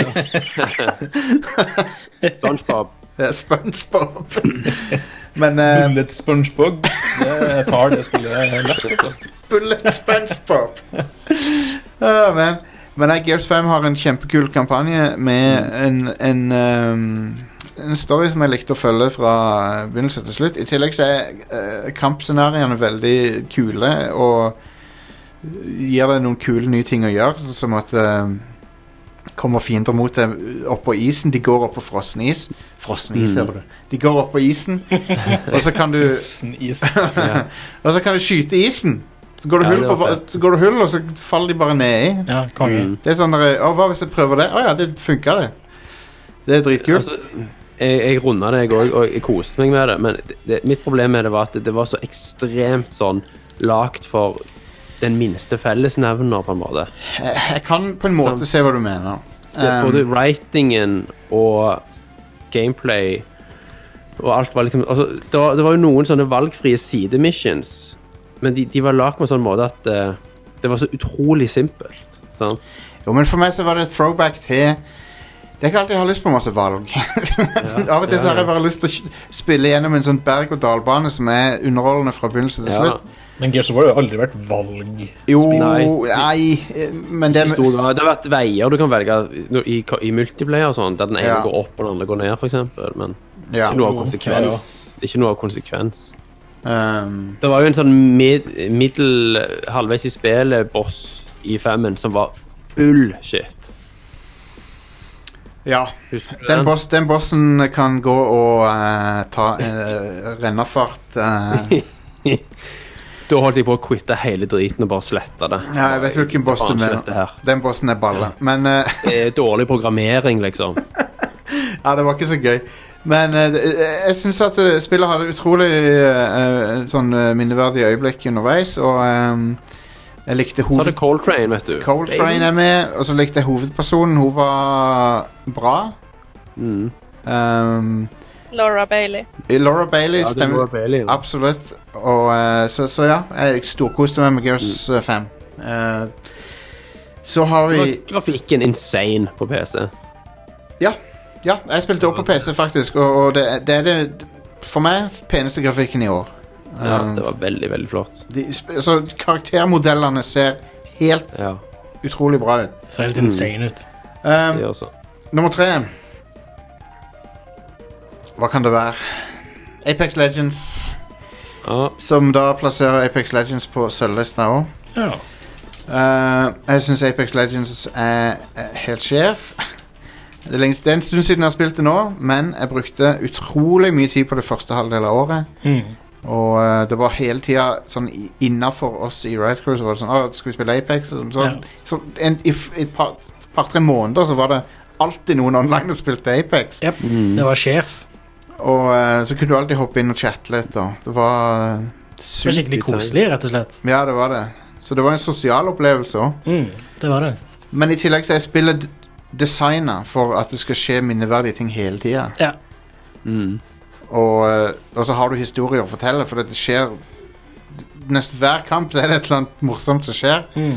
S3: Spongebob.
S2: Ja, SpongeBob. *laughs* Men eh,
S5: Bullet SpongeBob. Det tar det
S2: *laughs*
S5: spillet lett. altså.
S2: Bullet SpongeBob. *laughs* Ah, men men nei, Gears 5 har en kjempekul kampanje med en, en, ehm, en story som jeg likte å følge fra eh, begynnelse til slutt. I tillegg så er eh, kampscenarioene veldig kule og gir deg noen kule nye ting å gjøre, så- som at ehm, kommer fiender mot deg oppå isen. De går opp på frossen is. Frossen is,
S3: Mm.
S2: hører du. De går opp på isen, og så kan du *laughs*
S5: Snis.
S3: Ja.
S2: og så kan du skyte isen. Så går du,
S3: Ja,
S2: hull,
S3: det
S2: på,
S3: var
S2: va- så går du hull, og så faller de bare nedi.
S6: Ja, konge.
S3: Mm.
S2: Det er sånn der, Å, hva hvis jeg prøver det? Å ja, det funka, det. Det er dritkult.
S3: Altså, jeg, jeg runda det, jeg òg, og jeg koste meg med det. Men det, det, mitt problem med det var at det, det var så ekstremt sånn lagd for den minste fellesnevner, på en måte.
S2: jeg, jeg kan på en måte
S3: sant.
S2: se hva du mener.
S3: Det,
S2: Um,
S3: både writingen og gameplay og alt var liksom altså, det, var, det var jo noen sånne valgfrie sidemissions men de, de var lagd på en sånn måte at eh, det var så utrolig simpelt. Sant?
S2: Jo, men for meg så var det throwback til Det er ikke alltid jeg har lyst på masse valg. *laughs* Av og til så har jeg bare lyst til å sk- spille gjennom en sånn berg-og-dal-bane som er underholdende fra begynnelse til
S3: Ja,
S2: slutt.
S8: Men Gears of War har jo aldri vært valg.
S2: Jo,
S3: Nei.
S2: nei, eh, men det
S3: i stor grad. Det har vært veier du kan velge i, i multiplayer og sånn, der den ene
S2: Ja.
S3: går opp og den andre går ned, for eksempel. Men
S2: ja.
S3: ikke noe
S2: Mm.
S3: av
S8: jo,
S3: konsekvens. Det er ikke noe av konsekvens.
S2: um,
S3: Det var jo en sånn mid, middel halvveis i spillet boss i femmen som var bullshit.
S2: ja.
S3: Husker du
S2: Den, boss, den bossen kan gå og eh, ta uh, rennafart.
S3: *laughs*
S2: eh.
S3: Da holdt jeg på å quitte hele driten og bare slette det.
S2: ja, jeg vet hvilken boss du
S3: Faen, slett det
S2: mener.
S3: her.
S2: Den bossen er balle. Men eh,
S3: Det er dårlig programmering, liksom.
S2: Ja, det var ikke så gøy. Men eh, det- eh, jeg syns at eh, spillet hadde utrolig eh, eh, sånn eh, minneverdige øyeblikk underveis, og ehm, jeg likte
S3: Så er
S2: hoved...
S3: det Coltrane, vet du.
S2: Coltrane er med, og så likte jeg hovedpersonen. Hun var bra.
S3: Mm.
S2: Ehm,
S4: Laura Bailey.
S2: Laura Bailey
S3: Ja, det
S2: stemmer
S3: var Bailey. da.
S2: absolutt. Og eh, så, så ja, jeg storkoste meg med Gears eh, 5. Eh, så har
S3: Så
S2: vi
S3: var grafikken insane på PC.
S2: Ja, jeg spilte opp på PC, faktisk, og, og det, det er det for meg peneste grafikken i år.
S3: Ja,
S2: Ehm,
S3: det var veldig, veldig flott.
S2: De, sp- altså, karaktermodellene ser helt
S3: Ja,
S2: utrolig bra ut.
S6: Ser helt insane ut.
S2: Um,
S3: det også.
S2: nummer tre Hva kan det være? Apex Legends,
S3: Ja,
S2: som da plasserer Apex Legends på sølvlista òg.
S8: Ja.
S2: Eh, jeg syns Apex Legends er, er helt sjef. Det er, lenge, det er en stund siden jeg har spilt det nå, men jeg brukte utrolig mye tid på det første halvdel av året.
S8: Mm.
S2: Og eh, det var hele tida sånn i- innafor oss i Riot Crew så var det sånn «Å, Skal vi spille Apex? sånn, Så, så,
S8: Ja.
S2: så en, i f- i et par-tre måneder så var det alltid noen online som spilte Apex.
S6: Jep, Det var sjef.
S2: Og eh, så kunne du alltid hoppe inn og chatte litt. Da. Det var eh,
S6: Det var
S2: sykt.
S6: skikkelig koselig, rett og slett.
S2: Ja, det var det. Så det var en sosial opplevelse òg.
S6: Mm, det var det.
S2: Men i tillegg så er spillet d- designa for at det skal skje minneverdige ting hele tida.
S3: mm.
S2: Og, eh, og så har du historier å fortelle, for det skjer Nesten hver kamp så er det et eller annet morsomt som skjer.
S6: Mm.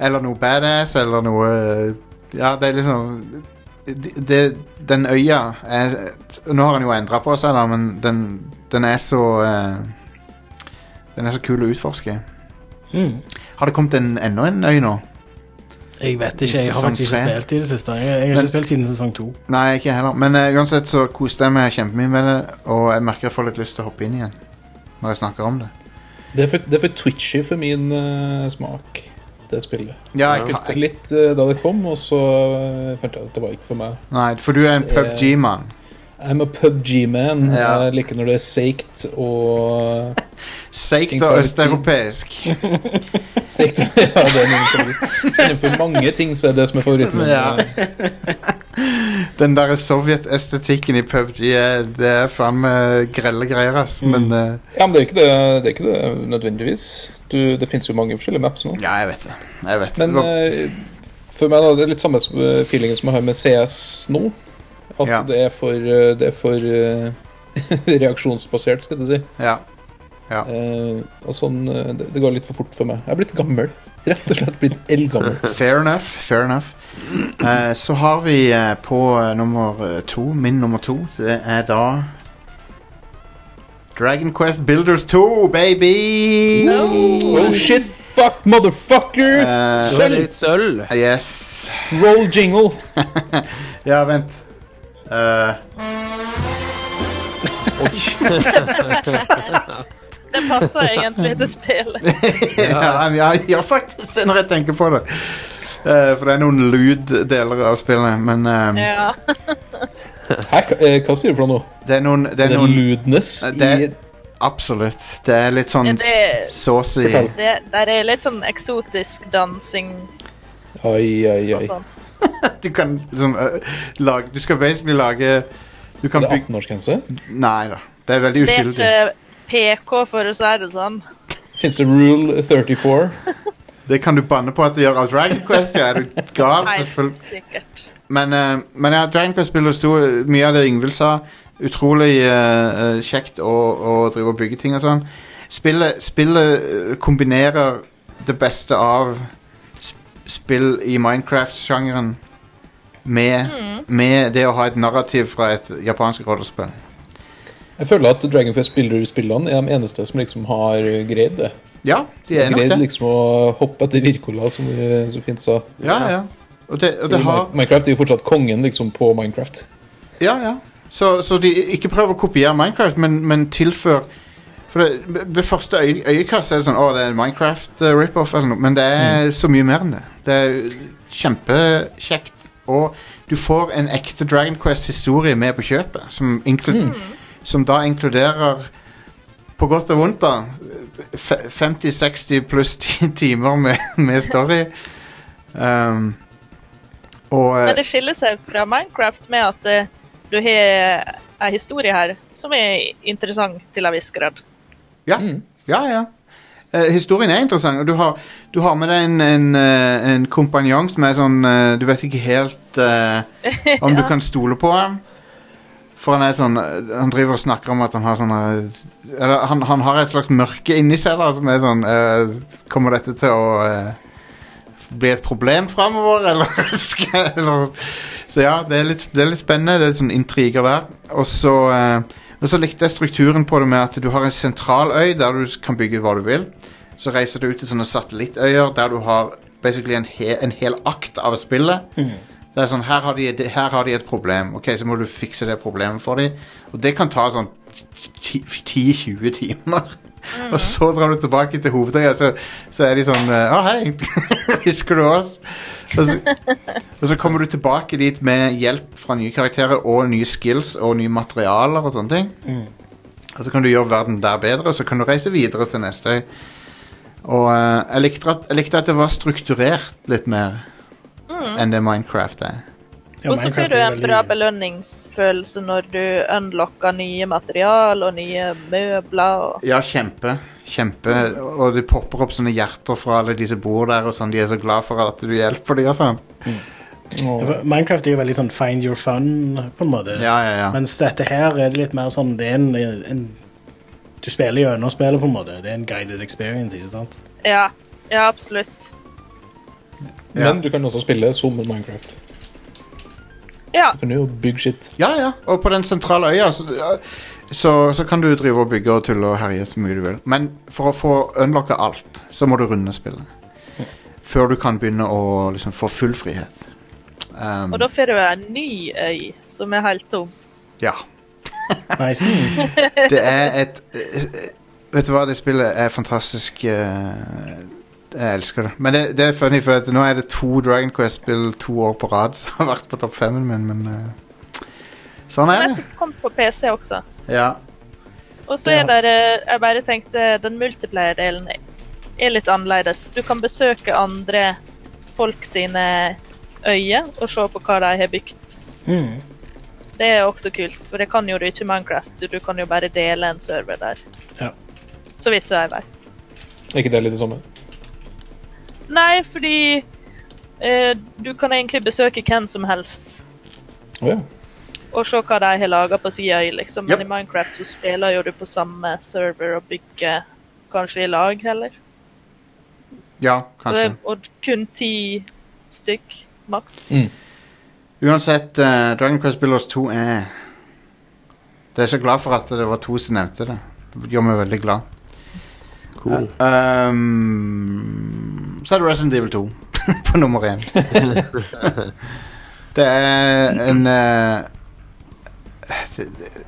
S2: Eller noe badass, eller noe Ja, det er liksom det, det, Den øya er, Nå har han jo endra på seg, da, men den, den er så eh, Den er så kul å utforske.
S6: Mm.
S2: Har det kommet en, enda en øy nå?
S6: Jeg vet ikke, jeg har
S2: Sesong
S6: faktisk ikke
S2: tre.
S6: spilt i det siste. Jeg, jeg har
S2: Men-
S6: ikke spilt siden sesong to.
S2: Nei, ikke jeg heller. Men eh, uansett så koste jeg meg kjempemye med det, og jeg merker jeg får litt lyst til å hoppe inn igjen når jeg snakker om det.
S5: Det er for, det er for twitchy for min eh, smak, det spillet.
S2: Ja,
S5: Jeg
S2: jeg,
S5: spilte
S2: jeg,
S5: litt eh, da det kom, og så eh, fant jeg ut at det var ikke for meg.
S2: nei, for du er en PubG-mann.
S5: I'm a PubG-man.
S2: Ja.
S5: Jeg liker når det er seigt og
S2: Seigt
S5: Ting tar
S2: og
S5: litt tid.
S2: østeuropeisk.
S5: Seigt eh, *laughs* Ja, det er min favoritt. Innenfor mange ting så er det som er favoritten. min.
S2: Ja. Den der sovjetestetikken i PubG er- eh, Det er faen meg grelle greier, ass. Men eh,
S5: Ja, men det er ikke det, det, er ikke det nødvendigvis. Du, det finnes jo mange forskjellige maps nå.
S2: Ja, jeg vet det. Jeg vet det.
S5: Men
S2: det. var-
S5: eh, for meg da, det er litt samme som, eh, feelingen som jeg har med CS nå. At
S2: Ja.
S5: det er for, eh, det er for eh, *laughs* reaksjonsbasert, skal jeg si.
S2: Ja.
S5: Eh, og sånn, eh, det, det går litt for fort for meg. Jeg er blitt gammel. Rett og slett blitt
S2: *laughs*
S5: eldgammel.
S2: Fair enough. Fair enough. Eh, så har vi eh, på eh, nummer eh, to, min nummer to, det er da Dragon Quest Builders 2, baby!
S5: Oh shit, fuck, motherfucker!
S2: Eh,
S3: Så er det litt sølv.
S2: yes.
S5: Roll jingle.
S2: *laughs* Ja, vent. Eh,
S4: Det passer egentlig til spillet.
S2: *laughs* ja, han- ja, ja, faktisk det når jeg tenker på det. Eh, for det er noen lyddeler av spillet, men eh,
S4: Ja.
S5: Hæ, hva- eh, hva sier du for noe?
S2: det er noen, det
S5: Det
S2: er
S5: er
S2: noen
S5: lewdness
S2: Eh,
S5: i
S2: det- Absolutt. Det er litt sånn
S4: Ja, det-
S2: saucy.
S4: Det der er litt sånn eksotisk dansing
S5: Oi, oi, oi.
S4: og
S2: Altså-
S4: sånn.
S5: Det
S4: sånt.
S2: Du kan liksom eh, lage Du skal basically lage Du kan
S5: er
S2: bygge
S5: 18-årsgrense.
S2: Nei da. Det er veldig
S4: Det er
S2: uskyldig.
S4: ikke PK, for å si det sånn.
S5: Fins det rule 34?
S2: Det kan du banne på at du gjør av Dragon Quest. Ja,
S4: *laughs*
S2: er du gal?
S4: Nei,
S2: selvfølgelig.
S4: sikkert.
S2: Men, eh, men ja, Dragon Quest spiller stor øh, mye av det Yngvild sa. Utrolig eh, eh, kjekt å, å drive og bygge ting og sånn. Spillet, spillet øh, kombinerer det beste av sp- spill i Minecraft-sjangeren med,
S4: Mm.
S2: med det å ha et narrativ fra et japansk rollespill.
S5: Jeg føler at Dragon Quest-spillerne er de eneste som liksom har greid det.
S2: Ja, de er
S5: De
S2: nok
S5: greide
S2: det.
S5: liksom å hoppe etter Virkola, som vi så fint sa.
S2: Ja, ja. Og det, og det
S5: Fordi
S2: har
S5: Mi- Minecraft er jo fortsatt kongen liksom på Minecraft.
S2: Ja, ja. Så, så de ikke prøv å kopiere Minecraft, men, men tilfør For det, ved- ved første øy, øyekast er det sånn Å, det er en Minecraft-rip-off eller noe, men det er så mye mer enn det. Det er kjempekjekt. Og du får en ekte Dragon Quest-historie med på kjøpet, som, inklu- som da inkluderer på godt og vondt, da. fe- 50-60 pluss 10 timer med, med story. Um, og eh,
S4: Men det skiller seg fra Minecraft med at eh, du har ei historie her som er interessant til en viss grad.
S2: Ja, ja. ja. Eh, historien er interessant, og du har, du har med deg en, en, eh, en kompanjong som er sånn eh, Du vet ikke helt eh, om du kan stole på ham. For han er sånn eh, Han driver og snakker om at han har sånn eh, Eller han, han har et slags mørke inni seg da, som er sånn eh, Kommer dette til å eh, bli et problem framover, eller, *laughs* skal- eller Så ja, det er litt, det er litt spennende. Det er litt sånn intriger der. Og så eh, og så likte jeg strukturen på det med at du har en sentral øy der du kan bygge hva du vil. Så reiser du ut til sånne satellittøyer der du har basically en, he en hel akt av spillet. Det er sånn, her har, de, det- her har de et problem. Ok, så må du fikse det problemet for dem. Og det kan ta sånn ti- 10-20 timer. Og så drar du tilbake til hovedøya, så, så er de sånn eh, Å, hei, *laughs* husker du oss? Og så, og så kommer du tilbake dit med hjelp fra nye karakterer og nye skills og nye materialer og sånne ting. Og så kan du gjøre verden der bedre, og så kan du reise videre til neste øy. Og eh, jeg, likte at, jeg likte at det var strukturert litt mer enn det Minecraft er.
S6: Ja,
S4: og så får
S6: Minecraft
S4: du
S6: er
S4: en
S6: veldig-
S4: bra belønningsfølelse når du unlocker nye material og nye møbler. Og...
S2: Ja, kjempe. Kjempe. Og det popper opp sånne hjerter fra alle de som bor der, og sånn. De er så glad for at du hjelper dem og sånn.
S6: Ja, for Minecraft er jo veldig sånn find your fun, på en måte.
S2: Ja, ja, ja.
S6: Mens dette her er det litt mer sånn Det er en, en Du spiller gjennom spillet, på en måte. Det er en guided experience, ikke *laughs* sant?
S4: Ja, ja, absolutt.
S2: Ja.
S5: Men du kan også spille som en Minecraft.
S4: Ja,
S5: Du kan jo bygge shit.
S2: Ja, ja. Og på den sentrale øya så, så, så kan du drive og bygge og tulle og herje så mye du vil. Men for å få unlocka alt, så må du runde spillet. Før du kan begynne å liksom, få full frihet. Um,
S4: og da får du en ny øy som er helt tom.
S2: ja.
S6: Nice.
S2: Det er et eh, Vet du hva, det spillet er fantastisk eh, Jeg elsker det. Men det, det er funny, for at nå er det to Dragon Quest-spill to år på rad som har vært på topp fem-en min, men eh, Sånn er det.
S4: Nettopp kom på PC også.
S2: Ja.
S4: Og så er det eh, Jeg bare tenkte den multiplayer-delen er litt annerledes. Du kan besøke andre folk sine øyer og se på hva de har bygd.
S6: Mm.
S4: Det er også kult, for det kan jo du ikke i Minecraft. Du kan jo bare dele en server der.
S6: Ja.
S4: Så vidt så jeg vet.
S5: Er ikke det litt det samme?
S4: Nei, fordi eh, du kan egentlig besøke hvem som helst
S5: Å ja.
S4: og se hva de har laga på sida øy, liksom. Men
S2: Yep.
S4: i Minecraft så spiller jo du på samme server og bygger kanskje i lag, heller.
S2: Ja, kanskje.
S4: Og, og kun ti stykk, maks.
S2: Uansett, eh, Dragon Quest Builders 2 er Det er så glad for at det var to som nevnte det. Det gjør meg veldig glad.
S3: Cool.
S2: Ehm, så er det Resident Evil 2 *laughs* på nummer én. det er en eh, det,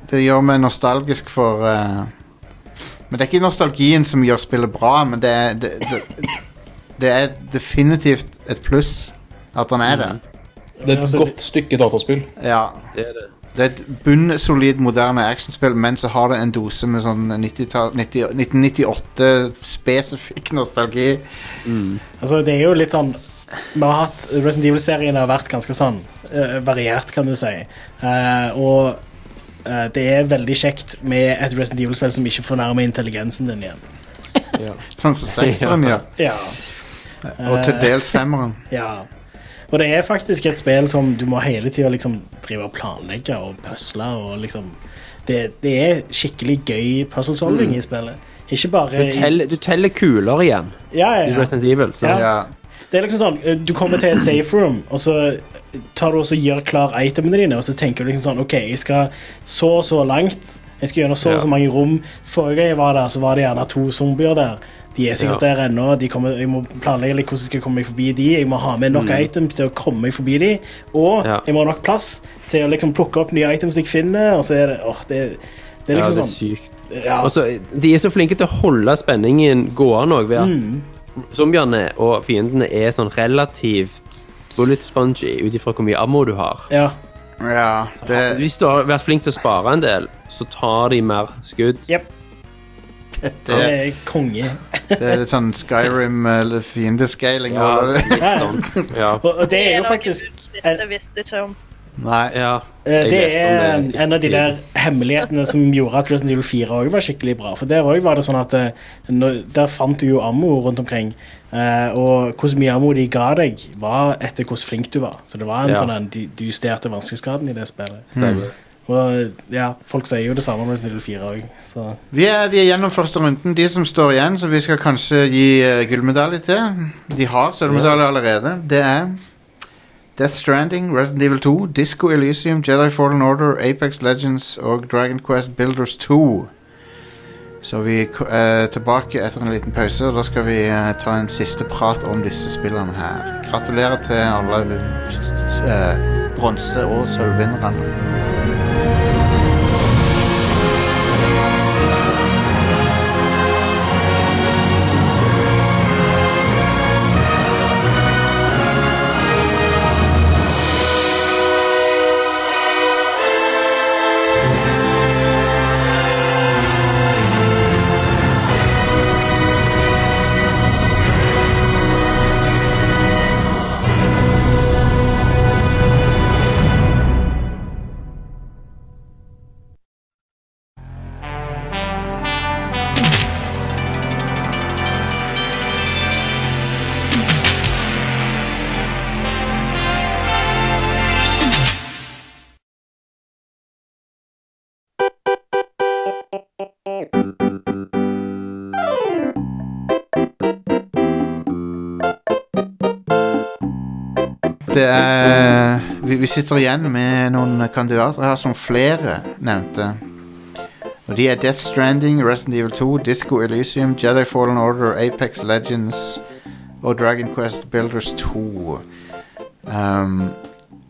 S2: det gjør meg nostalgisk for eh, Men det er ikke nostalgien som gjør spillet bra, men det er, det, det, det er definitivt et pluss at han er det.
S5: Det er et
S6: Altså,
S5: godt stykke dataspill.
S2: Ja,
S3: Det er det.
S2: det er et bunnsolid moderne actionspill, men så har det en dose med sånn 90-tall- 90 1998-spesifikk nostalgi.
S6: Altså, det er jo litt sånn vi har hatt, Resident Evil-serien har vært ganske sånn eh, variert, kan du si. Eh, og eh, det er veldig kjekt med et Resident Evil-spill som ikke fornærmer intelligensen din igjen.
S2: Sånn som sekseren gjør.
S6: Ja.
S2: Og til dels femmeren.
S6: Ja. Og det er faktisk et spill som du må hele tida liksom drive og planlegge og pusle og liksom Det, det er skikkelig gøy puzzle solving i spillet. Ikke
S3: Mm.
S6: bare
S3: Du teller, du teller kuler igjen
S6: Ja, ja,
S3: i
S6: ja.
S3: Resident Evil. Så.
S6: Ja.
S2: Ja.
S6: Det er liksom sånn, eh, Du kommer til et safe room, og så tar du også gjør klar itemene dine. Og så tenker du liksom sånn OK, jeg skal så og så langt. Jeg skal gjennom så og
S3: Ja.
S6: så mange rom. Forrige gang jeg var der, så var det gjerne to zombier der. De er sikkert der ennå. De kommer, jeg må planlegge litt hvordan jeg skal komme meg forbi de. Jeg må ha med nok items til å komme meg forbi de. Og
S3: Mm. Ja.
S6: jeg må ha nok plass til å liksom plukke opp nye items jeg finner. Og så er det åh, det, det
S3: Ja,
S6: er
S3: det
S6: liksom
S3: er sykt.
S6: sånn ja,
S3: Og så, de er så flinke til å holde spenningen gående òg, ved at
S6: Mm.
S3: zombiene og fiendene er sånn relativt bullet spongy ut ifra hvor mye ammo du har.
S6: ja,
S2: ja det,
S3: Hvis du har vært flink til å spare en del, så tar de mer skudd.
S6: Jep.
S2: det,
S6: Det er konge.
S2: det er litt sånn Skyrim eller fiendescaling
S3: Ja,
S2: over det.
S3: litt sånn. Ja.
S6: Og, og det er jo
S4: noe
S6: faktisk
S4: du ikke visste ikke om.
S2: Nei.
S3: ja.
S6: Eh,
S3: Jeg
S6: Det
S3: leste om
S6: er
S3: det i
S6: en av de
S3: tid.
S6: der hemmelighetene som gjorde at Resident Evil 4 også var skikkelig bra. For der også var det sånn at eh, nå- Der fant du jo ammo rundt omkring. eh, Og hvor mye ammo de ga deg, var etter hvor flink du var. Så det var en
S3: Ja.
S6: sånn en, de, du justerte vanskelighetsgraden i det spillet.
S4: Mm.
S3: Stemmer.
S6: Og ja, folk sier jo det samme om Resident Evil 4 òg, så
S2: Vi er, vi er gjennom første runden, de som står igjen, så vi skal kanskje gi eh, gullmedalje til. De har sølvmedalje allerede. Det er Death Stranding, Resident Evil 2, Disco Elysium, Jedi Fallen Order, Apex Legends og Dragon Quest Builders 2. Så vi ko- er tilbake etter en liten pause, og da skal vi eh, ta en siste prat om disse spillene her. Gratulerer til alle eh, bronse- og sølvvinnerne. Det er vi, vi sitter igjen med noen kandidater her som flere nevnte. Og de er Death Stranding, Resident Evil 2, Disco Elysium, Jedi Fallen Order, Apex Legends og Dragon Quest Builders 2. Um,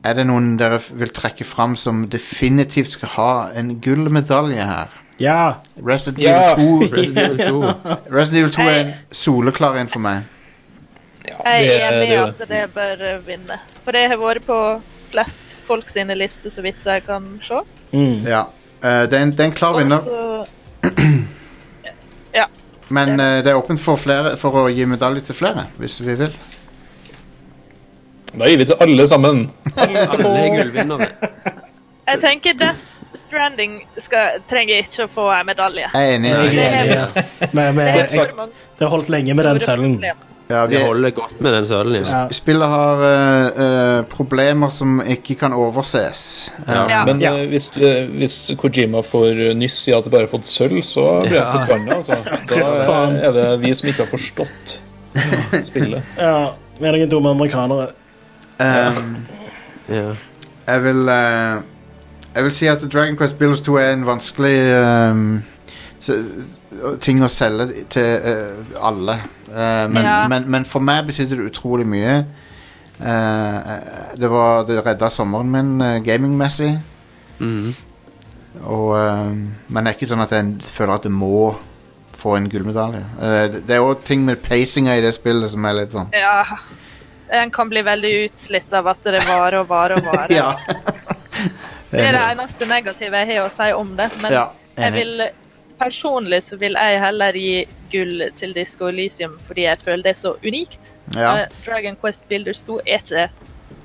S2: er det noen dere f- vil trekke fram som definitivt skal ha en gullmedalje her?
S6: Ja.
S2: Resident,
S8: Ja.
S2: Evil 2,
S3: *laughs* Resident Evil 2.
S2: Resident Evil 2 er en soleklar en for meg.
S4: Jeg
S5: det-
S4: er enig
S5: det
S4: i
S5: er
S4: at det bør eh, vinne. For det har vært på flest folk sine lister, så vidt jeg kan se.
S6: Mm.
S2: Ja. Uh, det, er en, det er en klar vinner.
S4: Og så-
S2: Men eh, det er åpent for, flere, for å gi medalje til flere, hvis vi vil.
S5: Da gir vi til alle sammen.
S3: Alle er gullvinnere.
S4: Jeg tenker Death Stranding skal, trenger ikke å få en medalje.
S2: Jeg er enig.
S6: Nei,
S4: Det *laughs* er-
S6: Ja. Men, men,
S4: det er-
S6: jeg, det har holdt lenge med den
S4: store
S6: sølven.
S4: problem.
S2: Ja, vi
S3: De holder godt med den sølen. Ja.
S6: Ja.
S2: Spillet har eh, eh, problemer som ikke kan overses. Eh,
S4: Ja.
S5: Men
S6: Ja.
S5: eh, hvis, eh, hvis Kojima får eh, nyss i at det bare har fått sølv, så blir jeg forbanna. Altså.
S6: Trist for
S5: Da
S6: han.
S5: er det vi som ikke har forstått spillet.
S6: Ja, vi er noen dumme amerikanere.
S2: ehm,
S3: Ja.
S2: jeg vil eh, Jeg vil si at Dragon Quest Builders 2 er en vanskelig ehm, se- ting å selge til eh, alle. Eh, men,
S4: Ja.
S2: men, men for meg betydde det utrolig mye. Eh, det var Det redda sommeren min eh, gamingmessig.
S3: Mhm.
S2: Og, eh, men det er ikke sånn at jeg føler at jeg må få en gullmedalje. Eh, det- det er òg ting med pacinga i det spillet som er litt sånn
S4: Ja. En kan bli veldig utslitt av at det varer og varer og varer.
S2: Ja.
S4: Det er det eneste negative jeg har å si om det. Men
S2: Ja,
S4: jeg
S2: enig.
S4: vil, personlig så vil jeg heller gi gull til Disco Elysium fordi jeg føler det er så unikt.
S2: Ja.
S4: Eh, Dragon Quest Builders 2 er ikke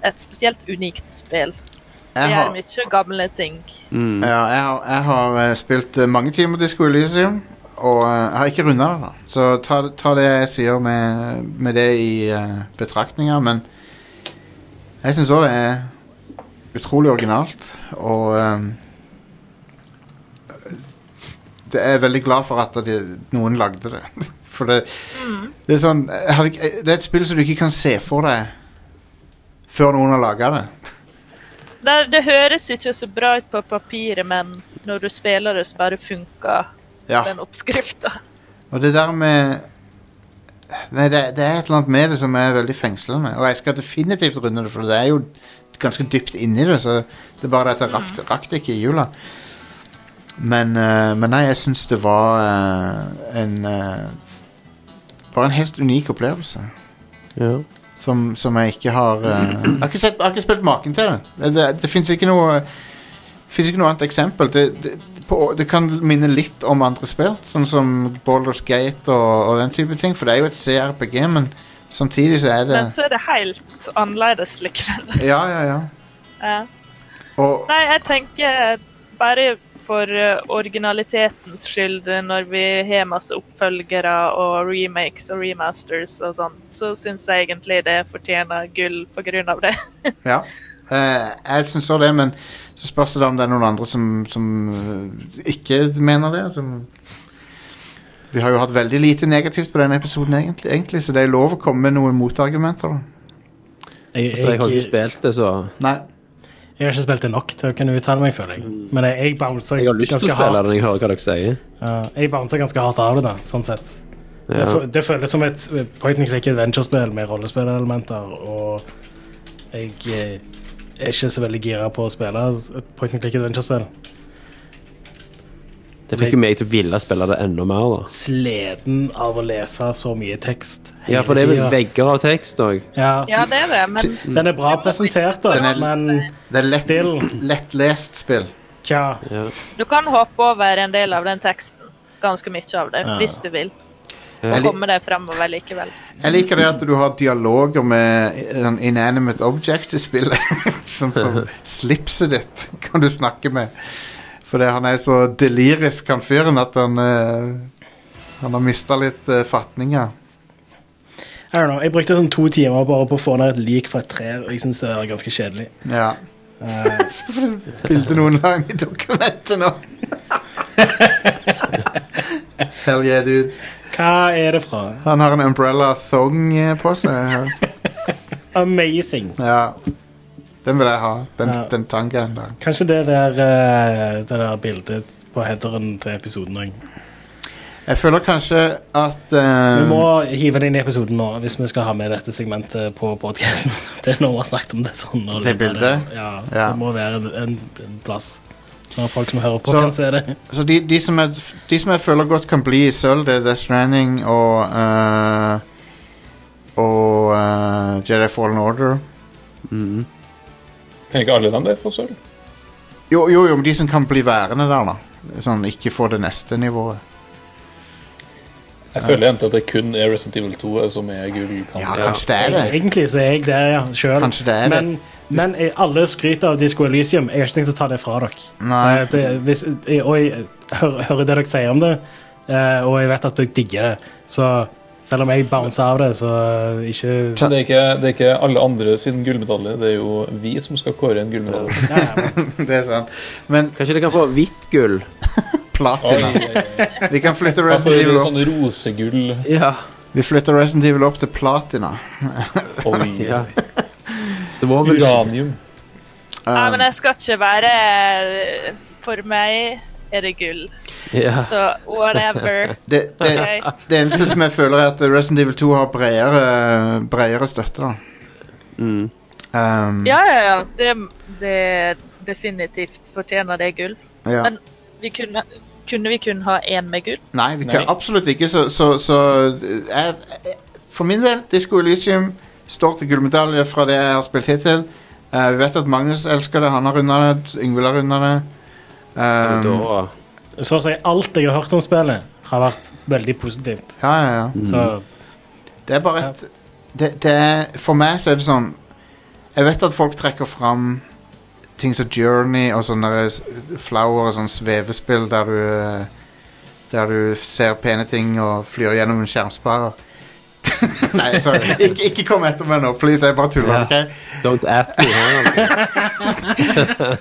S4: et spesielt unikt spill. Det
S2: Jeg
S4: er
S2: har,
S4: mye gamle ting.
S3: Mm.
S2: ja, jeg har, jeg har eh, spilt eh, mange timer Disco Elysium, og eh, jeg har ikke runda det. da Så ta, ta det jeg sier med, med det i eh, betraktninger, men jeg syns òg det er utrolig originalt, og eh, det er jeg veldig glad for at de, noen lagde det. *laughs* For det, det er sånn jeg hadde ikke- Det er et spill som du ikke kan se for deg før noen har laga det.
S4: Det, det høres ikke så bra ut på papiret, men når du spiller det, så bare funker
S2: Ja.
S4: den oppskrifta.
S2: Og det der med Nei, det, det er et eller annet med det som er veldig fengslende. Og jeg skal definitivt runde det, for det er jo ganske dypt inni det. Så det er bare det at jeg rakk, rakk det ikke i jula. Men, eh, men nei, jeg syns det var eh, en eh, Bare en helt unik opplevelse.
S3: Ja.
S2: Som, som jeg ikke har eh, jeg, har ikke sett, jeg har ikke spilt maken til det. Det, det, det fins ikke noe finnes ikke noe annet eksempel. Det, det, på, det kan minne litt om andre spill, sånn som Baldur's Gate og, og den type ting. For det er jo et CRPG, men samtidig så er det
S4: Men så er det helt annerledes likevel.
S2: Ja, ja, ja.
S4: Ja.
S2: Og
S4: Nei, jeg tenker eh, bare for eh, originalitetens skyld, eh, når vi har masse oppfølgere og remakes og remasters og sånn, så syns jeg egentlig det fortjener gull på grunn av det.
S2: ja. Eh, jeg syns òg det, men så spørs det da om det er noen andre som, som eh, ikke mener det. Som vi har jo hatt veldig lite negativt på denne episoden, egentlig, egentlig så det er lov å komme med noen motargumenter. da.
S6: Jeg,
S3: Altså, jeg har ikke spilt det, så
S2: Nei,
S6: Jeg har ikke spilt det nok til å kunne uttale meg, føler jeg. Men jeg, jeg bouncer
S3: Jeg har lyst til å
S6: ganske
S3: spille det når jeg hører
S6: hardt.
S3: hva dere sier.
S6: Ja, jeg bouncer ganske hardt av det, da, sånn sett. Det
S3: Ja.
S6: fø- Det føles som et point and click adventure-spill med rollespillelementer, og jeg eh, er ikke så veldig gira på å spille et point and click adventure-spill.
S3: Det fikk jo meg til å ville spille det enda mer, da.
S6: Sleden av å lese så mye tekst.
S3: Ja, for det er vel
S6: hele tiden.
S3: vegger av tekst òg.
S6: Ja,
S4: Ja, det er det, men
S6: den er bra presentert, da,
S2: Den er-
S6: men
S2: det er lett,
S6: still,
S2: lettlest spill.
S6: tja.
S3: Ja.
S4: du kan hoppe over en del av den teksten. Ganske mye av det,
S6: Ja.
S4: hvis du vil.
S2: Jeg lik-
S4: Kommer det fremover likevel.
S2: Jeg liker det at du har dialoger med eh, sånn inanimate objects i spillet. *laughs* sånn som slipset ditt kan du snakke med. Fordi han er så delirisk, han fyren, at han eh, Han har mista litt eh, fatninga.
S6: I don't know, jeg brukte sånn to timer bare på å få ned et lik fra et tre, og jeg syns det er ganske kjedelig.
S2: Ja.
S6: Eh,
S2: Se for deg bildet noen la inn i dokumentet nå. Hell yeah, dude.
S6: hva er det fra?
S2: Han har en umbrella thong eh, på seg.
S6: Amazing.
S2: Ja. Den vil jeg ha. Den,
S6: Ja.
S2: den tangaen der.
S6: Kanskje det der, eh, det der bildet på headeren til episoden òg.
S2: Jeg føler kanskje at eh,
S6: Vi må hive det inn i episoden nå hvis vi skal ha med dette segmentet på podkasten. *laughs* Det er når vi har snakket om det sånn. og
S2: Det bildet?
S6: Ja,
S2: Ja.
S6: Det må være en, en, en plass. Sånn at folk som hører på,
S2: Så-
S6: kan se det.
S2: Så de, de, som jeg, de som jeg føler godt kan bli i sølv, det er Death Stranding og eh, Og eh, Jedi Fallen Order.
S3: Mm.
S5: Kan ikke alle dem der få sølv?
S2: Jo, jo, jo, men de som kan bli værende der, da. Sånn ikke få det neste nivået.
S5: Jeg føler egentlig at det kun er Resident Evil 2 som er
S2: Ja,
S5: gullkandidat.
S2: kanskje det er det.
S6: Egentlig så er jeg det ja, sjøl.
S2: Kanskje det er det.
S6: Men, men jeg, alle skryter av Disco Elysium. Jeg har ikke tenkt å ta det fra dere. Eh,
S2: Nei.
S6: Det, hvis, jeg- og jeg hører, hører det dere sier om det, eh, og jeg vet at dere digger det, så selv om jeg bouncer av det, så eh, ikke
S5: Men det er, ikke, det er ikke alle andre sin gullmedalje, det er jo vi som skal kåre en gullmedalje.
S6: Ja, ja.
S2: *laughs* Det er sant. Men
S3: Kanskje det kan få hvitt gull?
S5: Oi,
S2: platina.
S5: oi, oi.
S2: Vi kan flytte
S5: Da får
S2: Resident
S5: vi
S2: Evil opp.
S5: sånn rosegull.
S3: Ja.
S2: Vi flytter Resident Evil opp til platina.
S5: Oi.
S3: ja. Svovel.
S5: Uranium.
S4: Nei,
S2: Um,
S4: men jeg skal ikke være eh, For meg er det gull.
S3: Ja.
S4: Så whatever.
S2: det, det,
S4: Ok.
S2: det eneste som jeg føler, er at Resident Evil 2 har bredere, bredere støtte, da.
S3: Mm.
S2: Um,
S4: Ja, ja, ja. Det, det definitivt fortjener det gull.
S2: ja.
S4: men- Vi kunne, kunne vi kun ha én med gull?
S2: Nei, vi kan
S5: Nei.
S2: absolutt ikke. Så, så, så jeg, jeg, For min del, Disco Elysium står til gullmedalje fra det jeg har spilt hittil. Eh, Vi vet at Magnus elsker det. Han har runda det. Yngvild har runda det.
S3: Men
S2: Um,
S3: da
S6: Så å si alt jeg har hørt om spillet, har vært veldig positivt.
S2: ja, ja, ja.
S6: Så
S2: Det er bare et det, det er, For meg så er det sånn Jeg vet at folk trekker fram ting som Journey og sånne der s- flower og sånn svevespill der du eh, Der du ser pene ting og flyr gjennom *laughs* en skjermsparer. Nei, sorry. Ikke, ikke kom etter meg nå, please. Jeg bare tuller.
S3: Ja.
S2: ok?
S3: Don't at me. Her.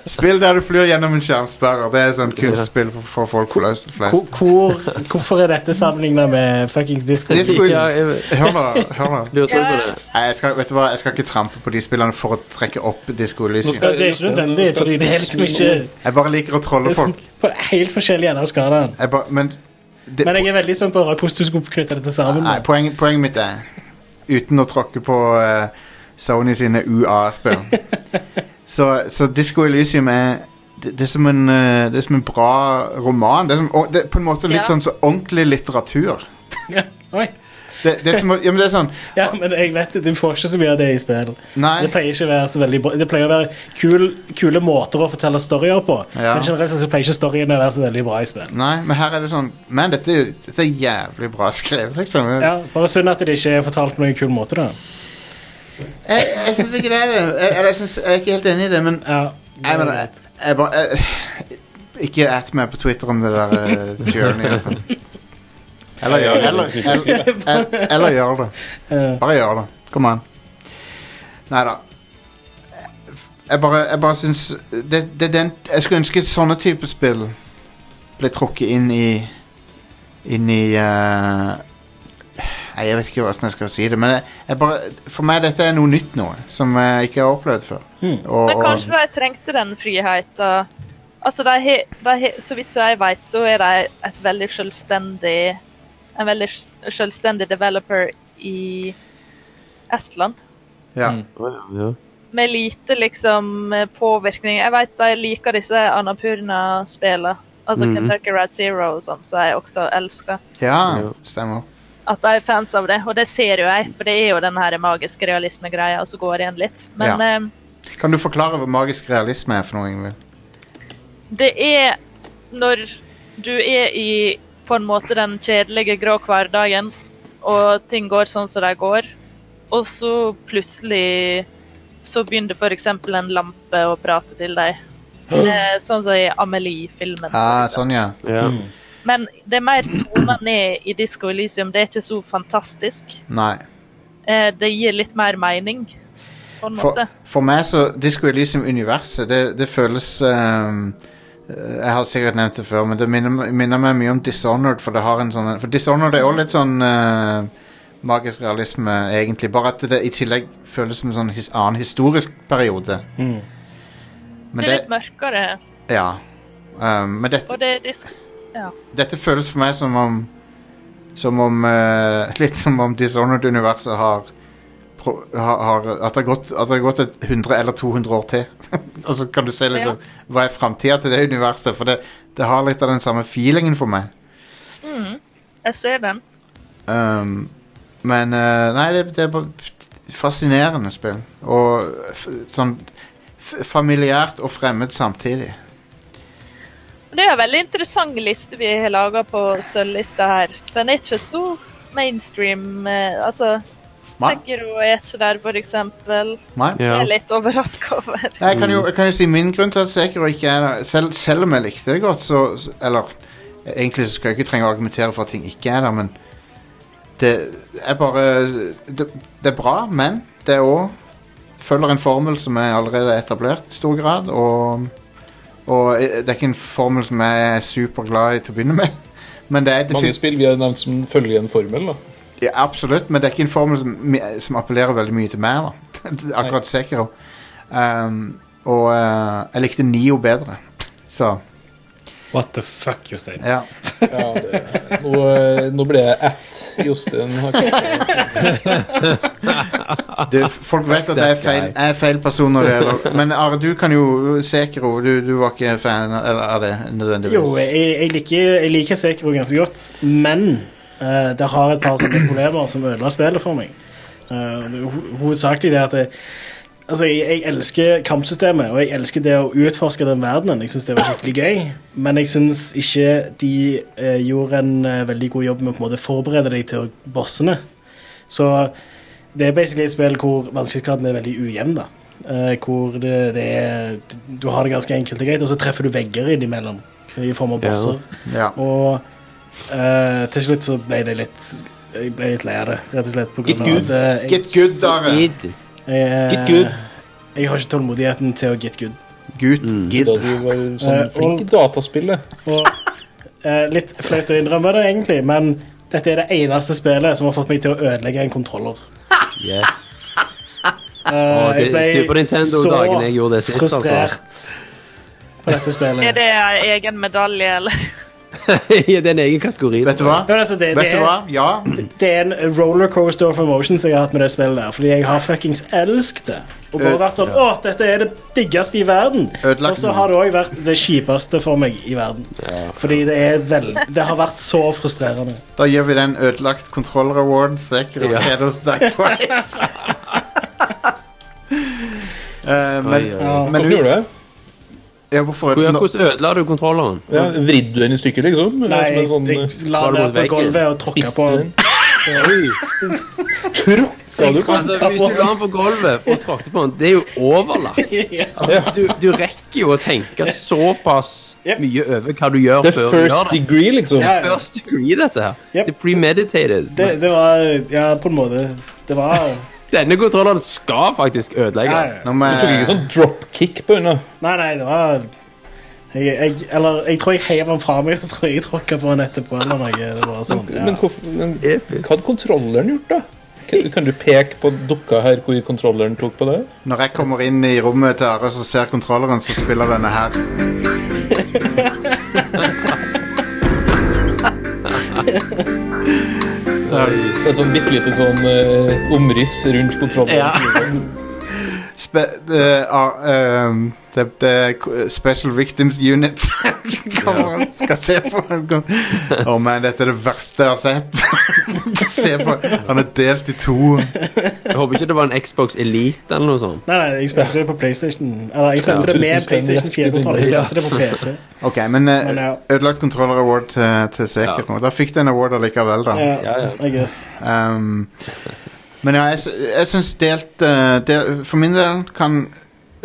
S2: Spill der du flyr gjennom en skjermsperrer. Det er sånn kunstspill for, for folk flest.
S6: Hvor,
S2: flest.
S6: hvor, hvorfor er dette sammenlignet med fuckings Disco?
S2: Disco-
S3: Ja, jeg
S2: Hør nå. hør nå
S3: lurte også på det.
S2: Nei, jeg skal, vet du hva? jeg skal ikke trampe på de spillene for å trekke opp Disco Elysium.
S6: Ja, det er ikke nødvendig, fordi det er liksom ikke
S2: Jeg bare liker å
S6: det
S2: trolle
S6: er sånn,
S2: folk.
S6: på helt forskjellig ende av skalaen.
S2: Jeg bare, men det,
S6: Men jeg er veldig spent på å høre hvordan du skulle knytte dette sammen.
S2: Nei,
S6: da.
S2: poeng, poenget mitt er Uten å tråkke på eh, Sony sine UA-spill
S6: *laughs*
S2: så, så Disco Elysium er det, det, er som en, eh, det er som en bra roman Det er, som, og det er på en måte litt
S4: Ja.
S2: sånn så ordentlig litteratur
S6: *laughs* Ja, oi.
S2: det, det, er som, å- ja, men det er sånn
S6: Ja, men jeg vet det, du får ikke så mye av det i spill. Det
S2: Nei,
S6: pleier ikke å være så veldig bra. Det pleier å være kul, kule måter å fortelle storyer på.
S2: Ja.
S6: Men generelt sett så pleier ikke storyene å være så veldig bra i spill.
S2: nei men her er det sånn Men dette, er- dette er jævlig bra skrevet liksom
S6: Ja, Bare synd at det ikke er fortalt på noen kul måte, da.
S2: Jeg, jeg synes ikke det er det jeg, eller jeg, synes, jeg er ikke helt enig i det, men
S6: Ja,
S2: Nei, men eh, jeg, jeg bare jeg, Ikke at meg på Twitter om det der eh, journey og sånn. Eller, gjør- eller, eller, eller, eller gjør det.
S6: eh,
S2: Bare gjør det. Kom an. Nei da. Jeg bare, jeg bare syns det, det, er den, Jeg skulle ønske sånne type spill ble trukket inn i Inn i eh, Nei, jeg vet ikke hvordan jeg skal si det, men jeg, jeg bare, for meg dette er noe nytt nå, som jeg ikke har opplevd før.
S6: Hmm.
S2: Og-
S4: Men
S2: og-
S4: kanskje de trengte den friheten. Altså, de he, de he, så vidt som jeg vet, så er de et veldig selvstendig En veldig s- selvstendig developer i Estland.
S2: ja.
S5: Mm.
S3: Ja.
S4: Med lite liksom påvirkning. Jeg vet de liker disse Anapurna-spillene. Altså
S3: Mhm.
S4: Kentucky Ride Zero og sånn, som jeg også elsker.
S2: ja,
S3: Ja.
S2: stemmer.
S4: At de er fans av det, og det ser jo jeg, for det er jo den her magiske realisme-greia, og så går det igjen litt. Men
S2: Ja.
S4: eh,
S2: Kan du forklare hva magisk realisme er for noe, Ingvild?
S4: Det er når du er i på en måte den kjedelige grå hverdagen, og ting går sånn som de går, og så plutselig så begynner f.eks. en lampe å prate til deg. Eh, Sånn som i Amelie-filmen.
S2: Ah,
S4: for
S2: sånn, ja.
S3: Ja.
S4: eksempel. Men det er mer toner ned i Disco Elysium. Det er ikke så fantastisk.
S2: Nei.
S4: Eh, Det gir litt mer mening, på en
S2: For,
S4: måte.
S2: for meg så Disco Elysium-universet, det, det føles ehm, eh, Jeg har sikkert nevnt det før, men det minner, minner meg mye om Dishonored, for det har en sånn For Dishonored er jo litt sånn eh, magisk realisme, egentlig. Bare at det i tillegg føles som en sånn his, annen historisk periode.
S6: Mm.
S4: Det
S2: Men
S4: er
S2: det
S4: litt mørkere,
S2: Ja. Ehm, men dette
S4: og det er disco.
S2: dette føles for meg som om Som om eh, *laughs* Litt som om Dishonored-universet har, pro- har, har At det har gått, at det har gått et 100 eller 200 år til. *laughs* Og så kan du se liksom hva er framtida til det universet, for det, det har litt av den samme feelingen for meg.
S4: Jeg ser den.
S2: Um, men eh, Nei, det, det er bare fascinerende spill. Og f sånn f familiært og fremmed samtidig.
S4: Det er en veldig interessant liste vi har laga på sølvlista her. Den er ikke så mainstream. Eh, altså,
S2: Nei.
S4: Seguro er ikke der, for eksempel.
S2: Nei?
S4: Det er jeg
S3: Ja.
S4: litt overraska over.
S2: Nei, Jeg kan, jo, jeg kan jo si min grunn til at Sekiro ikke er der. Selv, selv om jeg likte det godt, så så- Eller egentlig så skal jeg ikke trenge å argumentere for at ting ikke er der, men Det er bare Det, det er bra, men det er òg Følger en formel som er allerede etablert i stor grad, og Og eh, det er ikke en formel som jeg er superglad i til å begynne med. *laughs* Men det er
S5: Mange
S2: definitivt
S5: spill vi har nevnt som følger en formel. da.
S2: ja, Absolutt, men det er ikke en formel som, mi- som appellerer veldig mye til meg, da. *laughs* Akkurat Sekiro. Um, og eh, jeg likte Nio bedre. Så
S8: What the fuck, Jostein?
S2: ja.
S5: Ja, det, nå, eh, nå ble jeg at Jostein har
S6: *laughs*
S5: ikke
S2: Du, f- folk vet at jeg er feil, jeg er feil person når det gjelder Men Are, du kan jo Sekiro. Du, du var ikke fan av- eller, av det nødvendigvis.
S6: Jo, jeg, jeg liker, jeg liker Sekiro ganske godt, men eh, det har et par sånne problemer som ødela spillet for meg. Eh, det er ho- Hovedsakelig det at jeg, altså, jeg, jeg elsker kampsystemet, og jeg elsker det å utforske den verdenen. Jeg syns det var skikkelig gøy, men jeg syns ikke de eh, gjorde en eh, veldig god jobb med å på en måte forberede deg til bossene. Så det er basically et spill hvor vanskelighetsgraden er veldig ujevn, da. Eh, hvor det, det er Du har det ganske enkelt og greit, og så treffer du vegger innimellom i form av
S3: Ja.
S6: bosser.
S2: ja.
S6: Og eh, til slutt så ble det litt Jeg ble litt lei av det, rett og slett. På grunn
S3: Get
S6: av at, eh, jeg,
S2: Get good, Are.
S3: Id.
S6: jeg, eh,
S3: get good.
S6: Jeg har ikke tålmodigheten til å get good.
S2: Gut,
S3: Mm.
S2: gid.
S5: Da du var
S6: Eh,
S5: sånn flink i
S6: og-
S5: dataspillet.
S6: Og eh, Litt flaut å innrømme det, egentlig, men dette er det eneste spillet som har fått meg til å ødelegge en kontroller.
S3: Yes.
S6: Eh,
S3: Å, det-
S6: jeg ble
S3: Super Nintendo-dagen jeg gjorde det
S6: så
S3: sist, altså.
S6: frustrert på dette spillet.
S4: *laughs* Er det en egen medalje, eller?
S3: *laughs* ja, det er en egen kategori.
S2: Vet du hva?
S6: Ja, men altså, det, det,
S2: Vet du hva?
S6: er,
S2: Ja.
S6: det er en rollercoaster of emotions jeg har hatt med det spillet. der, Fordi jeg har fuckings elsket det. Og bare
S3: Eh,
S2: Øh,
S6: vært sånn Å, dette er det diggeste i verden.
S2: Ødelagt
S6: Og så
S2: den.
S6: har det òg vært det kjipeste for meg i verden. Fordi det er vel Det har vært så frustrerende.
S2: Da gir vi den ødelagt controller award. Sikkert
S3: Ja.
S2: skjer hos deg twice. Eh, men,
S3: Oi, oi,
S6: oi.
S2: men
S5: Hvordan
S2: du,
S5: gjorde du det?
S2: ja, hvorfor
S3: Hvordan
S2: nå-
S3: hvordan ødela du kontrolleren?
S5: Ja, Vridde du den i stykker, liksom?
S6: Nei,
S5: Som en
S6: jeg,
S5: sånn, eh,
S6: jeg la
S3: var det
S6: det
S3: mot
S6: på
S3: veggen?
S6: gulvet og tråkka på den.
S5: Tråkka du på den?
S3: Altså, Hvis du la den på gulvet og tråkte på den, det er jo
S6: *laughs*
S3: overlagt. Altså, Du, du rekker jo å tenke såpass mye over hva du gjør
S5: Det er
S3: før du gjør
S5: first
S3: det.
S5: degree, liksom.
S6: Ja, ja.
S3: First degree, dette her.
S6: Yep.
S3: Det er premeditated.
S6: Det, det var Ja, på en måte. Det var
S3: Denne kontrolleren skal faktisk ødelegges.
S6: Ja,
S2: Nå
S6: ja.
S5: Du tok ikke
S2: med,
S5: sånn dropkick på unna?
S6: Nei, nei, det var jeg, jeg, eller, jeg tror jeg heiv den fra meg og så tror jeg jeg tråkka på den etterpå. eller noe. Det var sånn, ja.
S5: Men, hvorfor- men
S3: Episk.
S5: hva hadde kontrolleren gjort, da? Kan, kan du peke på dukka her hvor kontrolleren tok på det?
S2: når jeg kommer inn i rommet til Are og ser kontrolleren, så spiller denne her.
S5: Det er Et sånn bitte lite sånn eh, omriss rundt kontrolleren.
S3: Ja.
S2: Spe eh, ah, ehm, det, det er k- Special Victims Unit *laughs* kommer og skal se på en gang. Å man, dette er det verste jeg har sett. *laughs* se på, Han er delt i to.
S3: Jeg håper ikke det var en Xbox Elite eller noe sånt.
S6: Nei, nei, jeg spilte det på PlayStation. Eller, jeg
S5: Ja,
S6: spilte det
S5: tusen
S6: med
S5: spenn
S6: PlayStation
S5: rett
S6: 4-kontroll. Jeg
S5: i
S6: spilte det på PC.
S2: Ok, men eh,
S6: Men, ja.
S2: ødelagt controller award til, til Sekiro. Da fikk den award allikevel, da.
S6: Ja,
S3: Ja, ja.
S6: I guess.
S2: Ehm, men ja, jeg, sy- jeg syns delt eh, del, For min del kan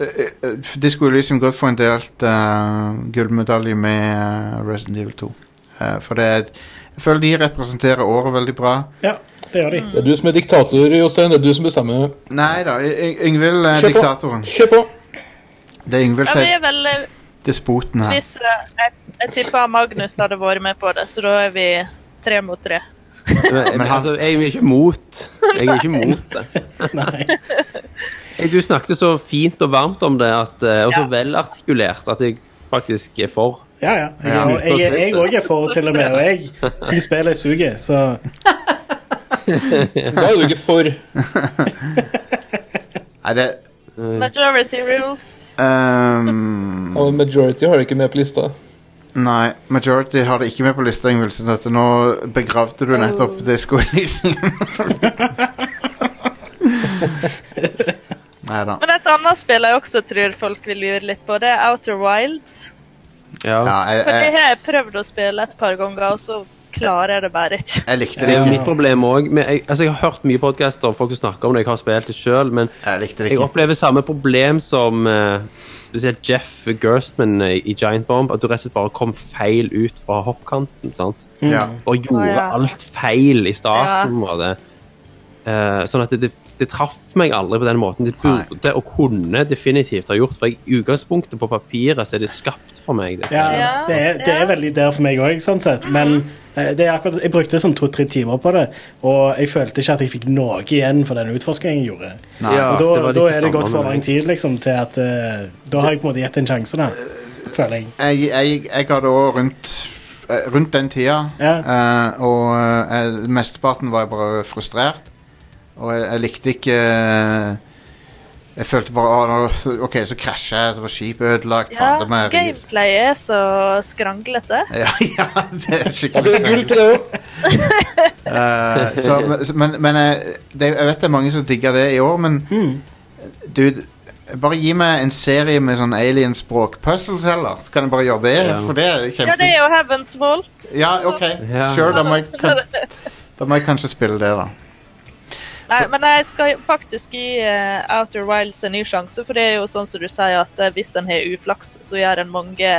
S2: eh, eh, Disco Elysium godt få en delt eh, gullmedalje med eh, Resident Evil 2. Eh, for det er et- jeg føler de representerer året veldig bra.
S6: Ja, det gjør de.
S5: Det er du som er diktator, Jostein. Det er du som bestemmer.
S2: Nei da, Y- Y- Yngvild er
S5: Kjør på.
S2: diktatoren.
S5: Kjør på!
S2: Det er Yngvild
S4: Ja,
S2: som
S4: vi
S2: er
S4: er vel eh,
S2: despoten her.
S4: Hvis eh, jeg, jeg tipper Magnus hadde vært med på det, så da er vi tre mot tre.
S3: Men,
S2: Men han-
S3: altså, jeg er jo ikke mot. Jeg er jo ikke mot det.
S6: Nei.
S3: Jeg- Du snakket så fint og varmt om det, at, eh, og så
S4: Ja.
S3: velartikulert, at jeg faktisk er for.
S6: Ja, ja. Jeg
S2: Ja.
S6: òg jeg, jeg, også er for, til og med. Og jeg syns spillet suger, så
S5: Da er du ikke for.
S2: Nei, det
S4: Majority rules.
S2: ehm,
S5: Og majority har du ikke med på lista.
S2: Nei, Majority har det ikke med på lista, Yngvild. Så dette, nå begravde du nettopp Disco Elysium. Nei da.
S4: Men et annet spill jeg også tror folk vil lure litt på, det er Outer Wilds.
S2: Ja, jeg,
S4: For det
S2: jeg,
S4: har jeg prøvd å spille et par ganger, og så klarer jeg det bare ikke.
S2: jeg likte
S3: Det
S2: det
S3: er jo
S2: ikke.
S3: mitt problem òg. Jeg, altså, jeg har hørt mye podcaster og folk som snakker om det. Jeg har spilt det sjøl, men
S2: Jeg likte det
S3: jeg
S2: ikke.
S3: opplever samme problem som eh, spesielt Jeff Gerstman eh, i Giant Bomb. At du rett og slett bare kom feil ut fra hoppkanten. sant?
S2: Ja.
S3: Og gjorde
S4: Å, ja.
S3: alt feil i starten. var det. Eh, sånn at det, det, det traff meg aldri på den måten. Det burde og kunne definitivt ha gjort. For jeg, i utgangspunktet på papiret så er det skapt for meg. Det.
S6: ja,
S4: Ja,
S6: det, er, det er veldig der for meg òg, sånn sett. Men eh, det er akkurat, jeg brukte sånn to-tre timer på det, og jeg følte ikke at jeg fikk noe igjen for den utforskningen jeg gjorde.
S2: Nei.
S3: Ja,
S6: og da,
S3: det var litt
S6: da
S3: det
S6: er det
S3: samme
S6: gått for
S3: med
S6: lang
S3: meg.
S6: tid liksom, til at eh, Da har jeg på en måte gitt en sjanse, da. Føler jeg.
S2: Jeg, jeg, jeg ga det òg rundt eh, Rundt den tida.
S6: Ja.
S2: eh, og eh, mesteparten var jeg bare frustrert. Og jeg, jeg likte ikke eh, Jeg følte bare «Å, nå- så- OK, så krasja jeg, så var skipet ødelagt.
S4: Ja,
S2: fader meg, herregud».
S4: gameplay er så skranglete.
S2: Ja, *laughs* ja, det er
S5: Ja, det
S2: skikkelig
S5: er gull til det òg.
S2: Eh, så, så- men men eh, det, jeg vet det er mange som digger det i år, men dude bare gi meg en serie med sånn alienspråk-puzzles heller, så kan jeg bare gjøre det.
S3: Ja.
S2: For det er
S4: Ja, det er
S2: kjempefint.
S4: jo Heaven's Vault.
S2: Ja, OK.
S3: Ja.
S2: Sure, da må, jeg, kan, da må jeg kanskje spille det, da.
S4: Nei, men jeg skal faktisk gi eh, Outer Wilds en ny sjanse, for det er jo sånn som du sier at eh, hvis en har uflaks, så gjør en mange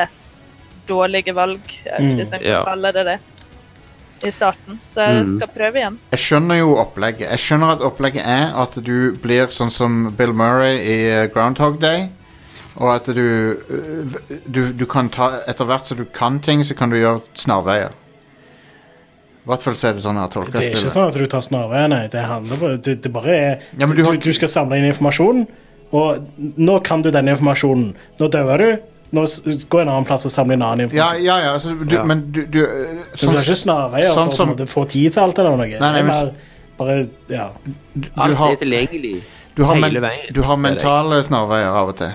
S4: dårlige valg, eh,
S6: Mm,
S4: hvis en kan
S3: ja.
S4: kalle det det. i starten, så jeg
S3: Mm.
S4: skal prøve igjen.
S2: Jeg skjønner jo opplegget. Jeg skjønner at opplegget er at du blir sånn som Bill Murray i eh, Groundhog Day. Og at du, øh, du, du kan ta Etter hvert som du kan ting, så kan du gjøre snarveier. I hvert fall så er det sånn jeg har tolka
S6: Det er ikke
S2: spillet.
S6: sånn at du tar snarveier, nei. Det handler bare, det, det bare er
S2: Ja, men du
S6: du,
S2: har
S6: du, skal samle inn informasjon, og nå kan du denne informasjonen. Nå dauer du, nå s- gå en annen plass og samle inn annen
S2: Ja,
S6: informasjon.
S2: ja, ja, altså, du,
S3: Ja.
S2: men du, du øh,
S6: Så
S2: sånn,
S6: du har ikke snarveier
S2: sånn
S6: for
S2: som-
S6: å på en måte få tid til alt eller noe.
S2: nei,
S6: Det er
S2: men-
S6: mer bare, ja.
S3: Alt
S2: har-
S3: er tilgjengelig.
S2: du, har men,
S3: hele veien.
S2: du har mentale snarveier av og til.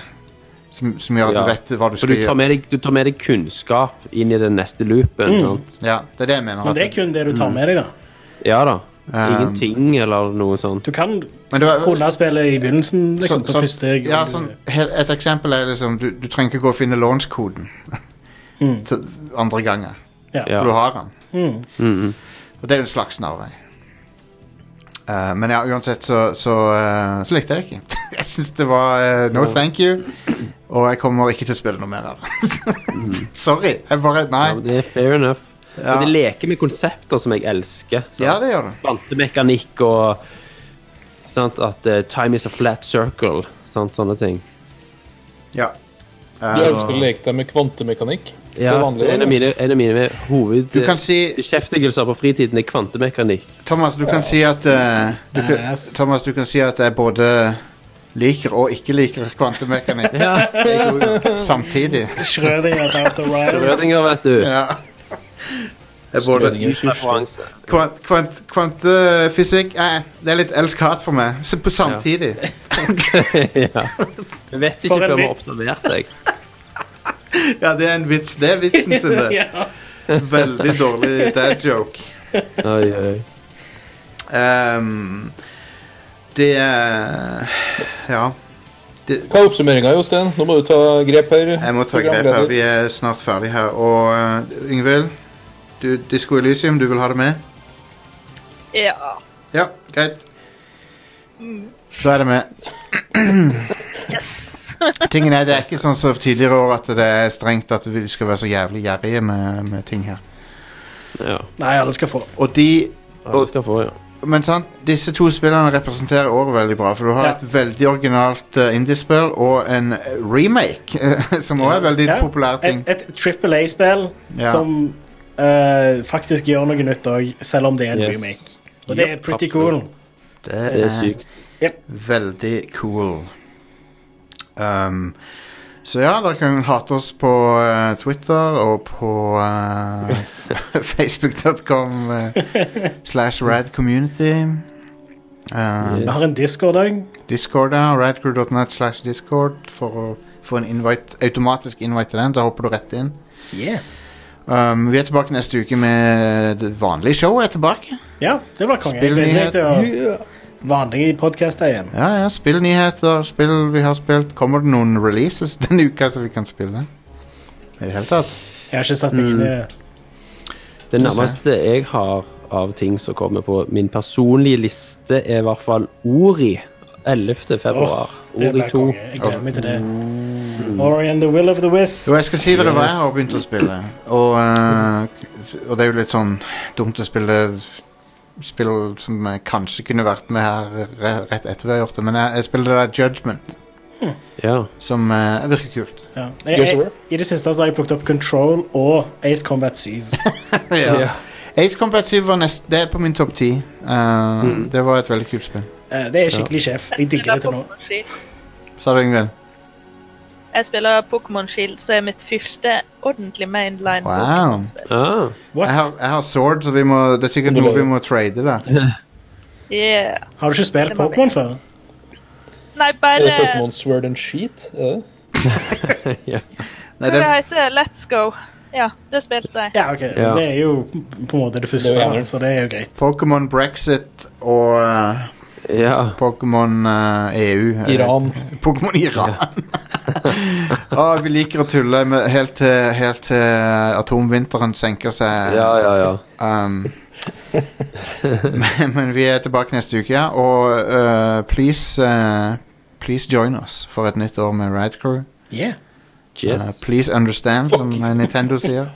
S2: Som, som gjør at
S3: Ja.
S2: du vet hva du
S3: For du
S2: skal
S3: tar
S2: gjøre.
S3: med deg, du tar med deg kunnskap inn i den neste loopen. Sant?
S2: Ja, det er det jeg mener.
S6: Men det er
S2: at-
S6: kun det du tar med deg, da.
S3: Ja da.
S2: Um,
S3: Ingenting eller noe sånt.
S6: Du kan
S2: men det var-
S6: kunne spille i begynnelsen, liksom,
S2: Sånn-
S6: på
S2: sånn-
S6: første gang.
S2: ja, sånn, he- Et eksempel er liksom Du, du trenger ikke gå og finne launch-koden *laughs*
S6: Mm.
S2: til andre ganger,
S3: Ja.
S2: for du har den.
S6: Mm.
S3: Mm, mm.
S2: Og det er jo en slags snarvei. Eh, men ja, uansett så, så, eh, så likte jeg det ikke. *laughs* jeg syns det var eh, no thank you, og jeg kommer ikke til å spille noe mer av det. *laughs* Sorry. Jeg bare
S3: Ja,
S2: Nei.
S3: det er fair enough.
S2: Ja.
S3: Men det leker med konsepter som jeg elsker. sant?
S2: Ja, det gjør det.
S3: Kvantemekanikk og sant? At eh, time is a flat circle. Sant? Sånne ting.
S2: Ja. Eh,
S5: Du elsker å leke deg med kvantemekanikk.
S3: Ja,
S5: det vanlige,
S3: en, av mine, en av mine
S2: du kan si
S3: hovedbeskjeftigelser på fritiden er kvantemekanikk.
S2: Thomas, du kan si at eh, du kan,
S6: Yes.
S2: Thomas, du kan si at jeg både liker og ikke liker *laughs* kvantemekanikk. Jeg gjorde jo Samtidig.
S6: Schrødinger, South of Ryan.
S3: Rødinger, vet du.
S2: Ja. Jeg både
S5: Skrøninger.
S3: Referanse. *laughs*
S2: kvant, kvant, Kvantefysikk eh, Det er litt elsk-hat for meg. Så på samtidig.
S3: ja. Jeg vet ikke
S6: For en
S3: før vi har
S6: vits.
S3: observert deg.
S2: *laughs* Ja, det er en vits. Det er *laughs* vitsen sin, det.
S6: *laughs* ja.
S2: Veldig dårlig dad joke.
S3: Oi, oi.
S2: Ehm, det er Ja.
S5: Hva er oppsummeringa, Jostein? Nå må du ta grep her.
S2: Jeg må ta grep her.
S5: programleder.
S2: Vi er snart ferdig her. Og eh, Yngvild, du, Disko Elysium, du vil ha det med?
S4: Ja.
S2: Ja, greit. Da er det med.
S4: Yes!
S2: Tingen er, Det er ikke sånn som tidligere år at det er strengt at vi skal være så jævlig gjerrige med, med ting her.
S3: Ja.
S6: Nei, alle skal få.
S2: Og de
S3: Alle skal få, ja.
S2: Men sant, disse to spillene representerer året veldig bra, for du har
S6: Ja.
S2: et veldig originalt eh, indiespill og en eh, remake, *laughs* eh, som også er veldig
S6: Ja.
S2: populær ting.
S6: Et, et Triple A-spill
S2: Ja.
S6: som eh, faktisk gjør noe nytt òg, selv om det er en
S3: Yes.
S6: remake. Og det er pretty cool.
S2: Det
S3: Det er sykt.
S2: veldig cool. Um, så ja, dere kan hate oss på eh, Twitter og på eh, f- facebook.com eh, slash radcommunity. Um,
S6: Vi har en Discord òg.
S2: Discord, ja. Radcrew.net slash Discord for å få en invite, automatisk invite til den. Da hopper du rett inn. Um, vi er tilbake neste uke med det vanlige showet. er tilbake.
S6: Ja, det var konge. Jeg gleder
S2: Spillnyhet.
S6: meg til å Vanlige podkaster igjen.
S2: Ja, ja, Spill nyheter, spill vi har spilt. Kommer det noen releases denne uka som vi kan spille? I det hele tatt.
S6: Jeg har ikke satt meg inn i det.
S3: Det nærmeste jeg har av ting som kommer på min personlige liste, er i hvert fall Ori. 11. februar.
S6: Det
S3: Ori
S6: blir
S3: 2.
S6: konge. Jeg gleder meg til det. Ori and the Will of the Wisps.
S2: Jo, jeg skal si dere hva jeg har begynt å spille. Og, uh, og det er jo litt sånn dumt å spille spill som jeg kanskje kunne vært med her re- rett etter vi har gjort det, men jeg, jeg spiller det der Judgment,
S3: Ja.
S2: som eh, virker kult.
S6: Ja. Jeg,
S5: Gears of
S6: jeg,
S5: War?
S6: I det siste så har jeg plukket opp Control og Ace Combat 7.
S3: Ja.
S2: Ace Combat 7 var nest, det er på min topp 10. Uh, Det var et veldig kult spill.
S6: Eh, Det er skikkelig sjef. Jeg digger det til nå.
S4: Pokémon Shield.
S2: Sa du Ingvild?
S4: Jeg spiller Pokémon Shield, så er mitt første ordentlig mainline
S2: Wow.
S4: Pokémon-spill.
S2: Jeg,
S3: Ah,
S2: har-
S6: What?
S2: jeg har sword, så vi må, det er sikkert
S5: Du må
S2: noe vi
S5: lage.
S2: må trade der.
S4: Yeah.
S6: Har du ikke spilt
S4: Det må vi.
S6: Pokémon før?
S4: Nei,
S5: Er det
S4: bare
S5: Pokémon Sword and Sheet? Er det?
S2: Nei,
S4: Hva
S2: det,
S4: det heter Let's Go. Ja, det spilte jeg.
S6: Ja, ok.
S3: Ja.
S6: Det er jo på en måte det første,
S5: Det er jo enig.
S6: så det er jo greit.
S2: Pokémon Brexit og eh,
S3: ja.
S2: Pokémon eh, EU. jeg vet
S5: Iran.
S2: Pokémon *laughs* Iran. Å, vi liker å tulle med, helt, til, helt til atomvinteren senker seg.
S3: Ja, ja, ja.
S2: Um, men, men vi er tilbake neste uke, ja. Og eh, please, eh, please join us for et nytt år med Radcrew.
S6: Yeah.
S2: Eh,
S3: Yes.
S2: uh,
S3: *laughs*
S2: please understand, som Nintendo sier.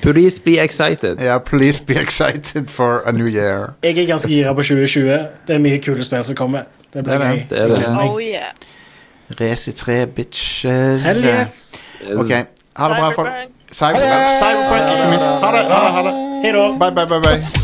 S3: Please be excited.
S2: Ja, please be excited for a new year.
S6: Jeg er ganske gira på 2020. Det er mye kule spill som kommer. Det
S2: Det
S6: blir
S2: er
S6: gøy.
S2: det.
S3: Det er det.
S2: Ja.
S4: Oh yeah.
S2: Race i tre, bitches.
S6: Hell yes!
S2: Ok, ha det bra, folk.
S4: Cyberpunk.
S2: Cyberpunk, Cyberpunk ikke minst. Ha det, ha det, ha det.
S6: Hei da.
S2: Bye, bye, bye, bye.